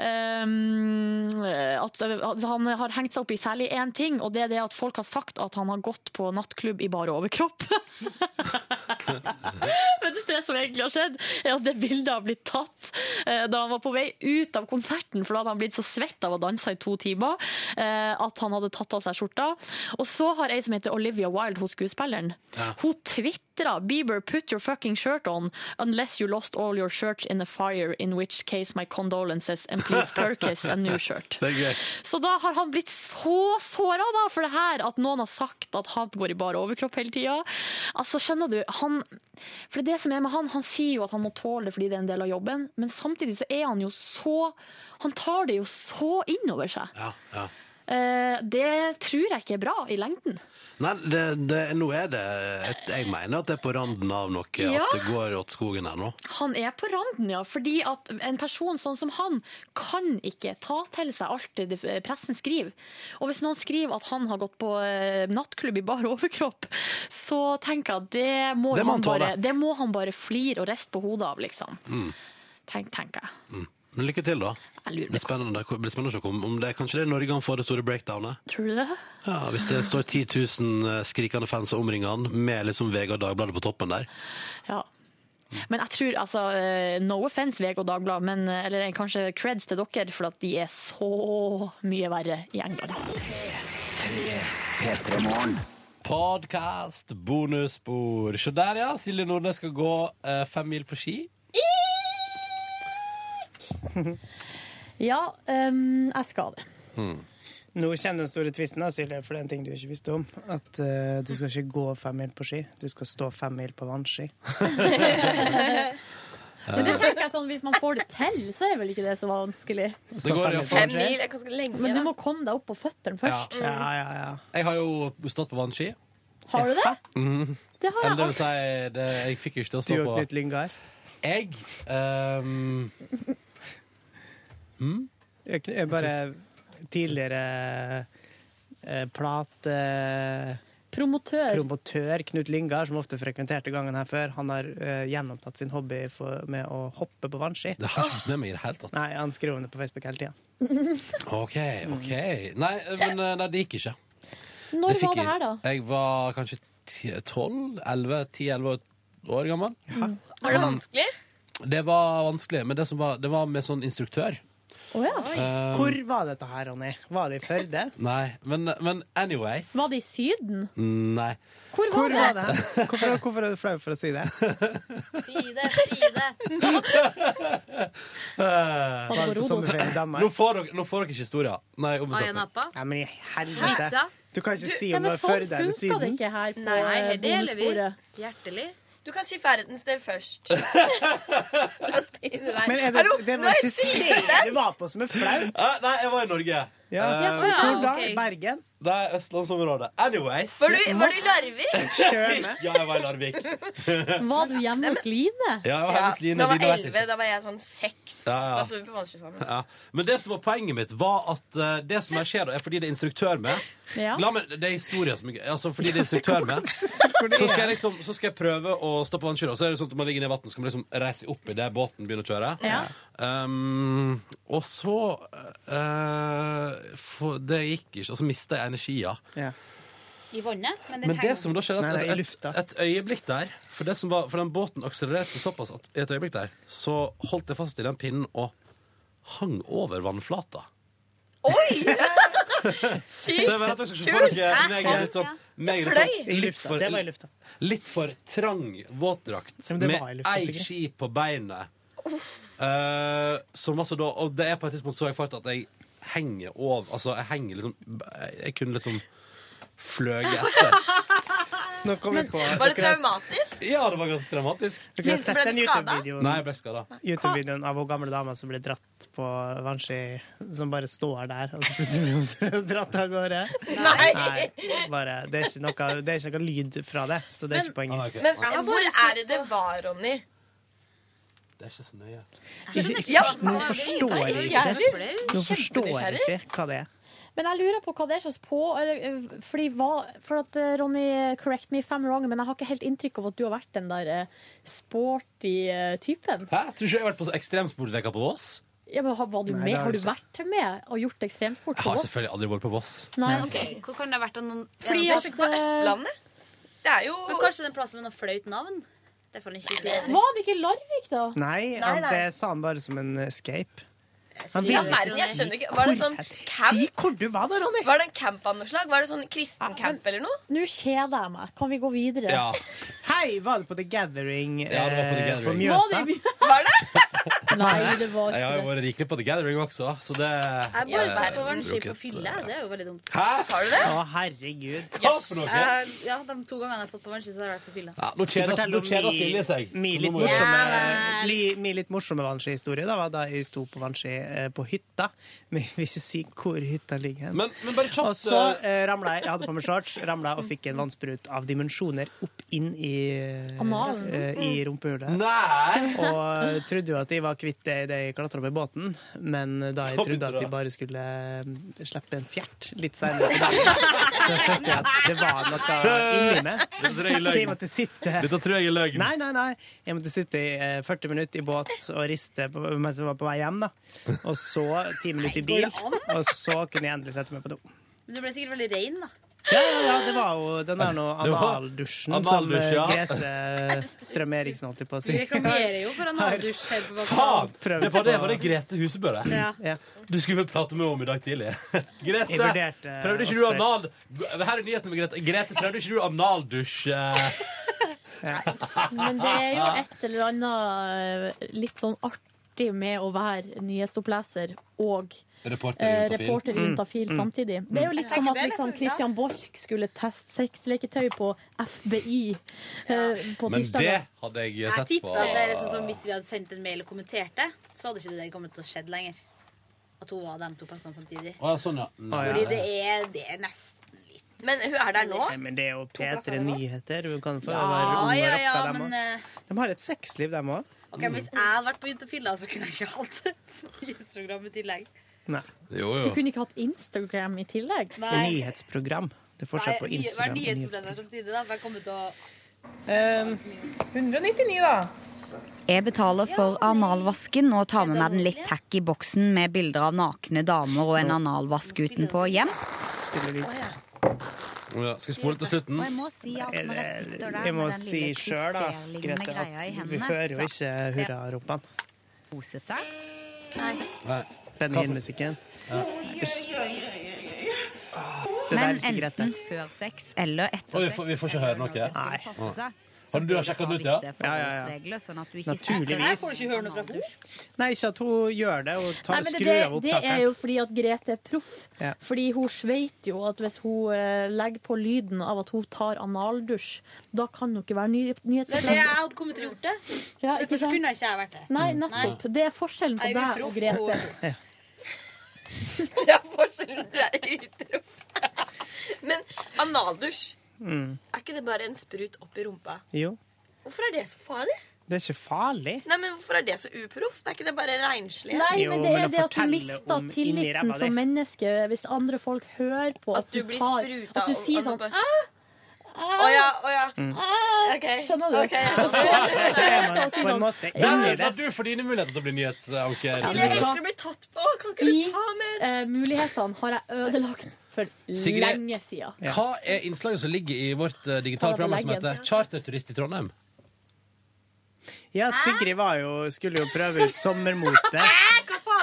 [SPEAKER 4] ehm, at, at han har hengt seg opp i særlig én ting, og det er det at folk har sagt at han har gått på nattklubb i bare overkropp. Men det som egentlig har skjedd, er at det bildet har blitt tatt eh, da han var på vei ut av konserten, for da hadde han blitt så svett av å danse i to timer eh, at han hadde tatt av seg skjorta. Og så har ei som heter Olivia Wilde, hun skuespilleren,
[SPEAKER 5] Ja.
[SPEAKER 4] hun twitra 'Bieber, put your fucking shirt on unless you lost all your shirts in a fire, in which case my condolences and please purchase a new shirt'.
[SPEAKER 2] Det er gøy.
[SPEAKER 4] Så da har han blitt så såra da, for det her at noen har sagt at han går i bare overkropp hele tida. Altså, skjønner du, han For det er det som er med han, han sier jo at han må tåle det fordi det er en del av jobben, men samtidig så er han jo så Han tar det jo så innover seg.
[SPEAKER 2] Ja, ja.
[SPEAKER 4] Eh, det tror jeg ikke er bra i lengden.
[SPEAKER 2] Nei, det, det, nå er det et, Jeg mener at det er på randen av noe,
[SPEAKER 4] Ja.
[SPEAKER 2] at det går åt skogen her nå.
[SPEAKER 4] Han er på randen, ja. Fordi at en person sånn som han kan ikke ta til seg alt det pressen skriver. Og hvis noen skriver at han har gått på eh, nattklubb i bar overkropp, så tenker jeg at det må,
[SPEAKER 2] Det må han
[SPEAKER 4] han,
[SPEAKER 2] tåle.
[SPEAKER 4] bare, det må han bare flire og riste på hodet av, liksom.
[SPEAKER 2] Mm.
[SPEAKER 4] Tenk, tenker jeg.
[SPEAKER 2] Mm. Men lykke til, da.
[SPEAKER 4] Det
[SPEAKER 2] blir spennende, det blir spennende å se om, om det kanskje det er Norge han får det store breakdownet.
[SPEAKER 4] Tror du det?
[SPEAKER 2] Ja, Hvis det står 10 000 skrikende fans og omringer han, med liksom Vegard Dagbladet på toppen der.
[SPEAKER 4] Ja. Men jeg tror, altså, eh, no offense VG og Dagbladet, men eh, eller kanskje creds til dere, for at de er så mye verre i England.
[SPEAKER 2] Podcast, bonusbord. Se der, ja. Silje Nordnes skal gå eh, fem mil på ski.
[SPEAKER 4] Ja, ehm, jeg skal det.
[SPEAKER 3] Nå kommer den store tvisten, da, Silje, for det er en ting du ikke visste om. At eh, du skal ikke gå fem mil på ski, du skal stå fem mil på vannski.
[SPEAKER 4] Men det tenker jeg sånn, hvis man får det til, så er vel ikke det så vanskelig.
[SPEAKER 2] Det går i hvert fall. Fem mil
[SPEAKER 4] er ganske lenge. Men du må komme deg opp på føttene først.
[SPEAKER 2] Jeg har jo stått på vannski.
[SPEAKER 4] Har du det?
[SPEAKER 2] Mm.
[SPEAKER 4] Det har
[SPEAKER 2] Eller det
[SPEAKER 4] jeg
[SPEAKER 2] vil si, det, jeg fikk jo ikke til å stå
[SPEAKER 3] Du og
[SPEAKER 2] på
[SPEAKER 3] Knut Lyngard?
[SPEAKER 2] Jeg ehm, mm,
[SPEAKER 3] Jeg, jeg bare tidligere eh, plate...
[SPEAKER 4] Promotør.
[SPEAKER 3] Promotør Knut Lyngard, som ofte frekventerte gangen her før, han har eh, gjenopptatt sin hobby for, med å hoppe på vannski.
[SPEAKER 2] Det har ikke vært med meg i det hele tatt.
[SPEAKER 3] Nei, han skriver om det på Facebook hele tida.
[SPEAKER 2] OK, OK. Nei, men eh, nei, det gikk ikke.
[SPEAKER 4] Når
[SPEAKER 2] fikk
[SPEAKER 4] var det
[SPEAKER 2] jeg-
[SPEAKER 4] her, da?
[SPEAKER 2] Jeg var kanskje ti- 12? 11? 10-11 år gammel.
[SPEAKER 5] Var det
[SPEAKER 2] Mm.
[SPEAKER 5] vanskelig?
[SPEAKER 2] Det var vanskelig, men det, som var, det var med sånn instruktør. Oi. Um,
[SPEAKER 3] Hvor var dette her, Ronny? Var det i Førde?
[SPEAKER 2] Nei, men, men anyways
[SPEAKER 4] Var det i Syden?
[SPEAKER 2] Nei.
[SPEAKER 4] Hvor var
[SPEAKER 3] Hvor var
[SPEAKER 4] det?
[SPEAKER 3] det? Hvorfor, hvorfor er du flau for å si det?
[SPEAKER 2] Var
[SPEAKER 3] det på Rodos? sommerferie i Danmark?
[SPEAKER 2] Nå får dere, nå får dere ikke historier. Nei, om
[SPEAKER 5] Var jeg
[SPEAKER 2] saken.
[SPEAKER 5] nappa?
[SPEAKER 3] Nei, men i
[SPEAKER 5] Hæ?
[SPEAKER 3] helvete. Du kan ikke si om
[SPEAKER 5] Nei, men
[SPEAKER 3] det var
[SPEAKER 5] sånn
[SPEAKER 3] Førde eller
[SPEAKER 5] funka
[SPEAKER 3] Syden.
[SPEAKER 4] ikke her på
[SPEAKER 5] Nei,
[SPEAKER 4] eh,
[SPEAKER 5] det gjelder vi.
[SPEAKER 4] bonusbordet.
[SPEAKER 5] Hjertelig. Du kan si verdens del først. La oss begynne der.
[SPEAKER 3] Men er det,
[SPEAKER 5] Hallo,
[SPEAKER 3] det
[SPEAKER 5] nå
[SPEAKER 3] var
[SPEAKER 5] er
[SPEAKER 3] ikke
[SPEAKER 5] jeg
[SPEAKER 3] stedet du var på som er flaut.
[SPEAKER 2] Eh, Nei, jeg var i Norge.
[SPEAKER 3] Ja.
[SPEAKER 2] Eh,
[SPEAKER 3] Hvor da?
[SPEAKER 5] ok.
[SPEAKER 3] Bergen?
[SPEAKER 2] Det er østlandsområdet. Anyways.
[SPEAKER 5] Var du, var du i Larvik?
[SPEAKER 2] Ja, jeg var i Larvik.
[SPEAKER 4] Var du hjemme hos Line?
[SPEAKER 2] Ja, jeg var hjemme hos Line.
[SPEAKER 5] Da var
[SPEAKER 2] Line vet
[SPEAKER 5] elleve, da var jeg sånn seks.
[SPEAKER 2] Ja, ja.
[SPEAKER 5] Da så vi på Vanskelig sammen.
[SPEAKER 2] Ja. Men det som var poenget mitt, var at eh, det som her skjer, da, er fordi det er instruktør med.
[SPEAKER 5] Ja.
[SPEAKER 2] La meg, det er historie som er gøy. Altså, fordi det er instruktør med,
[SPEAKER 3] det
[SPEAKER 2] så skal,
[SPEAKER 3] er.
[SPEAKER 2] jeg liksom, så skal jeg prøve å stå på vannski. da. Så er det sånn at man ligger ned i vann, så skal man liksom reise opp idet båten begynner å kjøre.
[SPEAKER 5] Ja.
[SPEAKER 2] Um, og så eh, for Det gikk ikke, og så mista jeg energia.
[SPEAKER 17] I vannet, men den
[SPEAKER 2] Men det som da skjer,
[SPEAKER 17] Nei,
[SPEAKER 2] at
[SPEAKER 17] nei, i
[SPEAKER 2] et, et, et øyeblikk der for, det som var, for den båten akselererte såpass at i et øyeblikk der, så holdt jeg fast i den pinnen og hang over vannflata. Så jeg bare at dere skal se for dere meg er litt sånn, meg er litt sånn
[SPEAKER 3] I
[SPEAKER 2] litt,
[SPEAKER 3] lufta.
[SPEAKER 2] for,
[SPEAKER 3] Det var i lufta.
[SPEAKER 2] litt for trang våtdrakt
[SPEAKER 3] men det var i
[SPEAKER 2] med
[SPEAKER 3] lufta,
[SPEAKER 2] ei
[SPEAKER 3] sikkert.
[SPEAKER 2] ski på beinet. Eh, som altså da, og det er på et tidspunkt så jeg fart at jeg henger over Altså, jeg henger liksom Jeg kunne liksom fløyet etter.
[SPEAKER 3] Nå kom vi på
[SPEAKER 5] Var det traumatisk?
[SPEAKER 2] Ja, det var ganske traumatisk.
[SPEAKER 3] Dere har sett
[SPEAKER 5] Ble
[SPEAKER 3] den
[SPEAKER 5] du skadet?
[SPEAKER 3] YouTube-videoen
[SPEAKER 2] Nei, jeg ble skada.
[SPEAKER 3] YouTube-videoen av hun gamle dama som ble dratt på vannski, som bare står der, og så plutselig blir hun dratt av gårde.
[SPEAKER 5] Nei.
[SPEAKER 3] bare, det, er ikke noe, det er ikke noe lyd fra det, så det er ikke
[SPEAKER 2] Ah,
[SPEAKER 3] poenget.
[SPEAKER 5] Men hvor er det det var, Ronny?
[SPEAKER 2] Det er ikke så nøye.
[SPEAKER 3] Ja, nå forstår jeg ikke. Nå forstår jeg
[SPEAKER 4] Kjempenysgjerrig.
[SPEAKER 3] ikke hva det er.
[SPEAKER 4] Men jeg lurer på hva det er slags på eller, eh, fordi hva, For at eh, Ronny, correct me if I'm wrong, men jeg har ikke helt inntrykk av at du har vært den der eh, sporty eh, typen.
[SPEAKER 2] Hæ? Tror du ikke jeg har vært på så ekstremsportveka på Voss?
[SPEAKER 4] Ja, men har, var du
[SPEAKER 2] Nei, det
[SPEAKER 4] med?
[SPEAKER 2] har
[SPEAKER 4] Har du
[SPEAKER 2] jeg ikke.
[SPEAKER 4] vært med og gjort ekstremsport
[SPEAKER 2] Jeg
[SPEAKER 4] på
[SPEAKER 2] har
[SPEAKER 4] Voss?
[SPEAKER 2] selvfølgelig aldri vært på Voss.
[SPEAKER 4] Nei,
[SPEAKER 17] ok. Hvor kan det ha vært av noen
[SPEAKER 4] Fordi
[SPEAKER 17] Ja,
[SPEAKER 4] at,
[SPEAKER 17] kanskje ikke på Østlandet?
[SPEAKER 5] Det er jo
[SPEAKER 17] eh, Men Kanskje det er en plass med noe flaut navn? Det er for ikke si.
[SPEAKER 4] Var det ikke Larvik, da?
[SPEAKER 3] Nei,
[SPEAKER 17] Nei,
[SPEAKER 3] han-
[SPEAKER 17] nei.
[SPEAKER 3] det sa han bare som en escape. Han
[SPEAKER 5] Ja,
[SPEAKER 3] ville
[SPEAKER 5] nei,
[SPEAKER 3] ikke
[SPEAKER 5] jeg
[SPEAKER 3] si
[SPEAKER 5] skjønner ikke. Var det sånn camp?
[SPEAKER 3] Si hvor du var da, Ronny.
[SPEAKER 5] Var det en campanslag? Var det sånn kristen camp eller noe?
[SPEAKER 4] Nå kjeder jeg meg. Kan vi gå videre?
[SPEAKER 2] Ja.
[SPEAKER 3] Hei, var du på The Gathering
[SPEAKER 2] Ja, det var på The
[SPEAKER 3] eh,
[SPEAKER 2] Gathering.
[SPEAKER 3] på
[SPEAKER 2] Var
[SPEAKER 3] Mjøsa?
[SPEAKER 4] Nei, det var
[SPEAKER 2] Jeg har jo vært rikelig på The Gathering også, så det
[SPEAKER 17] Jeg bare
[SPEAKER 2] Eh,
[SPEAKER 17] satt på vannski på
[SPEAKER 2] drukket,
[SPEAKER 17] fylle.
[SPEAKER 2] eh,
[SPEAKER 17] Det er jo veldig dumt.
[SPEAKER 2] Hæ?
[SPEAKER 5] Har du
[SPEAKER 2] det?
[SPEAKER 3] Å, herregud.
[SPEAKER 2] Hva for noe?
[SPEAKER 17] Eh, ja, de to gangene jeg har stått på vannski, så har jeg vært på fylla.
[SPEAKER 2] Ja, nå
[SPEAKER 3] Skal jeg
[SPEAKER 2] kjeder-
[SPEAKER 3] fortelle
[SPEAKER 2] nå
[SPEAKER 3] om
[SPEAKER 2] kjeder
[SPEAKER 3] mi-
[SPEAKER 2] Silje seg,
[SPEAKER 3] Mi
[SPEAKER 2] så nå
[SPEAKER 3] litt
[SPEAKER 2] må jeg-
[SPEAKER 3] morsomme,
[SPEAKER 2] Ja vel.
[SPEAKER 3] li- mi litt morsomme vannskihistorie da var da jeg sto på vannski eh, på hytta. Men jeg vil ikke si hvor hytta ligger. hen. Og så eh, ramla jeg, jeg hadde på meg shorts, ramla og fikk en vannsprut av dimensjoner opp inn i,
[SPEAKER 8] Analen.
[SPEAKER 3] eh, i rumpehullet.
[SPEAKER 8] Nei!
[SPEAKER 3] Og eh, trodde jo at jeg var kvitt det idet jeg klatra opp i båten, men da jeg
[SPEAKER 8] Da
[SPEAKER 3] trodde
[SPEAKER 8] begynte
[SPEAKER 3] at
[SPEAKER 8] det.
[SPEAKER 3] jeg bare skulle eh, slippe en fjert litt seinere, så skjønte jeg at det var noe inni meg.
[SPEAKER 2] Det tror jeg er løgn.
[SPEAKER 3] Så jeg måtte sitte
[SPEAKER 2] Dette tror jeg er løgn.
[SPEAKER 3] Nei, nei, nei. Jeg måtte sitte i eh, 40 minutter i båt og riste på, mens jeg var på vei hjem, da. Og så 10 minutter i bil,
[SPEAKER 17] Nei, går det an?
[SPEAKER 3] og så kunne jeg endelig sette meg på do.
[SPEAKER 17] Men du ble sikkert veldig rein, da.
[SPEAKER 3] Ja, ja, ja, det var jo den der nå
[SPEAKER 2] Det var-
[SPEAKER 3] analdusjen som
[SPEAKER 2] Analdusj,
[SPEAKER 3] eh,
[SPEAKER 2] ja.
[SPEAKER 3] Grete eh, Strøm Eriksen holdt jeg på
[SPEAKER 17] Vi
[SPEAKER 3] å si.
[SPEAKER 17] reklamerer jo for en halvdusj her på
[SPEAKER 2] Faen! Det var det, var det
[SPEAKER 3] på-
[SPEAKER 2] Grete Husebø, det?
[SPEAKER 17] Ja.
[SPEAKER 2] Du skulle vel prate med henne om i dag tidlig. Grete,
[SPEAKER 3] Jeg vurderte, eh,
[SPEAKER 2] prøvde ikke
[SPEAKER 3] å
[SPEAKER 2] du
[SPEAKER 3] spørre.
[SPEAKER 2] anal... Her er nyheten med Grete. Grete, prøvde ikke du analdusj? eh?
[SPEAKER 4] Men det er jo et eller annet eh, litt sånn artig artig med å være nyhetsoppleser og
[SPEAKER 2] Reporter i
[SPEAKER 4] eh,
[SPEAKER 2] Juntafil.
[SPEAKER 4] reporter i
[SPEAKER 2] Mm,
[SPEAKER 4] Juntafil
[SPEAKER 2] mm.
[SPEAKER 4] samtidig. Det er jo litt
[SPEAKER 5] Jeg
[SPEAKER 4] som
[SPEAKER 5] tenker
[SPEAKER 4] at
[SPEAKER 5] det er
[SPEAKER 4] liksom,
[SPEAKER 5] litt-
[SPEAKER 4] Christian Borch skulle teste sexleketøy på FBI eh, på
[SPEAKER 2] Men
[SPEAKER 4] tirsdag.
[SPEAKER 2] det hadde jeg
[SPEAKER 18] Jeg
[SPEAKER 2] sett
[SPEAKER 18] tipper
[SPEAKER 2] på.
[SPEAKER 18] at det er sånn som hvis vi hadde sendt en mail og kommentert det, så hadde ikke det der kommet til å skjedd lenger. At hun var de to personene samtidig.
[SPEAKER 2] Å, ja, sånn, ja. Nei.
[SPEAKER 18] Fordi det er, det er nesten litt
[SPEAKER 5] Men hun er der nå?
[SPEAKER 3] Nei, men det er jo P3 Nyheter. Du kan få
[SPEAKER 18] Ja,
[SPEAKER 3] være ung og
[SPEAKER 18] ja, ja,
[SPEAKER 3] rocka, dem
[SPEAKER 18] men
[SPEAKER 3] også. Mm.
[SPEAKER 18] eh,
[SPEAKER 3] De har et sexliv, dem òg.
[SPEAKER 18] ok, men Hvis jeg hadde vært på Juntafilla, så kunne jeg ikke hatt et nyhetsprogram i tillegg.
[SPEAKER 2] Jo,
[SPEAKER 4] Du kunne ikke hatt Instagram i tillegg?
[SPEAKER 3] Nyhetsprogram. Det er forskjell på Instagram og nyhetsprogram.
[SPEAKER 18] samtidig, da. For jeg kommer til å
[SPEAKER 4] Ehm,
[SPEAKER 19] 199, da.
[SPEAKER 20] Jeg betaler for analvasken og tar med meg den litt tacky boksen med bilder av nakne damer og en analvask utenpå hjem.
[SPEAKER 2] Ja, skal vi spole til slutten?
[SPEAKER 20] Og jeg må si at når jeg sitter der
[SPEAKER 3] Jeg må
[SPEAKER 20] med den
[SPEAKER 3] si
[SPEAKER 20] lille
[SPEAKER 3] sjøl, da,
[SPEAKER 20] klisterlignende
[SPEAKER 3] Grete,
[SPEAKER 20] greia i
[SPEAKER 3] at vi
[SPEAKER 20] hendene,
[SPEAKER 3] hører jo
[SPEAKER 20] så-
[SPEAKER 3] ikke hurraropene.
[SPEAKER 20] Kose seg.
[SPEAKER 3] Benjamin-musikken. Det der er
[SPEAKER 20] Men
[SPEAKER 3] ikke greit,
[SPEAKER 20] enten før sex eller etter
[SPEAKER 2] Å, vi,
[SPEAKER 20] sex.
[SPEAKER 2] får, vi får ikke høre noe?
[SPEAKER 20] Nei. Passe seg.
[SPEAKER 2] Har du har sjekket den ut, ja?
[SPEAKER 20] Ja, Regler, sånn at du ikke
[SPEAKER 3] Naturligvis.
[SPEAKER 20] setter deg
[SPEAKER 3] Her får
[SPEAKER 20] på en analdusj.
[SPEAKER 3] Nei, ikke at hun gjør det. Hun tar,
[SPEAKER 4] Nei, men det,
[SPEAKER 3] skrur av
[SPEAKER 4] det, det er jo
[SPEAKER 3] opptakeren.
[SPEAKER 4] fordi at Grete er proff.
[SPEAKER 3] Ja.
[SPEAKER 4] Fordi hun vet jo at hvis hun eh, legger på lyden av at hun tar analdusj, da kan hun ikke være ny,
[SPEAKER 18] Men det jeg
[SPEAKER 4] nyhetsoppleser.
[SPEAKER 18] hadde kommet til å gjort det.
[SPEAKER 4] Ja,
[SPEAKER 18] Men
[SPEAKER 4] ikke
[SPEAKER 18] først
[SPEAKER 4] sant?
[SPEAKER 18] kunne jeg ikke jeg vært det.
[SPEAKER 4] Nei,
[SPEAKER 3] Mm.
[SPEAKER 4] nettopp. Det er forskjellen på
[SPEAKER 18] Jeg er
[SPEAKER 4] deg
[SPEAKER 18] jo
[SPEAKER 4] og Grete.
[SPEAKER 5] Det er forskjellen du er utroff. Men analdusj,
[SPEAKER 3] Mm.
[SPEAKER 5] er ikke det bare en sprut opp i rumpa?
[SPEAKER 3] Jo.
[SPEAKER 5] Hvorfor er det så farlig?
[SPEAKER 3] Det er ikke farlig.
[SPEAKER 5] Nei, men Hvorfor er det så uproft? Er ikke det bare renslig?
[SPEAKER 4] Nei, men det
[SPEAKER 3] Jo,
[SPEAKER 4] er
[SPEAKER 3] men å
[SPEAKER 4] det at du
[SPEAKER 3] fortelle
[SPEAKER 4] mister
[SPEAKER 3] om inni
[SPEAKER 4] tilliten
[SPEAKER 3] ræva di.
[SPEAKER 4] som menneske hvis andre folk hører på at,
[SPEAKER 5] du
[SPEAKER 4] du
[SPEAKER 5] blir
[SPEAKER 4] tar
[SPEAKER 5] spruta
[SPEAKER 4] At du
[SPEAKER 5] og-
[SPEAKER 4] sier
[SPEAKER 5] og
[SPEAKER 4] sånn
[SPEAKER 5] bare-
[SPEAKER 4] Æ! Æ!
[SPEAKER 5] Å ja, å ja.
[SPEAKER 2] Mm.
[SPEAKER 4] Æ!
[SPEAKER 5] Ok.
[SPEAKER 4] Skjønner du?
[SPEAKER 5] Ok, jeg
[SPEAKER 4] Og så-
[SPEAKER 5] skjønner.
[SPEAKER 4] så er man
[SPEAKER 3] På en måte
[SPEAKER 2] Der var du for dine muligheter til å bli nyhetsanker.
[SPEAKER 4] Ja, men-
[SPEAKER 5] Kanskje du blir tatt på? Kan ikke
[SPEAKER 4] De
[SPEAKER 5] du ta mer?
[SPEAKER 4] eh, mulighetene har jeg ødelagt for
[SPEAKER 2] Sigrid-
[SPEAKER 4] lenge siden.
[SPEAKER 2] Hva er innslaget som ligger i vårt eh, digitale
[SPEAKER 4] Ta det på
[SPEAKER 2] program som
[SPEAKER 4] leggen.
[SPEAKER 2] heter Charterturist i Trondheim?
[SPEAKER 3] Ja, Sigrid var jo, skulle jo prøve ut sommermote.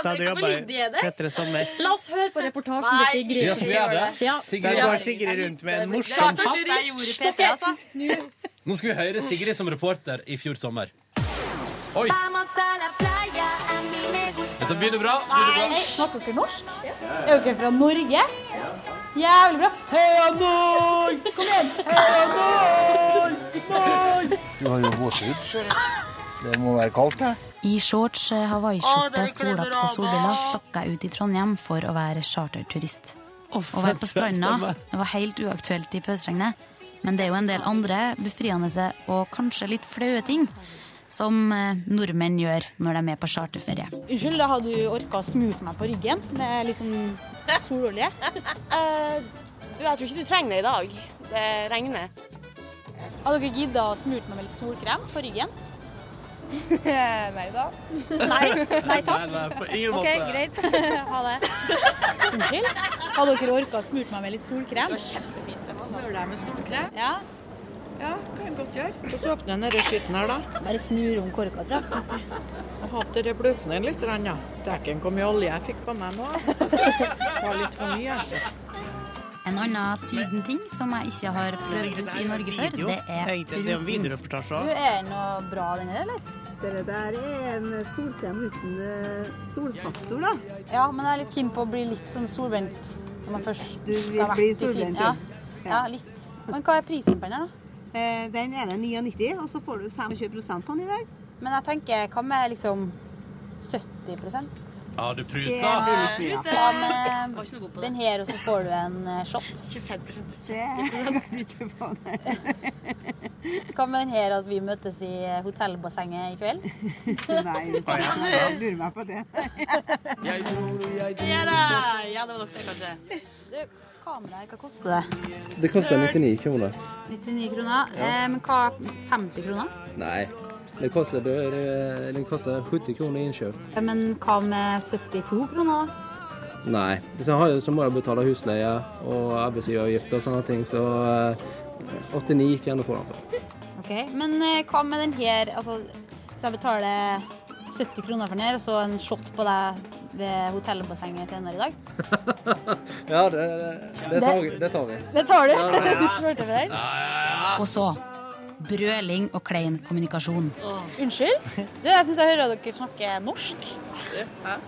[SPEAKER 3] Da du jobba i P3 Sommer.
[SPEAKER 4] La oss høre på reportasjen til Sigrid.
[SPEAKER 3] Ja, skal vi gjøre det?
[SPEAKER 4] Ja.
[SPEAKER 3] Der går Sigrid rundt med en morsom
[SPEAKER 4] Starter
[SPEAKER 3] hatt.
[SPEAKER 4] turist.
[SPEAKER 18] Stopp
[SPEAKER 4] Stopp
[SPEAKER 18] helt.
[SPEAKER 4] Nå.
[SPEAKER 2] Nå skal vi høre Sigrid som reporter i fjor sommer. Oi! Dette begynner bra. Begynner bra.
[SPEAKER 17] Nei, snakker dere norsk? Er dere fra Norge? Jævlig bra. Heia Norge! Kom igjen! Heia Norge! Norge!
[SPEAKER 8] Du har jo gåsehud. så Det må være kaldt, det.
[SPEAKER 21] I shorts, eh,
[SPEAKER 8] Å, det
[SPEAKER 21] hawaiiskjorte,
[SPEAKER 8] er klødder
[SPEAKER 21] solhatt og
[SPEAKER 8] av
[SPEAKER 21] solbriller
[SPEAKER 8] oss.
[SPEAKER 21] stakk jeg ut i Trondheim for å være charterturist. Å være på
[SPEAKER 8] stemmer,
[SPEAKER 21] stranda
[SPEAKER 8] stemmer.
[SPEAKER 21] var helt uaktuelt i pøsregnet, men det er jo en del andre befriende og kanskje litt flaue ting som eh, nordmenn gjør når de er på charterferie.
[SPEAKER 17] Unnskyld, da hadde du orka å smurt meg på ryggen med litt sånn sololje? Eh, du, jeg tror ikke du trenger det i dag. Det regner. Hadde dere gidda å smurt meg med litt solkrem på ryggen? Nei da. Nei, takk.
[SPEAKER 8] Nei, nei, på ingen
[SPEAKER 17] OK,
[SPEAKER 8] måte.
[SPEAKER 17] greit. Ha det. Unnskyld? Hadde dere orka å smurt meg med litt solkrem? Det var kjempefint. Smør deg med solkrem? Ja. Ja, kan godt gjøre.
[SPEAKER 22] Så åpner jeg denne skitten her, da.
[SPEAKER 17] Bare snur om korka, tror jeg.
[SPEAKER 22] Jeg håper det bløsner litt. grann, Ja. Dekken kom i olje jeg fikk på meg nå. Det var litt for mye, altså.
[SPEAKER 21] En annen sydenting som jeg ikke har prøvd ut i Norge før,
[SPEAKER 3] Video.
[SPEAKER 21] det er
[SPEAKER 3] Tenkte Det er en
[SPEAKER 21] pruting.
[SPEAKER 3] videoreportasje også.
[SPEAKER 21] noe bra, den her, eller?
[SPEAKER 23] Det der er en solkrem uten eh, solfaktor, da.
[SPEAKER 17] Ja, men jeg er litt keen på å bli litt sånn solbrent når man først
[SPEAKER 23] Du vil
[SPEAKER 17] skal ha vært
[SPEAKER 23] bli
[SPEAKER 17] i Syden.
[SPEAKER 23] solbrent,
[SPEAKER 17] Ja.
[SPEAKER 23] ja.
[SPEAKER 17] ja, litt. Men hva er prisen på den her, da?
[SPEAKER 23] Eh, Den er 99, og så får du 25 på den i dag.
[SPEAKER 17] Men jeg tenker, hva med liksom 70
[SPEAKER 2] Har du pruta?
[SPEAKER 17] Ja, Hva
[SPEAKER 18] Var ikke noe god
[SPEAKER 17] med
[SPEAKER 18] på det.
[SPEAKER 17] den her, og så får du en eh, shot? 25 Hva med den her at vi møtes i eh, hotellbassenget i kveld? Nei,
[SPEAKER 23] vet du. Jeg lurer meg på det.
[SPEAKER 18] Ja da! Ja, det var nok det, kanskje.
[SPEAKER 17] Kameraet her, hva koster det?
[SPEAKER 13] Det koster 99 kroner.
[SPEAKER 17] 99 kroner. Eh, men hva 50 kroner?
[SPEAKER 13] Nei, det koster, bør- den koster 70 kroner i innkjøp.
[SPEAKER 17] Ja, men hva med 72 kroner, da?
[SPEAKER 13] Nei, så, har jeg, så må jeg betale husleie og arbeidsgiveravgift og sånne ting, så eh, 89 gikk jeg nå på den for.
[SPEAKER 17] Ok, Men eh, hva med den her? Altså, hvis jeg betaler 70 kroner for den her, og så en shot på deg ved hotellbassenget senere i dag?
[SPEAKER 13] Ja, det, det, det, tar, vi- det tar vi.
[SPEAKER 17] Det tar du?
[SPEAKER 13] Ja, det-
[SPEAKER 17] Du smurte med den?
[SPEAKER 21] Og så
[SPEAKER 24] brøling og klein kommunikasjon.
[SPEAKER 17] Unnskyld? Du, jeg syns jeg hører dere snakke norsk. Hæ?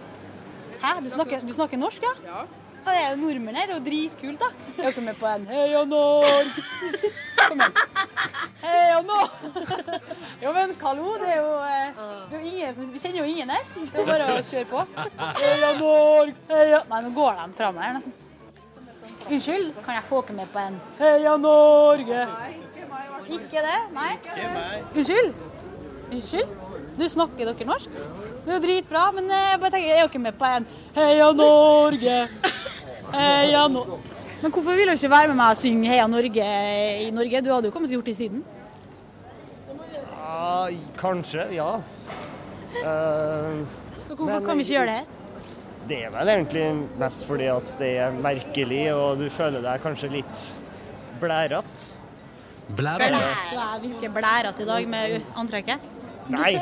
[SPEAKER 17] Du snakker, du snakker norsk, ja? Ja. det er jo nordmenn her, det er jo dritkult, da. Jeg er ikke med på en Heia Norge! Kom igjen. Heia Norge! Jo, men hallo, det er jo, eh, det er jo ingen som Vi kjenner jo ingen her. Det er jo bare å kjøre på. Heia Norge! Heia Nei, nå går de fra meg her, nesten. Unnskyld, kan jeg få ikke med på en Heia Norge? Ikke det? Nei? Unnskyld? Unnskyld? Du snakker dere norsk? Det er jo dritbra, men eh, jeg bare tenker, jeg er jo ikke med på en Heia Norge! Heia no Men hvorfor vil du ikke være med meg og synge Heia Norge i Norge? Du hadde jo kommet og gjort det siden.
[SPEAKER 6] Ja, kanskje, ja. Eh,
[SPEAKER 17] Så hvorfor
[SPEAKER 6] men
[SPEAKER 17] kan vi ikke gjøre det her?
[SPEAKER 6] Det er vel egentlig mest fordi at det er merkelig, og du føler deg kanskje litt blærete.
[SPEAKER 17] Du er virkelig blærete i dag med u- antrekket.
[SPEAKER 6] Nei,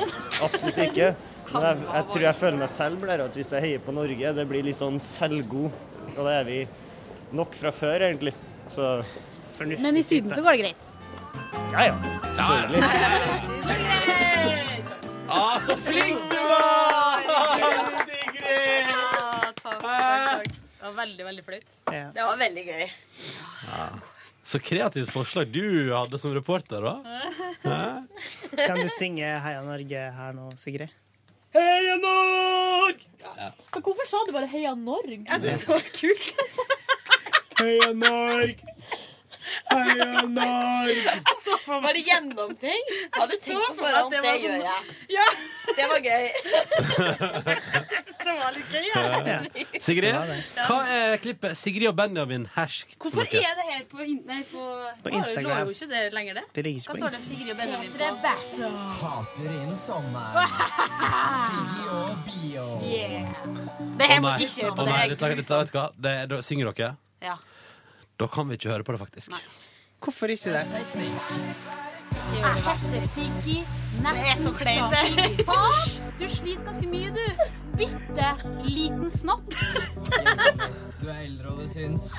[SPEAKER 6] absolutt ikke. Men jeg, jeg tror jeg føler meg selv blærete hvis jeg heier på Norge. Det blir litt sånn selvgod, og det er vi nok fra før, egentlig. Så
[SPEAKER 17] Men i Syden så går det greit.
[SPEAKER 6] Ja ja, selvfølgelig.
[SPEAKER 2] Ah, så flink du var! Sigrid!
[SPEAKER 5] Det var veldig, veldig flaut.
[SPEAKER 2] Ja.
[SPEAKER 5] Det var veldig gøy.
[SPEAKER 2] Ja. Så kreativt forslag du hadde som reporter, da. Hæ?
[SPEAKER 3] Kan du synge Heia Norge her nå, Sigrid?
[SPEAKER 17] Heia Norge! Men hvorfor sa du bare Heia Norge? Jeg synes det var kult.
[SPEAKER 3] Heia Norge! Heia Norge!
[SPEAKER 5] Var det gjennomtenkt? Hadde
[SPEAKER 25] Jeg så
[SPEAKER 5] tenkt på
[SPEAKER 25] for meg at
[SPEAKER 5] forhånd.
[SPEAKER 25] det
[SPEAKER 5] Det,
[SPEAKER 25] var
[SPEAKER 5] gjør
[SPEAKER 25] sånn-
[SPEAKER 5] jeg. Det var gøy. Jeg synes det var litt gøy.
[SPEAKER 2] Ja. Sigrid, hva er klippet 'Sigrid og Benjamin herskt'? for
[SPEAKER 25] Hvorfor
[SPEAKER 2] noe?
[SPEAKER 25] er det her på, in- nei, på, Å,
[SPEAKER 2] På
[SPEAKER 25] det
[SPEAKER 2] Instagram.
[SPEAKER 25] lå jo ikke det lenger, det.
[SPEAKER 2] Det ligger ikke
[SPEAKER 25] Hva
[SPEAKER 2] på
[SPEAKER 25] står det
[SPEAKER 2] Insta.
[SPEAKER 25] Sigrid og Benjamin på?
[SPEAKER 1] Hater inn sommeren. Siggy og Bio.
[SPEAKER 25] Det her
[SPEAKER 2] Å
[SPEAKER 25] må
[SPEAKER 2] nei,
[SPEAKER 25] ikke gjøre
[SPEAKER 2] å
[SPEAKER 25] på
[SPEAKER 2] nei,
[SPEAKER 25] deg.
[SPEAKER 2] dette- dette- vet du hva? Det, da synger dere.
[SPEAKER 25] Ja.
[SPEAKER 2] Da kan vi ikke høre på det, faktisk.
[SPEAKER 3] Hvorfor ikke det?
[SPEAKER 25] Jeg heter Siggy.
[SPEAKER 17] Nei,
[SPEAKER 25] Det er så kleint, det.
[SPEAKER 17] Hysj! Du sliter ganske mye, du. Bitte liten snott.
[SPEAKER 1] Du er eldre, og du syns.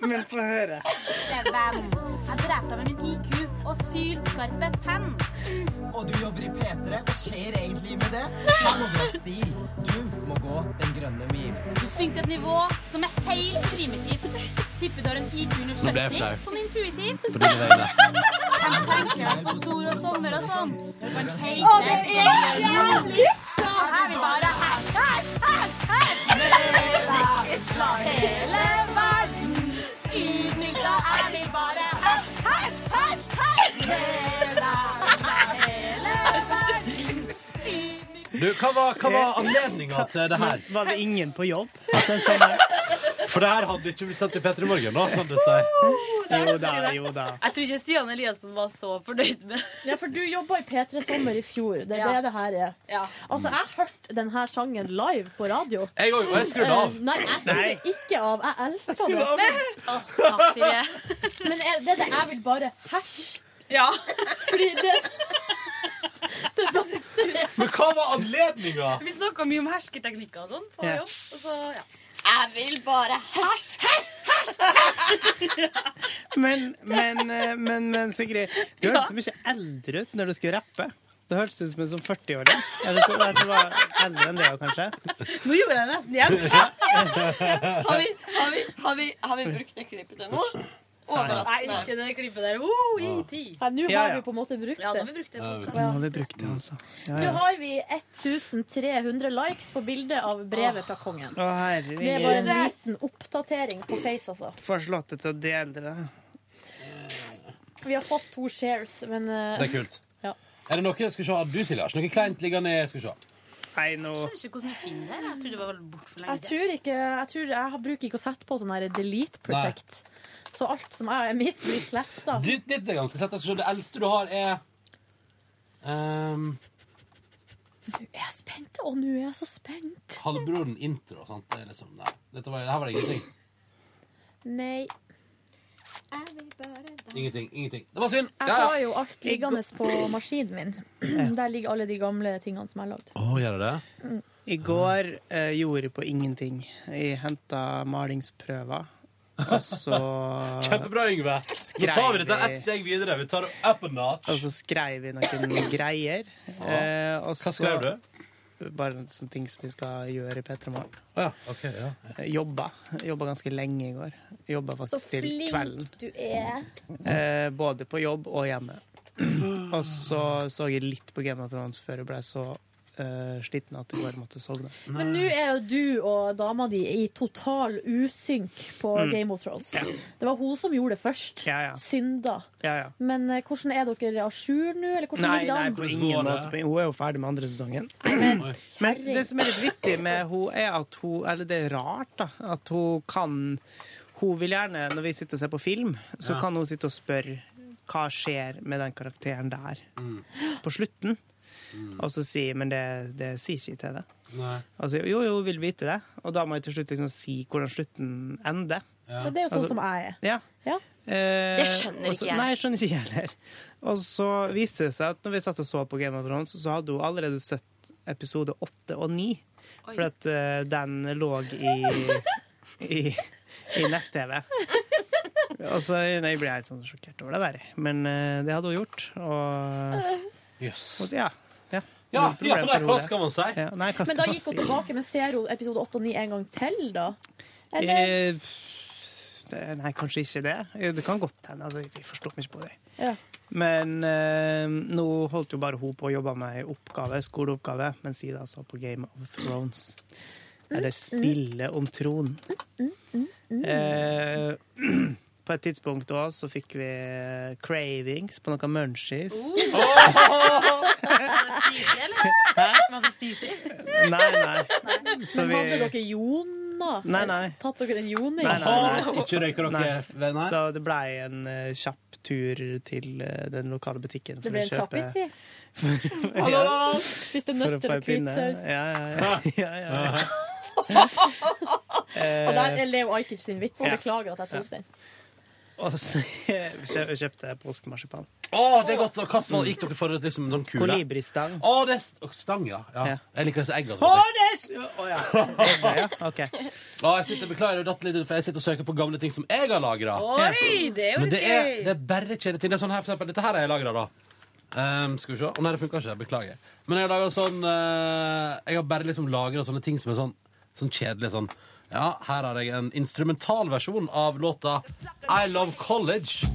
[SPEAKER 26] Men få høre.
[SPEAKER 17] Seven. Jeg drepte med min IQ og sylskarpe penn.
[SPEAKER 1] Og du jobber i P3. Hva skjer egentlig med det? Her må du ha stil. Du må gå den grønne mil.
[SPEAKER 17] Du synker til et nivå som er helt primitivt. Tipper du har en IQ under
[SPEAKER 1] Nå ble jeg
[SPEAKER 17] 70,
[SPEAKER 1] flau.
[SPEAKER 17] sånn intuitivt.
[SPEAKER 1] På dine vegne.
[SPEAKER 17] Jeg tenker at på sol og sommer og sånn. Du kan hate
[SPEAKER 1] Å, det er
[SPEAKER 17] sånn.
[SPEAKER 1] jævlig!
[SPEAKER 17] Så er vi bare æsj, æsj, æsj, æsj! Hele verden utnytta er vi bare æsj, æsj, æsj, æsj! Hele verden
[SPEAKER 2] Du, hva var, hva var anledninga til det her? sånn
[SPEAKER 3] Men Var det ingen på jobb?
[SPEAKER 2] For det her hadde ikke blitt sendt til P3 Morgen, da, kan du si.
[SPEAKER 3] Jo da, jo da.
[SPEAKER 25] Jeg tror ikke Stian Eliassen var så fornøyd med
[SPEAKER 4] Ja, for du jobba i P3 Sommer i fjor. Det er
[SPEAKER 25] Ja.
[SPEAKER 4] det det her er. Altså, jeg hørte denne sangen live på radio.
[SPEAKER 2] Jeg òg, og jeg skrudde av.
[SPEAKER 4] Eh, Nei, jeg
[SPEAKER 2] Nei.
[SPEAKER 4] skrudde ikke av. Jeg elska
[SPEAKER 2] skrudde
[SPEAKER 4] det.
[SPEAKER 2] av.
[SPEAKER 4] Åh, takk, Silje. Men er det det jeg vil bare Hæsj. Ja. Fordi det er så- Det beste er
[SPEAKER 2] Men hva var anledninga?
[SPEAKER 25] Vi snakka mye om hersketeknikker og sånn på
[SPEAKER 2] Ja.
[SPEAKER 25] jobb. Og så, ja. Jeg vil bare hæsj, hæsj, hæsj!
[SPEAKER 3] Men, men, eh, men, men Sigrid, du hørtes så mye eldre ut når du skulle rappe. Det hørtes ut som en sånn 40-åring. Eller så at du var eldre enn det, kanskje.
[SPEAKER 5] Nå gjorde jeg det nesten igjen. Har vi, har vi, har vi, har vi brukt det klippet til noe? Overraskende.
[SPEAKER 25] Nei, ikke det klippet der. Oh, i ti.
[SPEAKER 4] Nei, Nå
[SPEAKER 3] Ja,
[SPEAKER 4] har
[SPEAKER 3] ja.
[SPEAKER 4] vi på en måte brukt det.
[SPEAKER 25] Ja, nå har vi brukt det.
[SPEAKER 3] Nå har vi brukt det, altså. Ja,
[SPEAKER 4] Nå
[SPEAKER 3] ja.
[SPEAKER 4] har vi 1300 likes på bildet av brevet fra kongen.
[SPEAKER 3] Å,
[SPEAKER 4] Det var
[SPEAKER 3] herregud.
[SPEAKER 4] en liten oppdatering på Face, altså.
[SPEAKER 3] Får Slåtte til å dele det.
[SPEAKER 4] Vi har fått to shares, men eh,
[SPEAKER 2] Det er kult.
[SPEAKER 4] Ja.
[SPEAKER 2] Er det noe skal vi se, har du, Silje? Har ikke Noe kleint liggende? Skal vi se.
[SPEAKER 3] Nei, nå
[SPEAKER 25] Jeg skjønner ikke hvordan vi finner det. Jeg trodde det var borte for
[SPEAKER 4] Jeg
[SPEAKER 25] lenge
[SPEAKER 4] tror ikke Jeg, tror jeg har- bruker ikke å sette på sånn her delete protect. Så alt som er mitt, blir sletta.
[SPEAKER 2] Ditt ditt er ganske tett. Jeg skal se, Det eldste du har, er ehm,
[SPEAKER 4] Nå er jeg spent! Å, nå er jeg så spent!
[SPEAKER 2] halvbroren intro. Sant? Det er liksom, nei. Dette var, her var det ingenting.
[SPEAKER 4] Nei.
[SPEAKER 2] Ingenting. ingenting. Det var synd.
[SPEAKER 4] Jeg
[SPEAKER 2] Ja, ja.
[SPEAKER 4] har jo alt liggende på maskinen min. Der ligger alle de gamle tingene som jeg har lagd.
[SPEAKER 2] Å, gjør det det?
[SPEAKER 4] Mm.
[SPEAKER 3] I går eh, gjorde jeg på ingenting. Jeg henta malingsprøver. Og så
[SPEAKER 2] Kjempebra, Yngve. Nå tar vi dette ett steg videre. Vi tar det up a notch.
[SPEAKER 3] Og så skrev vi noen greier.
[SPEAKER 2] Ja.
[SPEAKER 3] Eh, og
[SPEAKER 2] Hva
[SPEAKER 3] så-
[SPEAKER 2] skrev du?
[SPEAKER 3] Bare sånne ting som vi skal gjøre i P3 Morgen. Eh,
[SPEAKER 2] Ja, ok, ja.
[SPEAKER 3] Jobba. Jobba ganske lenge i går. Jobba
[SPEAKER 27] Så
[SPEAKER 3] faktisk til kvelden.
[SPEAKER 27] flink du er.
[SPEAKER 3] Eh, både på jobb og hjemme. og så så jeg litt på Game of Thrones før jeg ble så eh, sliten at jeg bare måtte sovne.
[SPEAKER 27] Men nå er jo du og dama di i total usynk på
[SPEAKER 3] Mm.
[SPEAKER 27] Game of Thrones.
[SPEAKER 3] Ja.
[SPEAKER 27] Det var hun som gjorde det først.
[SPEAKER 3] Ja, ja.
[SPEAKER 27] Synda.
[SPEAKER 3] Ja, ja.
[SPEAKER 27] Men eh, hvordan er dere à jour nå? Eller hvordan
[SPEAKER 3] Nei,
[SPEAKER 27] ligger det
[SPEAKER 3] nei,
[SPEAKER 27] an?
[SPEAKER 3] på ingen måte. Hun er jo ferdig med andre sesongen. Men det som er litt vittig med hun er at hun Eller det er rart, da. At hun kan Hun vil gjerne, når vi sitter og ser på film, så
[SPEAKER 28] Ja.
[SPEAKER 3] kan hun sitte og spørre hva skjer med den karakteren der på slutten. Og så si Men det, det sier ikke til det.
[SPEAKER 28] Nei.
[SPEAKER 3] Altså, jo, jo, vil vite det. Og da må jeg til slutt liksom si hvordan slutten ender. Altså-
[SPEAKER 27] Ja. Men det er jo sånn som jeg er.
[SPEAKER 3] Ja. Eh,
[SPEAKER 27] Det skjønner
[SPEAKER 3] og så-
[SPEAKER 27] ikke jeg.
[SPEAKER 3] Nei, jeg skjønner ikke jeg heller. Og så viste det seg at når vi satt og så på Game of Thrones, så hadde hun allerede sett episode åtte og ni.
[SPEAKER 28] Oi.
[SPEAKER 3] For at eh, den lå i, i, i nett-TV. Og så nei, jeg ble helt sånn sjokkert over det der. Men eh, det hadde hun gjort.
[SPEAKER 27] Eh,
[SPEAKER 3] Og,
[SPEAKER 2] Jøss.
[SPEAKER 3] og ja. Ja,
[SPEAKER 2] Ja,
[SPEAKER 3] Null problem
[SPEAKER 2] ja, nei,
[SPEAKER 3] for
[SPEAKER 2] hva
[SPEAKER 3] henne.
[SPEAKER 2] skal man si?
[SPEAKER 3] Ja, nei, hva
[SPEAKER 27] Men da
[SPEAKER 3] skal man
[SPEAKER 27] gikk hun
[SPEAKER 3] si?
[SPEAKER 27] tilbake, men ser hun episode 8 og 9 en gang til, da? Eller?
[SPEAKER 3] Eh, det- Nei, kanskje ikke det. Jo, Det kan godt hende. Altså, vi forstår meg ikke på det.
[SPEAKER 27] Ja.
[SPEAKER 3] Men eh, nå holdt jo bare hun på å jobbe med ei oppgave, skoleoppgave, mens jeg da så altså på Game of Thrones.
[SPEAKER 27] Mm,
[SPEAKER 3] Eller Spillet om tronen. Eh, på et tidspunkt òg så fikk vi cravings på noe munchies.
[SPEAKER 27] Oh.
[SPEAKER 3] Nei, nei. Så
[SPEAKER 27] Men
[SPEAKER 3] vi-
[SPEAKER 27] hadde dere Jona?
[SPEAKER 3] Nei, nei.
[SPEAKER 27] Tatt dere en joning?
[SPEAKER 3] Nei, nei, nei. Nei.
[SPEAKER 2] venner?
[SPEAKER 3] Så det blei en eh, kjapp tur til eh, den lokale butikken.
[SPEAKER 27] Det ble en kjappis, si.
[SPEAKER 3] Ja.
[SPEAKER 27] Spiste
[SPEAKER 3] For å få
[SPEAKER 27] nøtter
[SPEAKER 3] ei
[SPEAKER 27] og
[SPEAKER 3] pinne.
[SPEAKER 27] hvitsaus.
[SPEAKER 3] Ja, ja, ja. ja, ja.
[SPEAKER 27] Og der er Leo Ajkic sin vits.
[SPEAKER 3] Ja.
[SPEAKER 27] Beklager at jeg tok den.
[SPEAKER 3] Og så eh, kjø- kjøpte jeg påskemarsipan.
[SPEAKER 2] Å, det er godt. Og hva som- gikk dere for et liksom, sånn kule?
[SPEAKER 3] Kolibristang.
[SPEAKER 2] Å, det er st- stang, ja. ja. Jeg liker disse eggene.
[SPEAKER 3] Å,
[SPEAKER 2] som-
[SPEAKER 3] det er s- Å ja. Det er det, ja. OK.
[SPEAKER 2] Å, jeg sitter, beklager, jeg datt litt ut, for jeg sitter og søker på gamle ting som jeg har lagra.
[SPEAKER 17] Oi, det er jo
[SPEAKER 2] Men
[SPEAKER 17] litt
[SPEAKER 2] det er,
[SPEAKER 17] gøy.
[SPEAKER 2] det er bare kjedeting. Det er sånn her, for eksempel, dette her har jeg lagra, da. Ehm, skal vi se. Å nei, det funka ikke. Beklager. Men jeg har laget sånn eh, Jeg har bare liksom lagra sånne ting som er sånn, sånn kjedelige sånn. Ja, her har jeg en instrumentalversjon av låta I Love College.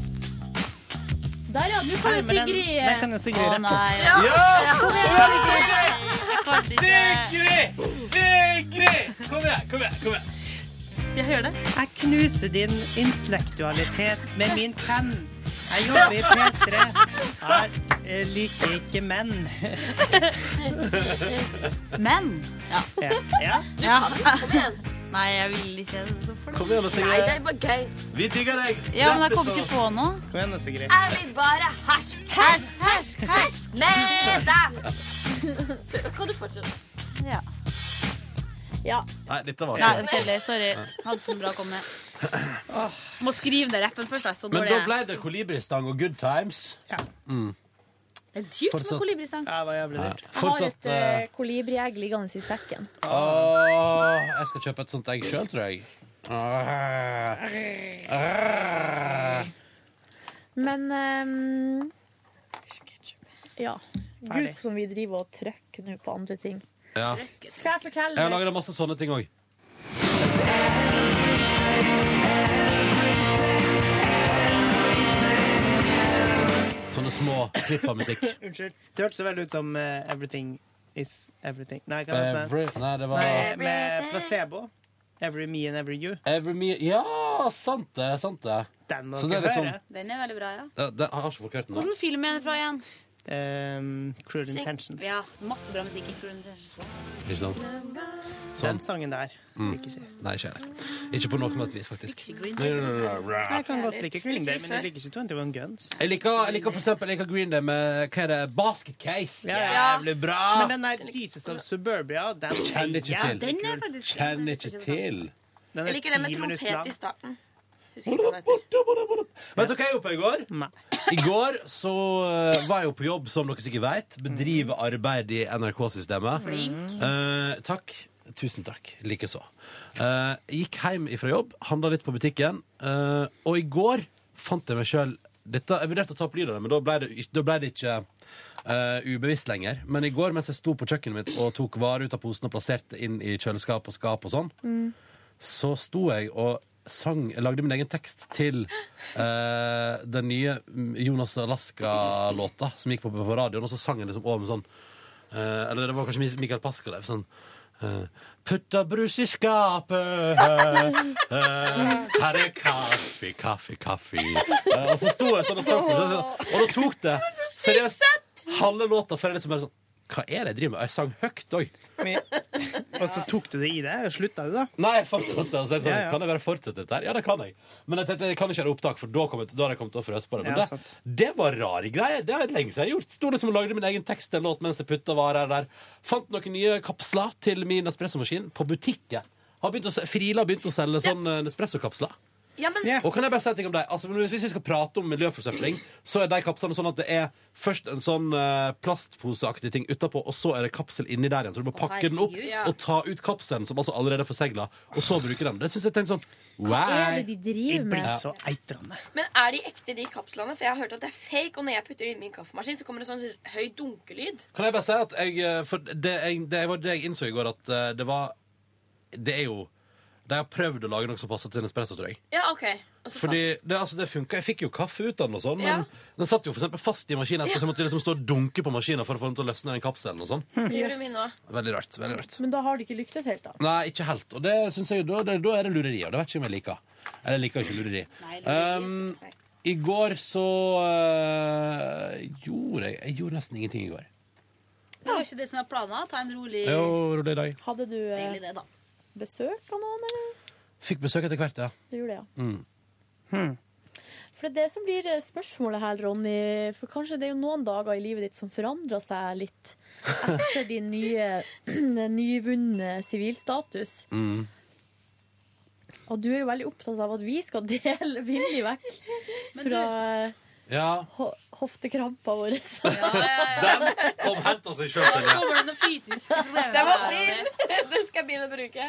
[SPEAKER 27] Der, ja. Nå kan
[SPEAKER 3] Nei,
[SPEAKER 27] jo
[SPEAKER 3] men den-
[SPEAKER 27] Sigrid
[SPEAKER 3] den kan jo Sigrid Å, rappe. nei.
[SPEAKER 27] Ja!
[SPEAKER 3] Ja!
[SPEAKER 27] Kom
[SPEAKER 3] Ja,
[SPEAKER 27] igjen, Sigrid!
[SPEAKER 3] Sigrid! Sigrid! Kom igjen, kom igjen. kom igjen. Jeg hører det. Jeg knuser din intellektualitet med min penn. Jeg jobber i P3. Jeg eh, liker ikke menn.
[SPEAKER 29] Men ja.
[SPEAKER 3] Ja. ja.
[SPEAKER 29] Nei, jeg vil ikke. Så får du-
[SPEAKER 2] Kom igjen og
[SPEAKER 17] Nei, det er bare gøy.
[SPEAKER 2] Vi digger deg.
[SPEAKER 29] Ja, men jeg kom ikke på noe.
[SPEAKER 3] Kom igjen, da, Sigrid.
[SPEAKER 17] Er vi bare hasj, hasj, hasj, hasj med deg? Så Kan du fortsette?
[SPEAKER 29] Ja.
[SPEAKER 27] ja.
[SPEAKER 2] Nei, dette var
[SPEAKER 29] Nei,
[SPEAKER 2] ikke
[SPEAKER 29] kjedelig. Sorry. Hadde så bra å komme med.
[SPEAKER 17] Må skrive ned rappen først. Jeg er så
[SPEAKER 2] Men
[SPEAKER 17] dårlig.
[SPEAKER 2] da ble det kolibristang og good times.
[SPEAKER 3] Ja.
[SPEAKER 2] Mm.
[SPEAKER 17] Det er dyrt
[SPEAKER 2] Fortsatt.
[SPEAKER 17] med kolibristang.
[SPEAKER 3] Ja, det var jævlig
[SPEAKER 2] dyrt.
[SPEAKER 27] Jeg har et
[SPEAKER 2] Fortsatt
[SPEAKER 27] uh,
[SPEAKER 2] eh,
[SPEAKER 27] kolibriegg liggende i sekken.
[SPEAKER 2] Åh, jeg skal kjøpe et sånt egg sjøl, tror jeg. Åh. Åh.
[SPEAKER 27] Men ehm, Ja. Gud,
[SPEAKER 2] Ferdig.
[SPEAKER 27] som vi driver og trykker nå på andre ting.
[SPEAKER 2] Ja.
[SPEAKER 27] Skal jeg
[SPEAKER 2] Jeg har
[SPEAKER 27] fortelle
[SPEAKER 2] laga masse sånne ting òg. Sånne små klipp av musikk.
[SPEAKER 3] Unnskyld. Det hørtes så veldig ut som eh, Everything is Everything. Nei, hva heter
[SPEAKER 2] Every,
[SPEAKER 3] det?
[SPEAKER 2] nei, det var
[SPEAKER 3] Med, med placebo. Every me and every you.
[SPEAKER 2] Every me Ja, sant det! sant det
[SPEAKER 3] Den må
[SPEAKER 2] Så det
[SPEAKER 3] dere
[SPEAKER 2] er liksom
[SPEAKER 3] høre.
[SPEAKER 17] Den er veldig bra, ja.
[SPEAKER 2] det, det, Jeg har ikke folk hørt den. da.
[SPEAKER 17] Hvordan film er den fra igjen?
[SPEAKER 3] Ehm, Cruel Intentions.
[SPEAKER 17] Ja, masse bra musikk i Cruel Intentions.
[SPEAKER 2] Ikke sant?
[SPEAKER 3] Den sangen der.
[SPEAKER 2] Mm.
[SPEAKER 3] Ikke si.
[SPEAKER 2] Nei, ikke jeg. Ikke på noe som helst vis, faktisk.
[SPEAKER 17] Ikke Green
[SPEAKER 2] Nei, nei, nei, nei, nei.
[SPEAKER 3] Jeg kan godt like Green Day,
[SPEAKER 2] Ikke
[SPEAKER 3] men jeg liker ikke 21 Guns.
[SPEAKER 2] Jeg liker, jeg liker for eksempel jeg liker Green Day med hva er det, Basket Case. Jævlig bra!
[SPEAKER 3] Men den der Jesus of Suburbia, den
[SPEAKER 2] Kjenner ikke til.
[SPEAKER 3] jævlig kul.
[SPEAKER 2] Kjenner ikke til.
[SPEAKER 3] Den er
[SPEAKER 5] Jeg liker den med
[SPEAKER 3] ti minutter
[SPEAKER 5] trompet
[SPEAKER 3] lang.
[SPEAKER 5] i starten.
[SPEAKER 2] Vet du hva jeg gjorde i går? I går så eh, var jeg jo på jobb, som dere sikkert vet. Bedriver arbeid i NRK-systemet.
[SPEAKER 5] Flink.
[SPEAKER 2] Eh, takk. Tusen takk. Likeså. Eh, gikk hjem ifra jobb, handla litt på butikken, eh, og i går fant jeg meg sjøl dette, Jeg vurderte å ta opp lyd av det, men da ble det, ikke- da ble det ikke eh, ubevisst lenger. Men i går mens jeg sto på kjøkkenet mitt og tok varer ut av posen og plasserte inn i kjøleskap og skap og sånn,
[SPEAKER 27] Mm.
[SPEAKER 2] så sto jeg og sang, jeg lagde min egen tekst til eh, den nye Jonas Alaska-låta som gikk på, på radioen, og så sang jeg liksom over med sånn eh, Eller det var kanskje Mi- Mikael Paskalev. Sånn eh, Putta brus i skapet, eh, eh, her er kaffe, kaffe, kaffe. Eh, og så sto jeg sånn og sang, for meg, og da tok det seriøst halve låta før jeg liksom bare sånn Hva er det jeg driver med? Og Jeg sang høyt òg.
[SPEAKER 3] Og så tok du det i deg, og slutta du da?
[SPEAKER 2] Nei, jeg fortsatte. Og så er det sånn,
[SPEAKER 3] Ja, ja.
[SPEAKER 2] Kan jeg bare fortsette dette her? Ja, det kan jeg. Men jeg tenkte, jeg kan ikke gjøre opptak, for da, kom jeg, da hadde jeg kommet til å frøse på det. Men
[SPEAKER 3] Ja,
[SPEAKER 2] det, det var rare greier. Det er lenge siden jeg har gjort. Sto liksom og lagde min egen tekst til en låt mens jeg putta varer der. Fant noen nye kapsler til min espressomaskin på butikken. Har begynt å, se- Frila har begynt å selge sånne espressokapsler.
[SPEAKER 5] Ja, men
[SPEAKER 2] Og kan jeg bare si en ting om deg? Altså, men hvis vi skal prate om miljøforsøpling, så er de kapslene sånn at det er først en sånn eh, plastposeaktig ting utapå, og så er det kapsel inni der igjen. Så du må
[SPEAKER 1] Å,
[SPEAKER 2] pakke den opp
[SPEAKER 1] herregud. Ja.
[SPEAKER 2] og ta ut kapselen, som altså allerede er forsegla, og så bruke den. Det syns jeg tenkte sånn wow.
[SPEAKER 5] driver
[SPEAKER 2] Ja.
[SPEAKER 3] eitrende.
[SPEAKER 5] Men er de ekte, de kapslene? For jeg har hørt at det er fake. Og når jeg putter det i min kaffemaskin, så kommer det sånn høy dunkelyd.
[SPEAKER 2] Kan jeg bare si at jeg, eh, for det, jeg, det var det jeg innså i går, at eh, det var Det er jo De har prøvd å lage noe som passer til en espresso, tror jeg.
[SPEAKER 5] Ja, OK. Og så
[SPEAKER 2] Fordi det, altså, det funka. Jeg fikk jo kaffe ut av den, og sånn,
[SPEAKER 5] Ja.
[SPEAKER 2] men den satt jo for eksempel fast i maskinen. etterpå, Så
[SPEAKER 5] Ja.
[SPEAKER 2] jeg måtte liksom stå og dunke på maskinen for å få den til å løsne den kapselen. og sånn.
[SPEAKER 5] Det gjorde vi nå.
[SPEAKER 2] Veldig rart. veldig rart.
[SPEAKER 4] Men da har du ikke lyktes helt, da.
[SPEAKER 2] Nei, ikke helt. Og det synes jeg, da, det, da er det lureri, og det vet ikke om jeg liker. Eller jeg liker ikke lureri. Um, I går så øh, gjorde jeg Jeg gjorde nesten ingenting i går.
[SPEAKER 17] Det var ikke det som var planen? Ta en rolig
[SPEAKER 2] Jo, rolig dag.
[SPEAKER 4] Hadde du eh,
[SPEAKER 17] Deilig det, da.
[SPEAKER 4] besøk av noen, eller?
[SPEAKER 2] Fikk besøk etter hvert, ja.
[SPEAKER 4] Du gjorde det, ja.
[SPEAKER 2] Mm.
[SPEAKER 5] Hm.
[SPEAKER 4] For det er det som blir eh, spørsmålet her, Ronny. For kanskje det er jo noen dager i livet ditt som forandrer seg litt etter din nye, nyvunne sivilstatus.
[SPEAKER 2] Mm.
[SPEAKER 4] Og du er jo veldig opptatt av at vi skal dele villig vekk fra eh,
[SPEAKER 2] Ja.
[SPEAKER 4] ho hoftekrampa våre.
[SPEAKER 2] Den kom helt av seg sjøl, Silje.
[SPEAKER 4] det noen fysiske
[SPEAKER 5] Det var fin! Den skal jeg begynne å bruke.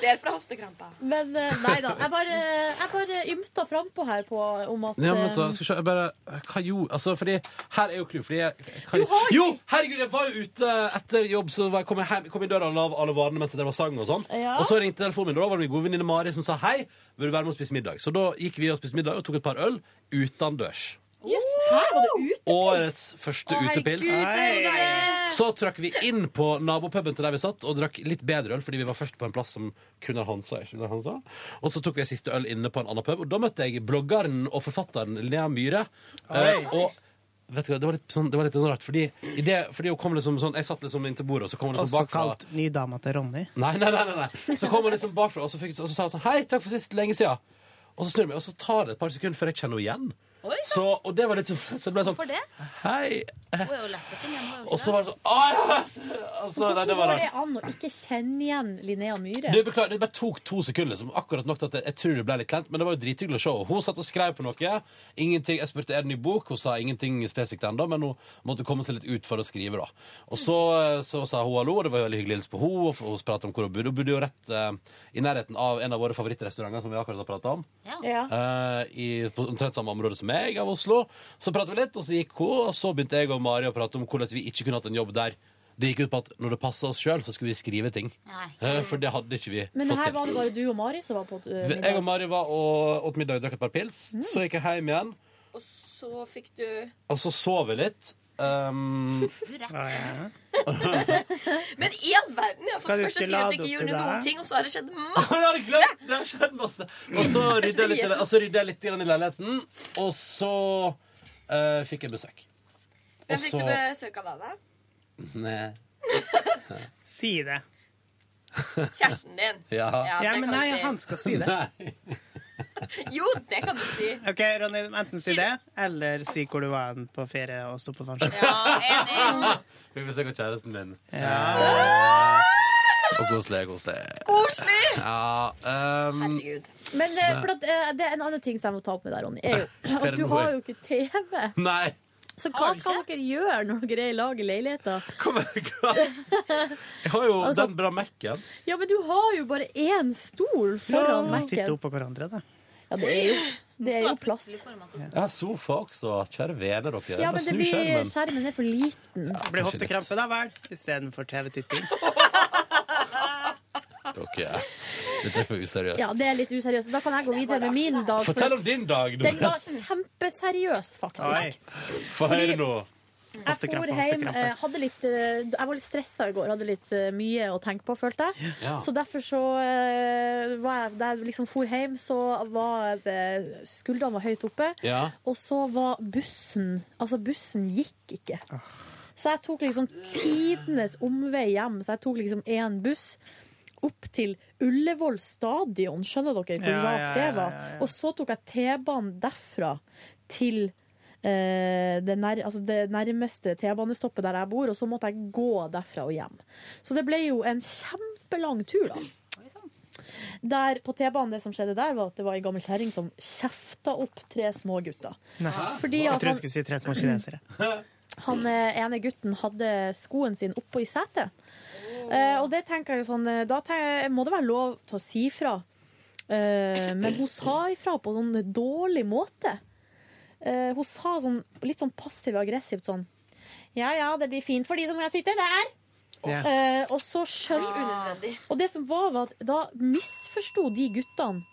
[SPEAKER 5] Det er fra hoftekrampa.
[SPEAKER 4] Men eh, nei da. Jeg bare, jeg bare ymta frampå her på om at
[SPEAKER 2] Ja, men vent da,
[SPEAKER 4] eh,
[SPEAKER 2] skal vi se, jeg bare Hva jo? Altså, fordi Her er jo clouet, fordi jeg, hva,
[SPEAKER 4] Du har-
[SPEAKER 2] Jo! Herregud, jeg var jo ute etter jobb, så var jeg kom, jeg hjem, kom i døra og la av alle varene mens det var sang og sånn.
[SPEAKER 1] Ja.
[SPEAKER 2] Og så ringte telefonen min, og da var det min gode venninne Mari som sa hei, vil du være med og spise middag? Så da gikk vi og spiste middag og tok et par øl utendørs.
[SPEAKER 4] Yes, her var det utepils!
[SPEAKER 2] Årets første
[SPEAKER 4] Å, herregud,
[SPEAKER 2] utepils.
[SPEAKER 4] så deilig!
[SPEAKER 2] Så trakk vi inn på nabopuben til der vi satt og drakk litt bedre øl, fordi vi var først på en plass som kunne Hansa. Ikke kunne Hansa. Og så tok vi siste øl inne på en annen pub, og da møtte jeg bloggeren og forfatteren Lea Myhre.
[SPEAKER 1] Oi.
[SPEAKER 2] Eh, og vet du hva, det var litt, sånn, det var litt sånn rart, fordi, i det, fordi hun kom liksom sånn Jeg satt liksom inntil bordet, og så kom hun liksom
[SPEAKER 3] Også
[SPEAKER 2] bakfra.
[SPEAKER 3] kalt nydama til Ronny.
[SPEAKER 2] Nei, nei, nei, nei, nei. Så kom hun liksom bakfra, og så, fikk, og så sa hun sånn Hei, takk for sist, lenge siden. Og så snur jeg meg, og så tar det et par sekunder før jeg kjenner henne igjen. Så, og det var litt sånn Så det ble sånn
[SPEAKER 17] Hvorfor det?
[SPEAKER 2] Hei.
[SPEAKER 17] Hun er jo lett å kjenne igjen. hun er jo
[SPEAKER 2] Og så
[SPEAKER 17] ikke
[SPEAKER 2] var det sånn «Åh!» altså, nei,
[SPEAKER 4] Hvordan
[SPEAKER 2] det var
[SPEAKER 4] går det
[SPEAKER 2] rart.
[SPEAKER 4] an å ikke kjenne igjen Linnea Myhre?
[SPEAKER 2] Du, beklager, det bare tok to sekunder, liksom. akkurat nok til at jeg, jeg tror det ble litt kleint. Men det var jo drithyggelig å se henne. Hun satt og skrev på noe. Ingenting, jeg spurte er det ny bok, hun sa ingenting spesifikt ennå, men hun måtte komme seg litt ut for å skrive. da. Og så, eh, så sa hun hallo, og det var veldig hyggelig å hilse på henne. Og f- hun pratet om hvor hun bodde. Hun bodde jo rett eh, i nærheten av en av våre favorittrestauranter som vi akkurat har prata om.
[SPEAKER 4] Ja.
[SPEAKER 2] Eh, i, på omtrent samme område som meg av Oslo. Så pratet vi litt, og så gikk hun, og så begynte jeg og Mari å prate om hvordan vi ikke kunne hatt en jobb der. Det gikk ut på at når det passa oss sjøl, så skulle vi skrive ting. Eh, for det hadde ikke vi
[SPEAKER 4] Men
[SPEAKER 2] fått
[SPEAKER 4] her
[SPEAKER 2] til.
[SPEAKER 4] var det bare du og Mari som var på uh,
[SPEAKER 2] Vi- Jeg og Mari var og åt middag og drakk et par pils.
[SPEAKER 4] Mm.
[SPEAKER 2] Så gikk jeg hjem igjen,
[SPEAKER 5] Og så fikk du
[SPEAKER 2] og så sov jeg litt. Um,
[SPEAKER 5] Men i all verden! Jeg har
[SPEAKER 2] Skal
[SPEAKER 5] fått
[SPEAKER 2] du ikke
[SPEAKER 5] først å
[SPEAKER 2] lade
[SPEAKER 5] si at du ikke
[SPEAKER 2] opp til
[SPEAKER 5] gjorde noen
[SPEAKER 2] deg?
[SPEAKER 5] ting, og så har det skjedd masse.
[SPEAKER 2] Jeg hadde glemt! Det har skjedd masse. og så rydda jeg litt, og så rydda jeg litt grann i leiligheten, og så eh, fikk jeg besøk. Og
[SPEAKER 5] Hvem fikk du
[SPEAKER 2] så
[SPEAKER 5] besøk av deg?
[SPEAKER 2] Nei.
[SPEAKER 3] Si det.
[SPEAKER 5] Kjæresten din?
[SPEAKER 2] Ja.
[SPEAKER 5] Ja,
[SPEAKER 3] Ja,
[SPEAKER 5] det
[SPEAKER 3] men
[SPEAKER 5] kan
[SPEAKER 3] nei,
[SPEAKER 5] du si.
[SPEAKER 3] han skal si det.
[SPEAKER 5] Jo, det kan du si.
[SPEAKER 3] OK, Ronny, enten si det, eller si hvor du var hen på ferie og sto på farsen.
[SPEAKER 2] Fikk besøk av kjæresten min.
[SPEAKER 3] Ja.
[SPEAKER 2] Og koselig, koselig.
[SPEAKER 5] Koselig!
[SPEAKER 2] Ja, um,
[SPEAKER 4] Men eh,
[SPEAKER 2] Så-
[SPEAKER 4] for at, eh, det er en annen ting som jeg må ta opp med deg, Ronny. Er jo
[SPEAKER 2] Fer
[SPEAKER 4] at du
[SPEAKER 2] med hår.
[SPEAKER 4] har jo ikke TV.
[SPEAKER 2] Nei.
[SPEAKER 4] Så hva skal dere gjøre når dere er i lag i leiligheten?
[SPEAKER 2] Jeg har jo
[SPEAKER 4] Altså-
[SPEAKER 2] den bra Mac-en.
[SPEAKER 4] Ja, men du har jo bare én stol foran
[SPEAKER 2] Ja.
[SPEAKER 4] Mac-en.
[SPEAKER 2] Sitte
[SPEAKER 3] Oppå hverandre, da.
[SPEAKER 4] Ja, det er jo, det er jo plass.
[SPEAKER 2] Jeg har sofa også. Kjære vene, dere.
[SPEAKER 4] Ja,
[SPEAKER 2] Bare
[SPEAKER 4] men det
[SPEAKER 2] snu
[SPEAKER 4] blir,
[SPEAKER 2] skjermen.
[SPEAKER 4] skjermen er for liten.
[SPEAKER 3] Det blir hoftekrampe, da vel, istedenfor TV-titting.
[SPEAKER 2] Dere. Dette er for useriøst.
[SPEAKER 4] Ja, det er litt useriøst. Da kan jeg gå videre med min dag. for
[SPEAKER 2] Fortell om din dag.
[SPEAKER 4] Den var kjempeseriøs, faktisk.
[SPEAKER 2] Få høre nå.
[SPEAKER 4] Jeg for hjem, eh, hadde litt, eh, jeg var litt stressa i går, hadde litt eh, mye å tenke på, følte jeg.
[SPEAKER 2] Ja.
[SPEAKER 4] Så derfor så eh, var jeg, da jeg liksom for hjem, så var det, skuldrene var høyt oppe.
[SPEAKER 2] Ja.
[SPEAKER 4] Og så var bussen, altså bussen gikk ikke. Så jeg tok liksom tidenes omvei hjem, så jeg tok liksom én buss. Opp til Ullevål stadion, skjønner dere hvor
[SPEAKER 1] Ja,
[SPEAKER 4] rart
[SPEAKER 1] ja,
[SPEAKER 4] det
[SPEAKER 1] ja,
[SPEAKER 4] var?
[SPEAKER 1] ja, ja.
[SPEAKER 4] Og så tok jeg T-banen derfra til eh, det, nær, altså det nærmeste T-banestoppet der jeg bor, og så måtte jeg gå derfra og hjem. Så det ble jo en kjempelang tur, da. Der på T-banen det som skjedde der, var at det var ei gammel kjerring som kjefta opp tre små gutter.
[SPEAKER 3] Nei.
[SPEAKER 4] Fordi
[SPEAKER 3] jeg
[SPEAKER 4] at
[SPEAKER 3] tror
[SPEAKER 4] han-
[SPEAKER 3] du skulle si tre små kinesere.
[SPEAKER 4] han eh, ene gutten hadde skoen sin oppå i setet. Eh, og det tenker jeg jo sånn eh, Da tenker jeg, må det være lov til å si fra. Eh, men hun sa ifra på en sånn dårlig måte. Eh, hun sa sånn litt sånn passiv-aggressivt sånn Ja ja, det blir fint for de som kan sitte der.
[SPEAKER 1] Ja.
[SPEAKER 4] Eh, og så skjønte Og det som var, var at da misforsto de guttene.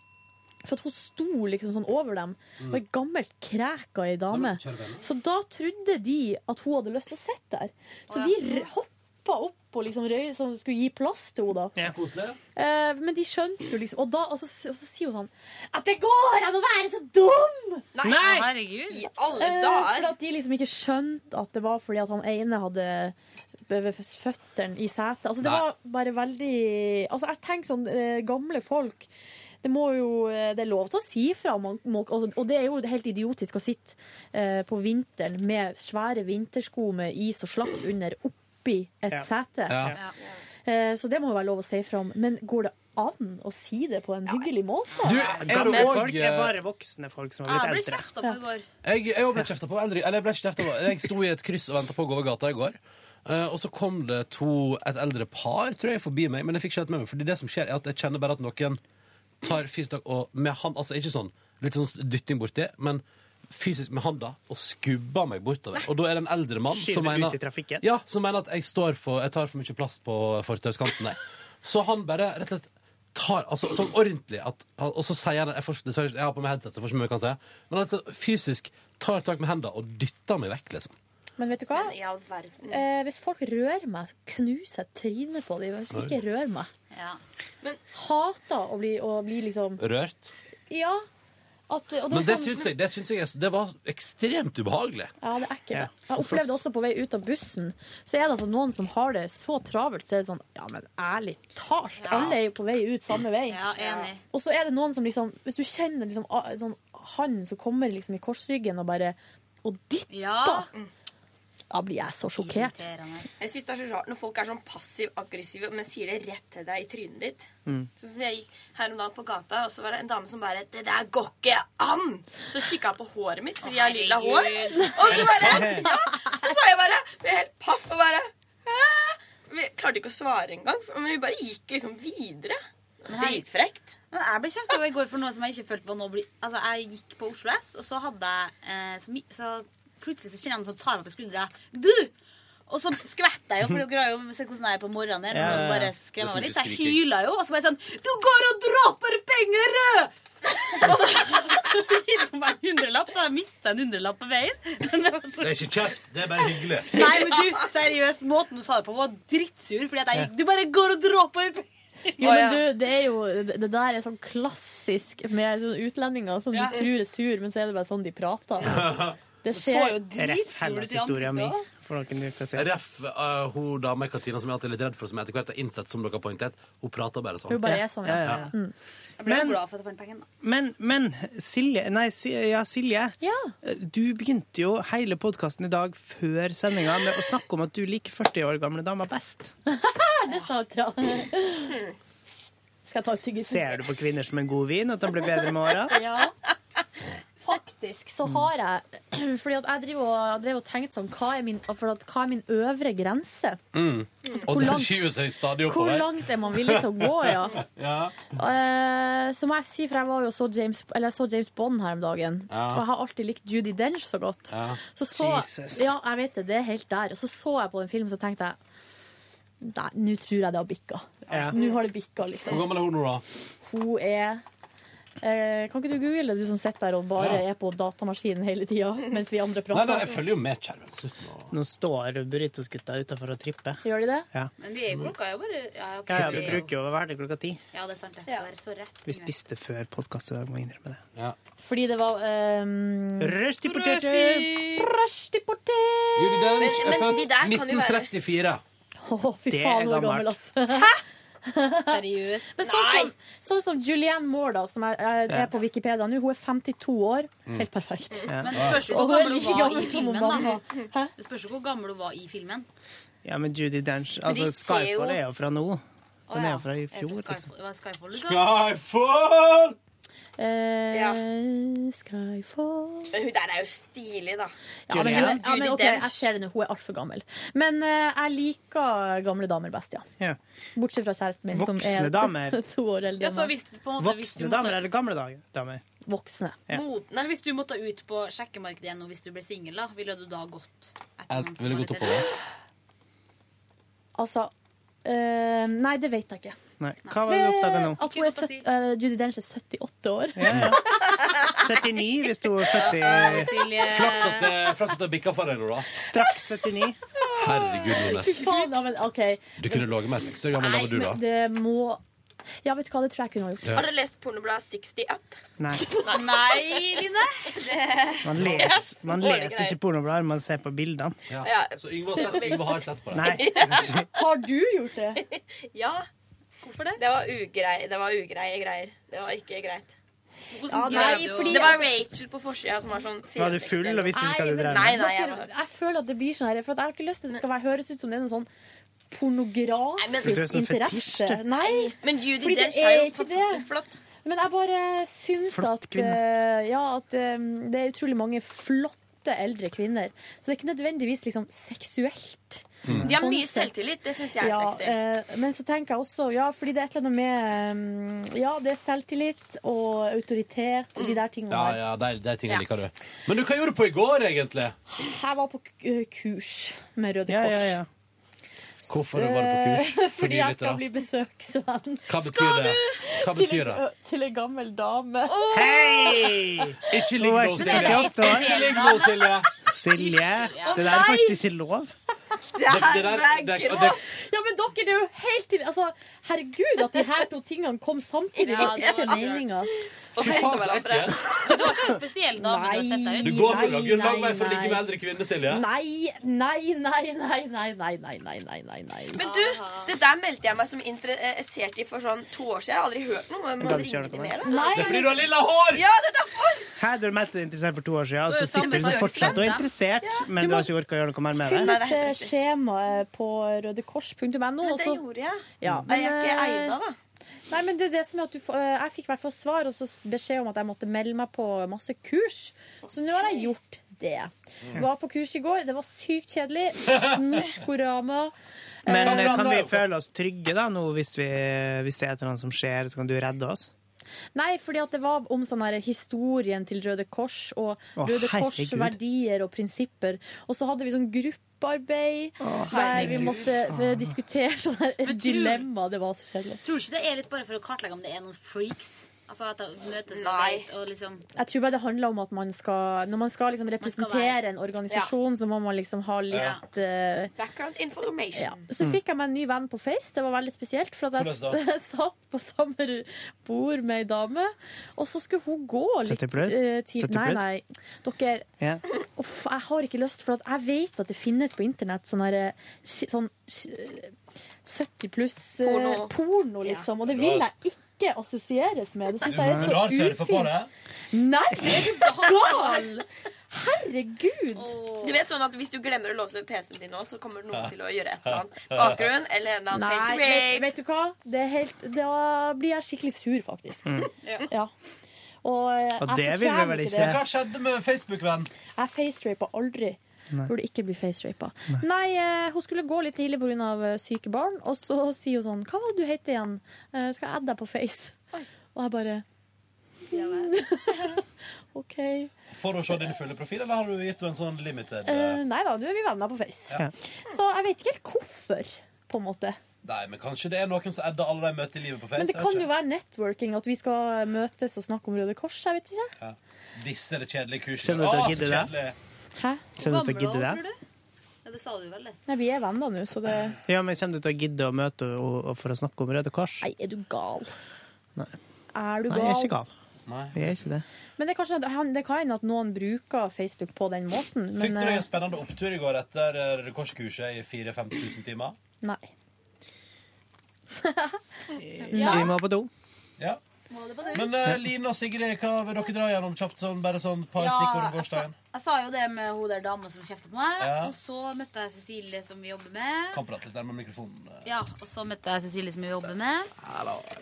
[SPEAKER 4] For at hun sto liksom sånn over dem.
[SPEAKER 1] Mm.
[SPEAKER 4] Og ei gammelt kræka ei dame. Så da trodde de at hun hadde lyst til å sitte der. Så de hoppa opp og liksom røy, som skulle gi plass til henne. da.
[SPEAKER 2] Koselig.
[SPEAKER 4] Eh, men de skjønte jo liksom Og, da, og, så, og så sier hun sånn At det går an å være så dum!
[SPEAKER 5] Nei, Nei! herregud. I alle
[SPEAKER 4] Eh,
[SPEAKER 5] dager.
[SPEAKER 4] For at de liksom ikke skjønte at det var fordi at han ene hadde be- føttene i setet. Altså, det
[SPEAKER 1] Nei.
[SPEAKER 4] var bare veldig Altså, jeg tenker sånn eh, Gamle folk det, må jo, eh, det er lov til å si fra, om man må, og og det er jo helt idiotisk å sitte eh, på vinteren med svære vintersko med is og slaps under oppi et
[SPEAKER 1] Ja.
[SPEAKER 4] sete.
[SPEAKER 1] Ja. Ja.
[SPEAKER 4] Eh, Så det må jo være lov å si fra om. Men går det an å si det på en hyggelig måte?
[SPEAKER 3] Gamle
[SPEAKER 2] også- eh,
[SPEAKER 3] folk er bare voksne folk som har blitt eldre.
[SPEAKER 2] Jeg, jeg ble kjefta på. Eldre, eller jeg ble ikke kjefta på. Jeg sto i et kryss og venta på å gå over gata i går. Eh, og så kom det to, et eldre par tror jeg, forbi meg, men jeg fikk ikke helt med meg. Fordi det som skjer er at jeg kjenner bare at noen tar fyrtak og med hand, altså ikke sånn litt sånn dytting borti, men fysisk med handa og skubber meg bortover. Og da er det en eldre mann
[SPEAKER 3] Skyver
[SPEAKER 2] som
[SPEAKER 3] ut
[SPEAKER 2] mener,
[SPEAKER 3] i trafikken.
[SPEAKER 2] ja, som mener at jeg, står for, jeg tar for mye plass på fortauskanten. der. Så han bare rett og slett tar altså, sånn ordentlig at, han- Og så sier han jeg, får, dessverre- jeg har på meg headset, så jeg får ikke med hva han sier. Men altså, fysisk tar tak med henda og dytter meg vekk, liksom.
[SPEAKER 4] Men vet du hva? Eh, hvis folk rører meg, så knuser jeg trynet på dem. Hvis de ikke rører meg. Men hater å bli, å bli liksom
[SPEAKER 2] Rørt.
[SPEAKER 4] Ja. At, og
[SPEAKER 2] Men det
[SPEAKER 4] sånn-
[SPEAKER 2] syns jeg, det, syns jeg er- det var ekstremt ubehagelig.
[SPEAKER 4] Ja, det er ekkelt.
[SPEAKER 2] Ja.
[SPEAKER 4] Jeg opplevde også på vei ut av bussen, så er det altså noen som har det så travelt, så er det sånn Ja, men ærlig talt, alle er jo på vei ut samme vei.
[SPEAKER 17] Ja, enig.
[SPEAKER 4] Og så er det noen som liksom Hvis du kjenner liksom ah, sånn han som kommer liksom i korsryggen og bare Og dytter! Da blir jeg så sjokkert.
[SPEAKER 5] Jeg synes det er så rart når folk er sånn passiv-aggressive, men sier det rett til deg i trynet ditt.
[SPEAKER 1] Mm.
[SPEAKER 5] Sånn som jeg gikk her om dagen på gata, og så var det en dame som bare 'Det der går ikke an!' Så kikka jeg på håret mitt, fordi jeg har lilla hår.
[SPEAKER 1] herregud.
[SPEAKER 5] Og
[SPEAKER 1] Er
[SPEAKER 5] så
[SPEAKER 1] det
[SPEAKER 5] bare
[SPEAKER 1] sant?
[SPEAKER 5] Ja! Så sa jeg bare Vi er helt paff og bare «Hæ?» Vi klarte ikke å svare engang, for- men vi bare gikk liksom videre.
[SPEAKER 17] Men her-
[SPEAKER 5] Dritfrekt.
[SPEAKER 17] Men jeg ble kjefta i går for noe som jeg ikke følte på nå. bli- Altså, jeg gikk på Oslo S, og så hadde jeg eh, så, mi- så plutselig så kjenner jeg noen som tar meg på skuldra. Du! Og så skvetter jeg jo, for dere har jo sett hvordan jeg er på morgenen. her,
[SPEAKER 1] Ja, ja, ja.
[SPEAKER 17] og
[SPEAKER 1] Det
[SPEAKER 17] bare
[SPEAKER 1] er
[SPEAKER 17] skremmer
[SPEAKER 1] som
[SPEAKER 17] meg litt,
[SPEAKER 1] du
[SPEAKER 17] Så jeg
[SPEAKER 1] skriker.
[SPEAKER 17] hyla jo, og så bare sånn Du går og dråper penger! Og så gir hun meg en hundrelapp, så jeg mista en hundrelapp på veien. Men det var så
[SPEAKER 2] Det er ikke kjeft, det er bare hyggelig.
[SPEAKER 17] Nei, men du, seriøst, måten du sa det på var dritsur, fordi at jeg gikk Du bare går og dråper
[SPEAKER 4] Jo, men du, det, er jo, det der er sånn klassisk med sånne utlendinger som
[SPEAKER 17] Ja.
[SPEAKER 4] du tror er sur, men så er det bare sånn de prater. Det
[SPEAKER 3] Du så
[SPEAKER 4] skjer
[SPEAKER 3] jo Rett Hellas historia mi. For noen uker siden.
[SPEAKER 2] Ref, eh, hun dama i kantina som jeg alltid er litt redd for, som jeg etter hvert har innsett, som dere har poengtert, hun prater bare sånn.
[SPEAKER 4] Hun bare er sånn, ja.
[SPEAKER 17] Jeg ble
[SPEAKER 3] Mm. Men-
[SPEAKER 17] jo glad for at jeg fant pengen, da.
[SPEAKER 3] Men, men Silje, nei, Si- ja, Silje du begynte jo hele podkasten i dag før sendinga med å snakke om at du liker 40 år gamle damer best.
[SPEAKER 4] det sa jeg til han. Skal jeg ta ut tyggisen?
[SPEAKER 3] Ser du på kvinner som en god vin, at de blir bedre med åra?
[SPEAKER 4] Ja. faktisk så har jeg Fordi at jeg driver og, drev og tenkte sånn hva er, min, for at, hva er min øvre grense?
[SPEAKER 2] Mm.
[SPEAKER 4] Altså, hvor
[SPEAKER 2] Og den
[SPEAKER 4] langt-
[SPEAKER 2] skyver seg stadig
[SPEAKER 4] Hvor
[SPEAKER 2] oppover.
[SPEAKER 4] langt er man villig til å gå, ja?
[SPEAKER 2] ja.
[SPEAKER 4] Eh, så må jeg si, for jeg, var jo så James, eller jeg så James Bond her om dagen.
[SPEAKER 2] Ja.
[SPEAKER 4] Og jeg har alltid likt Judy Dench så godt.
[SPEAKER 2] Ja.
[SPEAKER 4] Så så, ja, jeg vet det, det er helt der. Og så så jeg på den filmen, så tenkte jeg Nei, nå tror jeg det har bikka.
[SPEAKER 2] Ja.
[SPEAKER 4] Nå har det bikka,
[SPEAKER 2] Hvor
[SPEAKER 4] liksom.
[SPEAKER 2] gammel er hun nå, da?
[SPEAKER 4] Hun er eh, Kan ikke du google, du som sitter der og bare
[SPEAKER 2] Ja.
[SPEAKER 4] er på datamaskinen hele tida mens vi andre
[SPEAKER 2] Nei,
[SPEAKER 4] prater?
[SPEAKER 2] nei, jeg følger jo med, kjære venn. Slutt nå.
[SPEAKER 3] Nå står burritosgutta utafor og tripper.
[SPEAKER 4] Gjør de det?
[SPEAKER 3] Ja.
[SPEAKER 17] Men vi er jo klokka er jo bare Ja, ok,
[SPEAKER 3] Ja, ja,
[SPEAKER 17] vi er
[SPEAKER 3] vi
[SPEAKER 17] jo-
[SPEAKER 3] bruker jo å være der klokka ti.
[SPEAKER 17] ja det er sant. Det. Det er så rett.
[SPEAKER 3] Vi spiste før podkast i dag, må jeg innrømme det.
[SPEAKER 4] Fordi det var um,
[SPEAKER 3] Røsti poteter!
[SPEAKER 4] Røsti potet!
[SPEAKER 2] Judy Dench
[SPEAKER 4] Men-
[SPEAKER 2] er
[SPEAKER 4] men
[SPEAKER 2] født
[SPEAKER 4] de der kan jo være-
[SPEAKER 2] 1934.
[SPEAKER 4] Å, fy
[SPEAKER 2] Det er
[SPEAKER 4] faen, hvor
[SPEAKER 2] gammelt.
[SPEAKER 4] gammel, altså. Hæ?
[SPEAKER 17] Seriøst?
[SPEAKER 4] Men sånn som, sånn som Julianne Moore, da, som er, er
[SPEAKER 3] Ja.
[SPEAKER 4] er på Wikipedia nå, hun er 52 år.
[SPEAKER 3] Mm.
[SPEAKER 4] Helt perfekt.
[SPEAKER 3] Ja. Men
[SPEAKER 17] Det spørs jo
[SPEAKER 4] Og
[SPEAKER 17] hvor
[SPEAKER 4] hun er
[SPEAKER 17] gammel hun var
[SPEAKER 4] like
[SPEAKER 17] i
[SPEAKER 4] gammel som hun
[SPEAKER 17] filmen,
[SPEAKER 4] var
[SPEAKER 17] da.
[SPEAKER 4] nå. Hæ?
[SPEAKER 17] Det spørs jo hvor gammel hun var i filmen.
[SPEAKER 3] Ja, men Judy Dench
[SPEAKER 17] Men de
[SPEAKER 3] altså,
[SPEAKER 17] ser jo-
[SPEAKER 3] Skyfall er jo fra nå. Den er jo fra i
[SPEAKER 17] Er det
[SPEAKER 3] fjor.
[SPEAKER 17] Skyfall-
[SPEAKER 3] Liksom.
[SPEAKER 17] var det Skyfall, du sa?
[SPEAKER 2] Skyfall!
[SPEAKER 4] Eh, Skyfall
[SPEAKER 5] Hun der er jo stilig, da.
[SPEAKER 4] ja, men, hun, ja, men,
[SPEAKER 5] Judi
[SPEAKER 4] ok,
[SPEAKER 5] Dench.
[SPEAKER 4] Jeg ser det nå, hun er altfor gammel. Men eh, jeg liker gamle damer best, ja.
[SPEAKER 3] Ja.
[SPEAKER 4] Bortsett fra kjæresten min,
[SPEAKER 3] Voksne
[SPEAKER 4] som
[SPEAKER 3] damer.
[SPEAKER 4] er to år eldre
[SPEAKER 17] Ja, så
[SPEAKER 4] enn meg.
[SPEAKER 17] hvis, du på en måte, hvis du
[SPEAKER 3] Voksne damer eller gamle dag- damer?
[SPEAKER 4] Voksne.
[SPEAKER 3] Ja.
[SPEAKER 17] Mot, nei, hvis du måtte ut på sjekkemarkedet igjen nå hvis du ble singel, da, ville du da gått etter
[SPEAKER 2] Jeg
[SPEAKER 17] noen som
[SPEAKER 2] ville
[SPEAKER 17] var
[SPEAKER 2] gått
[SPEAKER 17] litt
[SPEAKER 2] oppover.
[SPEAKER 17] eldre?
[SPEAKER 4] Altså eh, Nei, det vet jeg ikke.
[SPEAKER 3] Nei. Hva var det du oppdaga nå?
[SPEAKER 4] Eh, At hun er søtt, eh, Judi Dench er 78 år.
[SPEAKER 3] Ja, ja. 79 hvis du er født i
[SPEAKER 2] Flaks at det- flaks at det bikka for deg nå, da.
[SPEAKER 3] Straks 79.
[SPEAKER 2] Herregud,
[SPEAKER 4] Fy
[SPEAKER 2] Nordnes.
[SPEAKER 4] faen, ja, men OK.
[SPEAKER 2] Du kunne ligget med 60 år gammel, da var du,
[SPEAKER 4] men
[SPEAKER 2] da.
[SPEAKER 4] det må Ja, vet du hva, det tror jeg kunne ha gjort.
[SPEAKER 2] Ja.
[SPEAKER 5] Har dere lest pornobladet 60 Up?
[SPEAKER 3] Nei.
[SPEAKER 5] Nei, Line.
[SPEAKER 3] Man leser, man leser ikke pornoblader, man ser på bildene.
[SPEAKER 5] Ja.
[SPEAKER 2] Så Yngve har sett- Yngve har sett på det.
[SPEAKER 3] Nei.
[SPEAKER 4] Har du gjort
[SPEAKER 5] det? Ja. Hvorfor det? Det var, ugrei, det var ugreie greier. Det var ikke greit.
[SPEAKER 4] Ja, nei, fordi- altså-
[SPEAKER 5] det var Rachel på forsida som var sånn
[SPEAKER 3] Var du full og visste ikke hva du
[SPEAKER 5] Nei,
[SPEAKER 3] drev
[SPEAKER 5] nei,
[SPEAKER 3] med?
[SPEAKER 5] nei, jeg
[SPEAKER 4] Dere-
[SPEAKER 5] var
[SPEAKER 4] jeg føler at det blir sånn her, for at jeg har ikke lyst til at det skal være, høres ut som det er noen sånn
[SPEAKER 5] men-
[SPEAKER 4] pornografisk
[SPEAKER 5] Du er sånn
[SPEAKER 4] interesse.
[SPEAKER 5] fetisj, du.
[SPEAKER 4] Nei,
[SPEAKER 5] Men Judi
[SPEAKER 4] fordi det
[SPEAKER 5] Dench er jo
[SPEAKER 4] ikke det.
[SPEAKER 5] fantastisk flott.
[SPEAKER 4] Men jeg bare syns
[SPEAKER 5] Flott
[SPEAKER 4] at, eh, ja, at eh, det er utrolig mange flotte eldre kvinner. Så det er ikke nødvendigvis liksom seksuelt.
[SPEAKER 3] Mm.
[SPEAKER 5] De har
[SPEAKER 4] Sånn
[SPEAKER 5] mye
[SPEAKER 4] sett.
[SPEAKER 5] selvtillit. Det syns jeg er
[SPEAKER 4] ja,
[SPEAKER 5] sexy.
[SPEAKER 4] eh, men så tenker jeg også, ja, fordi det er et eller annet med eh, Ja, det er selvtillit og autoritet, de der tingene
[SPEAKER 2] Ja,
[SPEAKER 4] der.
[SPEAKER 2] ja, de, de tingene
[SPEAKER 4] Ja.
[SPEAKER 2] liker du. Men du, hva gjorde du på i går, egentlig?
[SPEAKER 4] Jeg var på k- eh, kurs med Røde
[SPEAKER 2] Ja,
[SPEAKER 4] Kors. Eh,
[SPEAKER 2] ja, ja. Hvorfor var du på kurs?
[SPEAKER 4] Fordi,
[SPEAKER 2] Forny
[SPEAKER 4] jeg
[SPEAKER 2] litt,
[SPEAKER 4] skal
[SPEAKER 2] da.
[SPEAKER 4] bli besøksvenn.
[SPEAKER 2] Hva betyr det? Hva betyr
[SPEAKER 4] til,
[SPEAKER 2] det?
[SPEAKER 4] en- Til ei gammel dame.
[SPEAKER 3] Hei!
[SPEAKER 2] Ikke ligg nå,
[SPEAKER 3] Men er
[SPEAKER 2] Silje.
[SPEAKER 3] det spesielt,
[SPEAKER 2] Ikke ligg nå, Silje.
[SPEAKER 3] Silje, det der
[SPEAKER 4] Å,
[SPEAKER 3] er
[SPEAKER 4] nei!
[SPEAKER 3] faktisk ikke lov. det der- det- det-
[SPEAKER 4] Ja, men dere, det er jo helt til altså, Herregud, at de her to tingene kom samtidig.
[SPEAKER 17] Ja,
[SPEAKER 4] det er
[SPEAKER 17] det
[SPEAKER 4] ikke
[SPEAKER 17] var
[SPEAKER 4] meninga.
[SPEAKER 2] Fy faen, så ekkelt.
[SPEAKER 17] Du var ikke en spesiell dame du har sett deg ut.
[SPEAKER 2] Du går på
[SPEAKER 4] Nei,
[SPEAKER 2] Lagun lang
[SPEAKER 4] nei,
[SPEAKER 2] vei for å ligge med
[SPEAKER 4] nei.
[SPEAKER 2] eldre kvinner, Silje.
[SPEAKER 4] Nei, nei, nei, nei, nei, nei, nei, nei, nei, nei, nei.
[SPEAKER 5] Men du, det der meldte jeg meg som interessert i for sånn to år siden. Jeg har aldri hørt noe.
[SPEAKER 3] Kan
[SPEAKER 5] Men man
[SPEAKER 3] du ikke
[SPEAKER 5] ringer
[SPEAKER 3] gjøre
[SPEAKER 5] ikke
[SPEAKER 3] noe med
[SPEAKER 5] mer.
[SPEAKER 3] det?
[SPEAKER 5] da.
[SPEAKER 3] Det er fordi du har lilla hår!
[SPEAKER 5] Ja, det er derfor!
[SPEAKER 3] Her du meldte deg interessert for to år siden, og
[SPEAKER 4] Du er
[SPEAKER 3] så
[SPEAKER 4] sammen
[SPEAKER 3] sitter
[SPEAKER 4] med
[SPEAKER 3] du fortsatt og er
[SPEAKER 4] søkeren, da.
[SPEAKER 3] interessert, men
[SPEAKER 4] Du
[SPEAKER 3] du
[SPEAKER 4] må
[SPEAKER 3] har ikke orka å gjøre noe mer
[SPEAKER 4] Fyll
[SPEAKER 3] med
[SPEAKER 4] ut
[SPEAKER 3] det.
[SPEAKER 4] eh, skjemaet på rødekors.no.
[SPEAKER 5] Men det gjorde jeg.
[SPEAKER 4] Ja, eh,
[SPEAKER 5] Nei, jeg er ikke Eina, da.
[SPEAKER 4] Nei, men det er det som er at du får, eh, Jeg fikk i hvert fall svar og så beskjed om at jeg måtte melde meg på masse kurs. Så nå har jeg gjort det.
[SPEAKER 3] Mm.
[SPEAKER 4] Var på kurs i går. Det var sykt kjedelig. Snorkorama.
[SPEAKER 3] Men eh,
[SPEAKER 4] Eh,
[SPEAKER 3] kan vi føle oss trygge da nå, hvis, vi, hvis det er et eller annet som skjer, så kan du redde oss?
[SPEAKER 4] Nei, fordi at det var om sånn her historien til Røde Kors og
[SPEAKER 3] Å,
[SPEAKER 4] Røde Kors
[SPEAKER 3] herregud.
[SPEAKER 4] verdier og prinsipper. Og så hadde vi sånn gruppearbeid
[SPEAKER 17] Å,
[SPEAKER 4] der vi
[SPEAKER 17] herregud,
[SPEAKER 4] måtte
[SPEAKER 3] Ah.
[SPEAKER 4] eh, diskutere sånn her
[SPEAKER 17] Men tror-
[SPEAKER 4] dilemma. Det var så kjedelig.
[SPEAKER 17] Tror du ikke det er litt bare for å kartlegge om det er noen freaks? Altså at de møtes og, vet, og liksom
[SPEAKER 4] Jeg tror bare det handler om at man skal, når man skal liksom representere
[SPEAKER 17] være-
[SPEAKER 4] en organisasjon, så må man liksom ha litt eh,
[SPEAKER 5] Background
[SPEAKER 4] ja.
[SPEAKER 5] information.
[SPEAKER 4] Så fikk jeg meg en ny venn på Face. Det var veldig spesielt. For at jeg
[SPEAKER 5] Mm. Hvordan da?
[SPEAKER 4] satt på samme bord med ei dame, og så skulle hun gå litt
[SPEAKER 3] 70 pluss?
[SPEAKER 4] eh, tid-
[SPEAKER 3] 70
[SPEAKER 4] Nei,
[SPEAKER 3] pluss?
[SPEAKER 4] nei. Dere,
[SPEAKER 3] Ja.
[SPEAKER 4] uff, jeg har ikke lyst, for at jeg vet at det finnes på internett sånn herre sk- sånn sk- 70 pluss eh,
[SPEAKER 5] Porno.
[SPEAKER 4] porno, liksom. Og det vil jeg ikke assosieres med. Det syns jeg
[SPEAKER 2] Men rar
[SPEAKER 4] er så
[SPEAKER 2] surfer på det.
[SPEAKER 4] ufint. Nei, er du gal?! Herregud!
[SPEAKER 5] Du vet sånn at Hvis du glemmer å låse PC-en din nå, så kommer noen til å gjøre et eller annet bakgrunn. Eller en eller annen
[SPEAKER 4] Nei,
[SPEAKER 5] face
[SPEAKER 4] vet,
[SPEAKER 5] rape.
[SPEAKER 4] vet du hva? Det er helt, da blir jeg skikkelig sur, faktisk.
[SPEAKER 5] Mm.
[SPEAKER 4] Ja. Og, eh,
[SPEAKER 3] Og
[SPEAKER 4] jeg
[SPEAKER 3] det vil vi
[SPEAKER 4] fortjener
[SPEAKER 3] vel ikke.
[SPEAKER 4] det.
[SPEAKER 3] Hva
[SPEAKER 2] skjedde med Facebook-venn?
[SPEAKER 4] Jeg facerapa aldri.
[SPEAKER 3] Nei.
[SPEAKER 4] Burde ikke bli facerapa. Nei, eh, hun skulle gå litt tidlig pga. eh, syke barn, og så sier hun sånn Hva var det du heter igjen? Eh, skal jeg adde deg på Face? Og jeg bare "Mm." OK.
[SPEAKER 2] Får du se din fulle profil, eller har du gitt henne en sånn limited?
[SPEAKER 4] Eh, nei da, nå er vi venner på Face.
[SPEAKER 2] Ja.
[SPEAKER 4] Så jeg vet ikke helt hvorfor, på en måte.
[SPEAKER 2] Nei, men kanskje det er noen som edder alle de møter i livet på Face.
[SPEAKER 4] Men det
[SPEAKER 2] jeg
[SPEAKER 4] kan
[SPEAKER 2] vet
[SPEAKER 4] jo
[SPEAKER 2] ikke.
[SPEAKER 4] være networking, at vi skal møtes og snakke om Røde Kors. Jeg vet ikke.
[SPEAKER 2] Ja. Disse er det kjedelige kursene.
[SPEAKER 3] Kjenner
[SPEAKER 2] Å, så
[SPEAKER 3] du til å gidde det?
[SPEAKER 2] kjedelig.
[SPEAKER 4] Hæ?
[SPEAKER 3] Kjenner du til å gidde det?
[SPEAKER 17] Ja, det sa du vel, det.
[SPEAKER 4] Nei, vi er venner nå, så det
[SPEAKER 3] Ja, men Kommer du til å gidde å møte henne for å snakke om Røde Kors?
[SPEAKER 4] Nei, er du gal?
[SPEAKER 3] Nei,
[SPEAKER 4] Er du
[SPEAKER 3] Nei
[SPEAKER 4] gal?
[SPEAKER 3] jeg er ikke gal. Jeg er ikke det.
[SPEAKER 4] Men det, er kanskje, han- det kan hende at noen bruker Facebook på den måten.
[SPEAKER 2] Fikk
[SPEAKER 4] Men
[SPEAKER 2] du deg
[SPEAKER 4] eh,
[SPEAKER 2] en spennende opptur i går etter eh, Røde Kors-kurset i 4-5 tusen timer?
[SPEAKER 4] nei.
[SPEAKER 3] Vi må Eh, på do.
[SPEAKER 2] Ja. Men eh, Line og Sigrid, hva vil dere dra gjennom kjapt? Sånn, bare sånn par
[SPEAKER 17] Ja, altså-
[SPEAKER 2] stikkord om
[SPEAKER 17] jeg sa,
[SPEAKER 2] gårsdagen?
[SPEAKER 17] jeg sa jo det med hun der dama som kjefter på meg.
[SPEAKER 2] Ja.
[SPEAKER 17] Og så møtte jeg Cecilie, som vi jobber med.
[SPEAKER 2] Kan prate litt nærmere mikrofonen. eh.
[SPEAKER 17] Ja, og så møtte jeg Cecilie, som vi jobber med.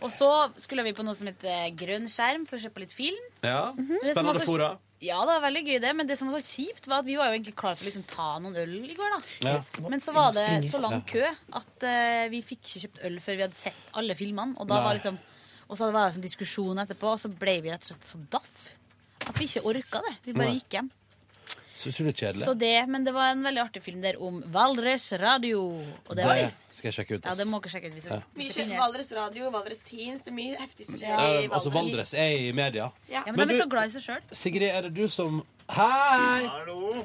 [SPEAKER 17] Og så skulle vi på noe som heter grønn skjerm, for å se på litt film.
[SPEAKER 2] Ja,
[SPEAKER 17] Det som var så- Ja, det var veldig gøy det, men det som var så kjipt, var at vi var jo egentlig klar for å liksom ta noen øl i går, da.
[SPEAKER 2] Ja.
[SPEAKER 17] Men så var det så lang kø at eh, vi fikk ikke kjøpt øl før vi hadde sett alle filmene. Og da var
[SPEAKER 2] Nei.
[SPEAKER 17] liksom Og så var det en sånn diskusjon etterpå, og så ble vi rett og slett så daff at vi ikke orka det. Vi bare
[SPEAKER 2] Nei.
[SPEAKER 17] gikk hjem.
[SPEAKER 2] Så utrolig kjedelig.
[SPEAKER 17] Så det, men det var en veldig artig film der om Valdres Radio. Og det,
[SPEAKER 2] Det skal jeg sjekke ut,
[SPEAKER 17] Ja,
[SPEAKER 2] ass.
[SPEAKER 17] det må dere sjekke ut. Hvis
[SPEAKER 2] Ja.
[SPEAKER 17] dere-
[SPEAKER 5] Mye
[SPEAKER 17] hvis det
[SPEAKER 5] skjer-
[SPEAKER 17] finnes.
[SPEAKER 5] Valdres Radio, Valdres Teens, det er mye heftig som skjer
[SPEAKER 2] Eh,
[SPEAKER 5] i
[SPEAKER 2] altså, Valdres er i media.
[SPEAKER 5] Ja.
[SPEAKER 17] Ja, men, de er så
[SPEAKER 2] du-
[SPEAKER 17] glad i seg sjøl.
[SPEAKER 2] Sigrid, er det du som Hei!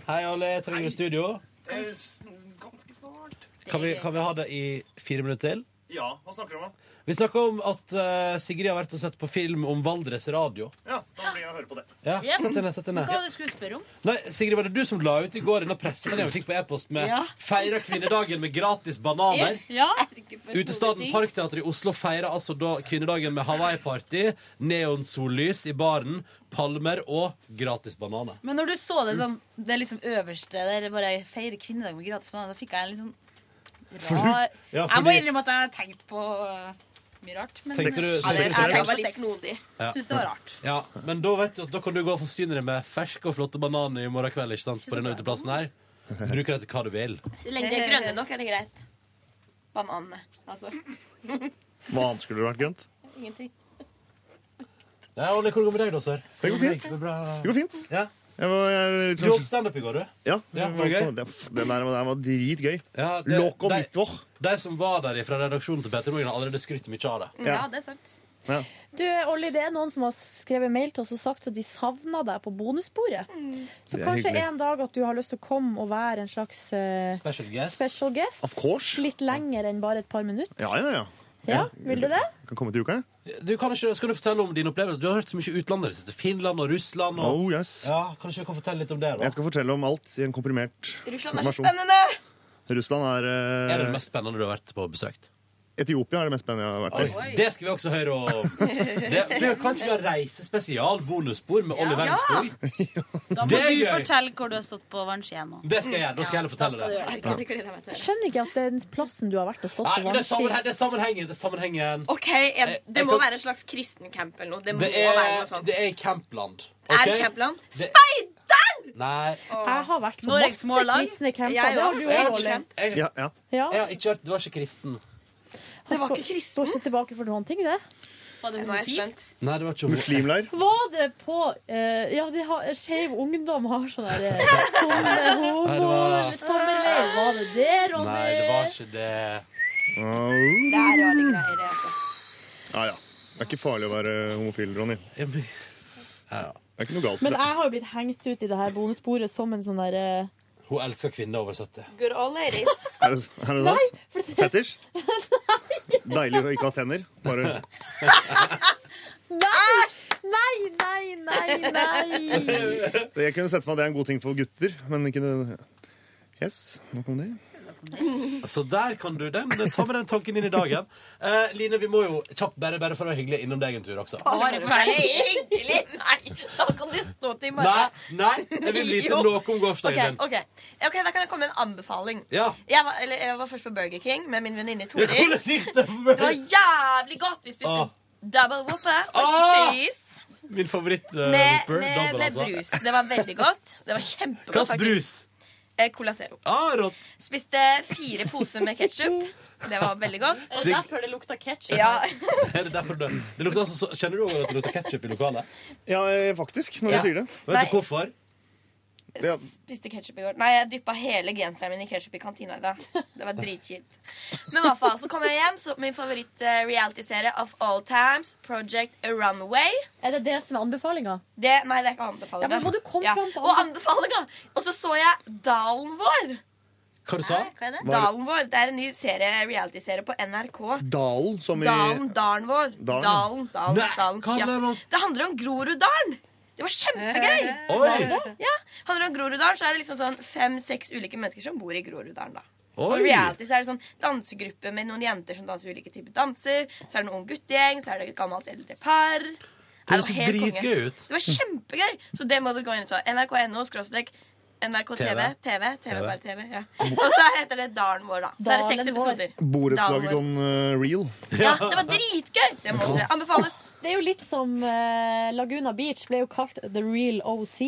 [SPEAKER 2] Hei, alle. Jeg trenger studio.
[SPEAKER 30] Ganske snart.
[SPEAKER 2] Kan vi, kan vi ha det i fire minutter til?
[SPEAKER 30] Ja, hva snakker du om? da?
[SPEAKER 2] Vi snakker om at eh, Sigrid har vært og sett på film om Valdres Radio.
[SPEAKER 30] Ja, da blir jeg å høre på det.
[SPEAKER 2] Ja, Sett deg ned. sett deg
[SPEAKER 17] Hva var
[SPEAKER 2] ned.
[SPEAKER 17] det du skulle spørre om?
[SPEAKER 2] Nei, Sigrid, var det du som la ut i går denne pressemeldingen vi fikk på e-post med
[SPEAKER 17] Ja.
[SPEAKER 2] 'Feira kvinnedagen med gratis bananer'?
[SPEAKER 17] Ja.
[SPEAKER 2] Utestaden Parkteatret i Oslo feirer altså da kvinnedagen med Hawaii-party, neonsollys i baren, palmer og gratis bananer.
[SPEAKER 17] Men når du så det som det liksom øverste der bare feire kvinnedag med gratis banan, da fikk jeg en litt sånn rar
[SPEAKER 2] Ja,
[SPEAKER 17] Jeg må
[SPEAKER 2] fordi-
[SPEAKER 17] innrømme at jeg har tenkt på eh, mye rart. Men
[SPEAKER 2] Tenkte du-
[SPEAKER 17] Ja, det-
[SPEAKER 2] tenkte du
[SPEAKER 17] jeg
[SPEAKER 2] selv?
[SPEAKER 17] tenkte
[SPEAKER 2] Det var
[SPEAKER 17] på
[SPEAKER 2] litt
[SPEAKER 17] sex.
[SPEAKER 5] snodig.
[SPEAKER 2] Ja.
[SPEAKER 17] Syns det var rart.
[SPEAKER 2] Ja, Men da vet du at da kan du gå og forsyne deg med ferske og flotte bananer i morgen kveld. ikke sant, på denne uteplassen her. Bruker det til hva du vil.
[SPEAKER 5] Så lenge de er grønne nok, er det greit. Bananene, altså.
[SPEAKER 30] Hva annet skulle det vært grønt?
[SPEAKER 5] Ingenting.
[SPEAKER 2] Ja, Olli, hvordan går det med deg, da, sør?
[SPEAKER 30] Det går fint.
[SPEAKER 2] bra.
[SPEAKER 30] Det går fint.
[SPEAKER 2] Ja.
[SPEAKER 30] Jeg var, jeg,
[SPEAKER 2] Du holdt standup i går, du.
[SPEAKER 30] Ja,
[SPEAKER 2] Ja,
[SPEAKER 30] jeg
[SPEAKER 2] var det
[SPEAKER 30] på-
[SPEAKER 2] gøy?
[SPEAKER 30] det, f- den der, den der var dritgøy.
[SPEAKER 2] Ja, det-
[SPEAKER 30] Loco
[SPEAKER 2] de-
[SPEAKER 30] mitt vår.
[SPEAKER 2] De som var der fra redaksjonen til Petter Morgen, har allerede skrytt mye av det.
[SPEAKER 4] Mm, Ja.
[SPEAKER 17] Mm, det er sant.
[SPEAKER 30] Ja.
[SPEAKER 4] Du, Olli, det er noen som har skrevet mail til oss og sagt at de savna deg på bonusbordet.
[SPEAKER 17] Mm.
[SPEAKER 4] Så
[SPEAKER 30] Det er
[SPEAKER 4] kanskje
[SPEAKER 30] hyggelig.
[SPEAKER 4] en dag at du har lyst til å komme og være en slags eh,
[SPEAKER 2] Special guest.
[SPEAKER 4] special guest.
[SPEAKER 30] Of course.
[SPEAKER 4] Litt lenger enn bare et par minutter.
[SPEAKER 30] Ja, ja, ja.
[SPEAKER 4] Ja, vil du det?
[SPEAKER 30] Jeg kan komme til uka, jeg.
[SPEAKER 2] Du kan ikke, skal du fortelle om din opplevelse? Du har hørt så mye utlandet. det siste. Finland og Russland. Og...
[SPEAKER 30] Oh, yes.
[SPEAKER 2] Ja, Kanskje du kan fortelle litt om det? da?
[SPEAKER 30] Jeg skal fortelle om alt i en komprimert
[SPEAKER 5] Russland er så
[SPEAKER 30] versjon.
[SPEAKER 5] spennende!
[SPEAKER 30] Russland er eh,
[SPEAKER 2] Er det det mest spennende du har vært på besøkt?
[SPEAKER 30] Etiopia er det mest spennende jeg har vært på.
[SPEAKER 2] Det skal vi også høre om. Det blir kanskje vi har reisespesial bonusspor med Olli Wermskog.
[SPEAKER 17] Da må
[SPEAKER 2] Det er
[SPEAKER 17] du
[SPEAKER 2] gøy.
[SPEAKER 17] fortelle hvor du har stått på vannski nå.
[SPEAKER 2] Det skal jeg gjøre. Da skal jeg heller fortelle det. Ja.
[SPEAKER 4] Jeg skjønner ikke at den plassen du har vært og stått
[SPEAKER 2] Nei,
[SPEAKER 4] på
[SPEAKER 2] men det er,
[SPEAKER 4] vannski
[SPEAKER 2] sammenhe det er sammenhengen. Det er, sammenhengen.
[SPEAKER 5] OK, jeg, det
[SPEAKER 2] Eh, jeg
[SPEAKER 5] må
[SPEAKER 2] kan-
[SPEAKER 5] være en slags kristen camp eller noe. Det må
[SPEAKER 2] Det er,
[SPEAKER 5] være noe sånt.
[SPEAKER 2] det er i Campland.
[SPEAKER 5] Er det
[SPEAKER 2] ok?
[SPEAKER 5] campland?
[SPEAKER 2] Det-
[SPEAKER 5] Speideren!
[SPEAKER 2] Nei.
[SPEAKER 4] Jeg har vært på
[SPEAKER 5] Norges
[SPEAKER 4] masse
[SPEAKER 5] smålag.
[SPEAKER 4] kristne camper.
[SPEAKER 5] Jeg
[SPEAKER 4] Det har
[SPEAKER 5] også.
[SPEAKER 4] du
[SPEAKER 5] Jeg
[SPEAKER 4] også,
[SPEAKER 5] har
[SPEAKER 4] Olli.
[SPEAKER 5] ikke
[SPEAKER 30] Ja, ja.
[SPEAKER 2] Jeg har ikke vært, du var ikke kristen.
[SPEAKER 4] Det var ikke kristen. Står ikke tilbake for noen ting, det.
[SPEAKER 17] Var det
[SPEAKER 5] homofil?
[SPEAKER 2] Nei, det var ikke
[SPEAKER 30] Muslimleir.
[SPEAKER 4] Var det på eh, Ja, de har, Skeiv Ungdom har sånn der eh, sånn, eh,
[SPEAKER 2] Nei, det
[SPEAKER 4] homo
[SPEAKER 2] var-
[SPEAKER 4] sommerleir. Var det det, Ronny?
[SPEAKER 2] Nei, det var ikke det.
[SPEAKER 5] Det er rare greier, det. altså.
[SPEAKER 30] Ja, ja. Det er ikke farlig å være homofil, Ronny. Det er ikke noe galt med
[SPEAKER 4] Men
[SPEAKER 30] det.
[SPEAKER 4] jeg har jo blitt hengt ut i det her bonussporet som en sånn derre
[SPEAKER 2] Hun elsker kvinner over 70.
[SPEAKER 5] Good old ladies.
[SPEAKER 30] Er det, er det
[SPEAKER 4] Nei,
[SPEAKER 30] sant? Fetisj? Deilig å ikke ha tenner. Bare
[SPEAKER 4] Nei! Nei, nei, nei, nei!
[SPEAKER 30] Det- Jeg kunne sett for meg at det er en god ting for gutter, men ikke det. Yes, nok om det.
[SPEAKER 2] Så der kan du den, ta med den tanken inn i dagen. Eh, Line, vi må jo kjapt bare, bare for å være hyggelig innom deg en tur også.
[SPEAKER 5] Bare for å være hyggelig! Nei, da kan du stå til i
[SPEAKER 2] Nei,
[SPEAKER 5] morgen.
[SPEAKER 2] nei, jeg vil vite
[SPEAKER 5] Jo.
[SPEAKER 2] noe om gårsdagen
[SPEAKER 5] Ok, ok. ok, Da kan jeg komme med en anbefaling.
[SPEAKER 2] Ja.
[SPEAKER 5] Jeg, var, eller, jeg var først på Burger King med min venninne
[SPEAKER 2] din. Ja,
[SPEAKER 5] Toril.
[SPEAKER 2] hvordan gikk det?
[SPEAKER 5] Det var jævlig godt. Vi spiste
[SPEAKER 2] Åh.
[SPEAKER 5] double whopper og
[SPEAKER 2] Åh!
[SPEAKER 5] cheese.
[SPEAKER 2] Min favoritt uh,
[SPEAKER 5] Med,
[SPEAKER 2] Whopper.
[SPEAKER 5] med,
[SPEAKER 2] Double,
[SPEAKER 5] med
[SPEAKER 2] altså.
[SPEAKER 5] brus. Det var veldig godt. Det var kjempegodt.
[SPEAKER 2] Hva slags
[SPEAKER 5] faktisk.
[SPEAKER 2] brus?
[SPEAKER 5] Eh, Cola Zero.
[SPEAKER 2] Ah, rått.
[SPEAKER 5] Spiste fire poser med ketsjup. Det var veldig godt.
[SPEAKER 2] Er det derfor
[SPEAKER 5] det lukta ketsjup? Ja.
[SPEAKER 2] Er det derfor det, det lukter altså, så- Kjenner du også at det lukter ketsjup i lokalet?
[SPEAKER 30] Ja, eh, faktisk, når
[SPEAKER 5] Ja.
[SPEAKER 30] du sier det.
[SPEAKER 5] Vet du Nei.
[SPEAKER 2] hvorfor?
[SPEAKER 30] Ja,
[SPEAKER 5] Spiste ketsjup i går. Nei, jeg dyppa hele genseren min i ketsjup i kantina i dag. Det var dritkjipt. Men i hvert fall, så kom jeg hjem, så min favoritt-realityserie of all times, Project Runway. Er det det som er anbefalinga? nei, det er ikke anbefalinga.
[SPEAKER 4] Ja, men må du komme fram til
[SPEAKER 5] Og anbefalinga! Og så så jeg Dalen vår.
[SPEAKER 2] Hva du sa
[SPEAKER 5] Hva er det?
[SPEAKER 30] Hva er det?
[SPEAKER 5] Dalen vår. Det er en ny serie, reality-serie på NRK.
[SPEAKER 30] Dalen, som i
[SPEAKER 5] Dalen, dalen vår.
[SPEAKER 30] Dalen.
[SPEAKER 5] Dalen, dalen, dalen.
[SPEAKER 30] Nei, hva handler det
[SPEAKER 5] ja. Det handler om Groruddalen! Det var kjempegøy!
[SPEAKER 2] Oi.
[SPEAKER 5] Ja, handler om Groruddalen, så er det liksom sånn fem-seks ulike mennesker som bor i Groruddalen, da. Og
[SPEAKER 2] Oi.
[SPEAKER 5] reality så er det sånn dansegruppe med noen jenter som danser ulike typer danser. Så er det en ung guttegjeng, så er det et gammelt eldre par. Nei,
[SPEAKER 2] Det
[SPEAKER 5] var
[SPEAKER 2] så
[SPEAKER 5] helt konge.
[SPEAKER 2] dritgøy ut.
[SPEAKER 5] Det var kjempegøy! Så det må dere gå inn og se. NRK.no skråstrek NRK
[SPEAKER 30] TV.
[SPEAKER 5] TV. TV, TV,
[SPEAKER 30] TV.
[SPEAKER 5] bare TV. ja. Og så heter det Dalen vår, da. Så er det seks
[SPEAKER 4] Dalen vår.
[SPEAKER 5] episoder. Dalen
[SPEAKER 30] borettslaget
[SPEAKER 5] vår.
[SPEAKER 30] gone eh, real.
[SPEAKER 5] Ja, det var dritgøy! Det må dere anbefales.
[SPEAKER 4] Det er jo litt som eh, Laguna Beach ble jo kalt The Real OC.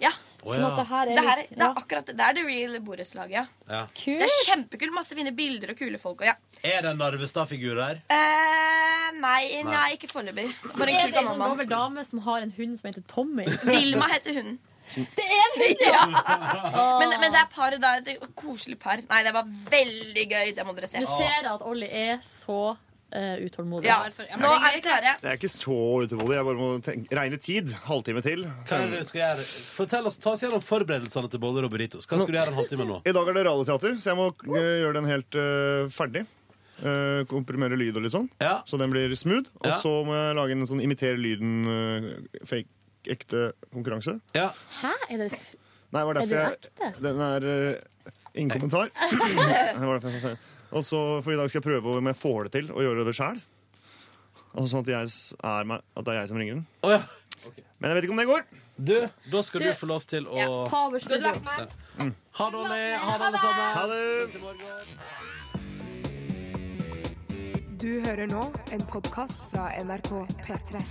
[SPEAKER 5] Ja.
[SPEAKER 4] Å, Sånn at ja. det her er
[SPEAKER 5] det, her,
[SPEAKER 4] litt-
[SPEAKER 5] det er akkurat det. Det er det real borettslaget, ja.
[SPEAKER 2] Ja.
[SPEAKER 5] Det er kjempekult. Masse fine bilder og kule folk. Og ja.
[SPEAKER 2] Er det en Narvestad-figur der?
[SPEAKER 5] Eh, nei, nei,
[SPEAKER 2] Nei.
[SPEAKER 5] ikke foreløpig.
[SPEAKER 4] Er
[SPEAKER 5] Bare
[SPEAKER 4] det
[SPEAKER 5] en
[SPEAKER 4] en
[SPEAKER 5] kul gammel
[SPEAKER 4] sånn gammel
[SPEAKER 5] mann.
[SPEAKER 4] dame som har en hund som heter Tommy?
[SPEAKER 5] Vilma heter hunden.
[SPEAKER 4] Det er en hund, ja!
[SPEAKER 5] Men, men det er paret da. Et koselig par. Nei, det var veldig gøy. Det må dere se.
[SPEAKER 4] Du ser jeg at Olli er så eh, utålmodig.
[SPEAKER 5] Ja, nå er vi klare.
[SPEAKER 30] Jeg er ikke så utålmodig. Jeg bare må tenke, regne tid. Halvtime til.
[SPEAKER 2] Hva er det du skal gjøre? Fortell oss, Ta oss gjennom forberedelsene til boller og burritos. Hva skal du gjøre en halvtime nå?
[SPEAKER 30] I dag er det radioteater, så jeg må eh, gjøre den helt eh, ferdig. Eh, komprimere lyd og litt sånn, så den blir smooth. Og
[SPEAKER 2] Ja.
[SPEAKER 30] så må jeg lage en sånn imitere eh, lyden-fake-ekte-konkurranse.
[SPEAKER 4] Hæ? Er det
[SPEAKER 30] Nei, det var
[SPEAKER 4] Er
[SPEAKER 30] derfor
[SPEAKER 4] det
[SPEAKER 30] jeg Den er eh, Ingen kommentar. Det var derfor jeg sa det. Og så, for i dag skal jeg prøve om jeg får det til å gjøre det sjæl. Altså sånn at, jeg s- er meg, at det er jeg som ringer den. Men jeg vet ikke om det går.
[SPEAKER 2] Du, da skal du få lov til å
[SPEAKER 4] Ta over studioet.
[SPEAKER 2] Mm. Ha det, Olli. Ha det, alle sammen. Ha det.
[SPEAKER 1] Du hører nå en podkast fra NRK P3.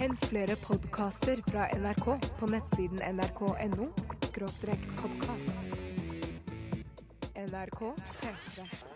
[SPEAKER 1] Hent flere podkaster fra NRK på nettsiden nrk.no podkast. NRK P3.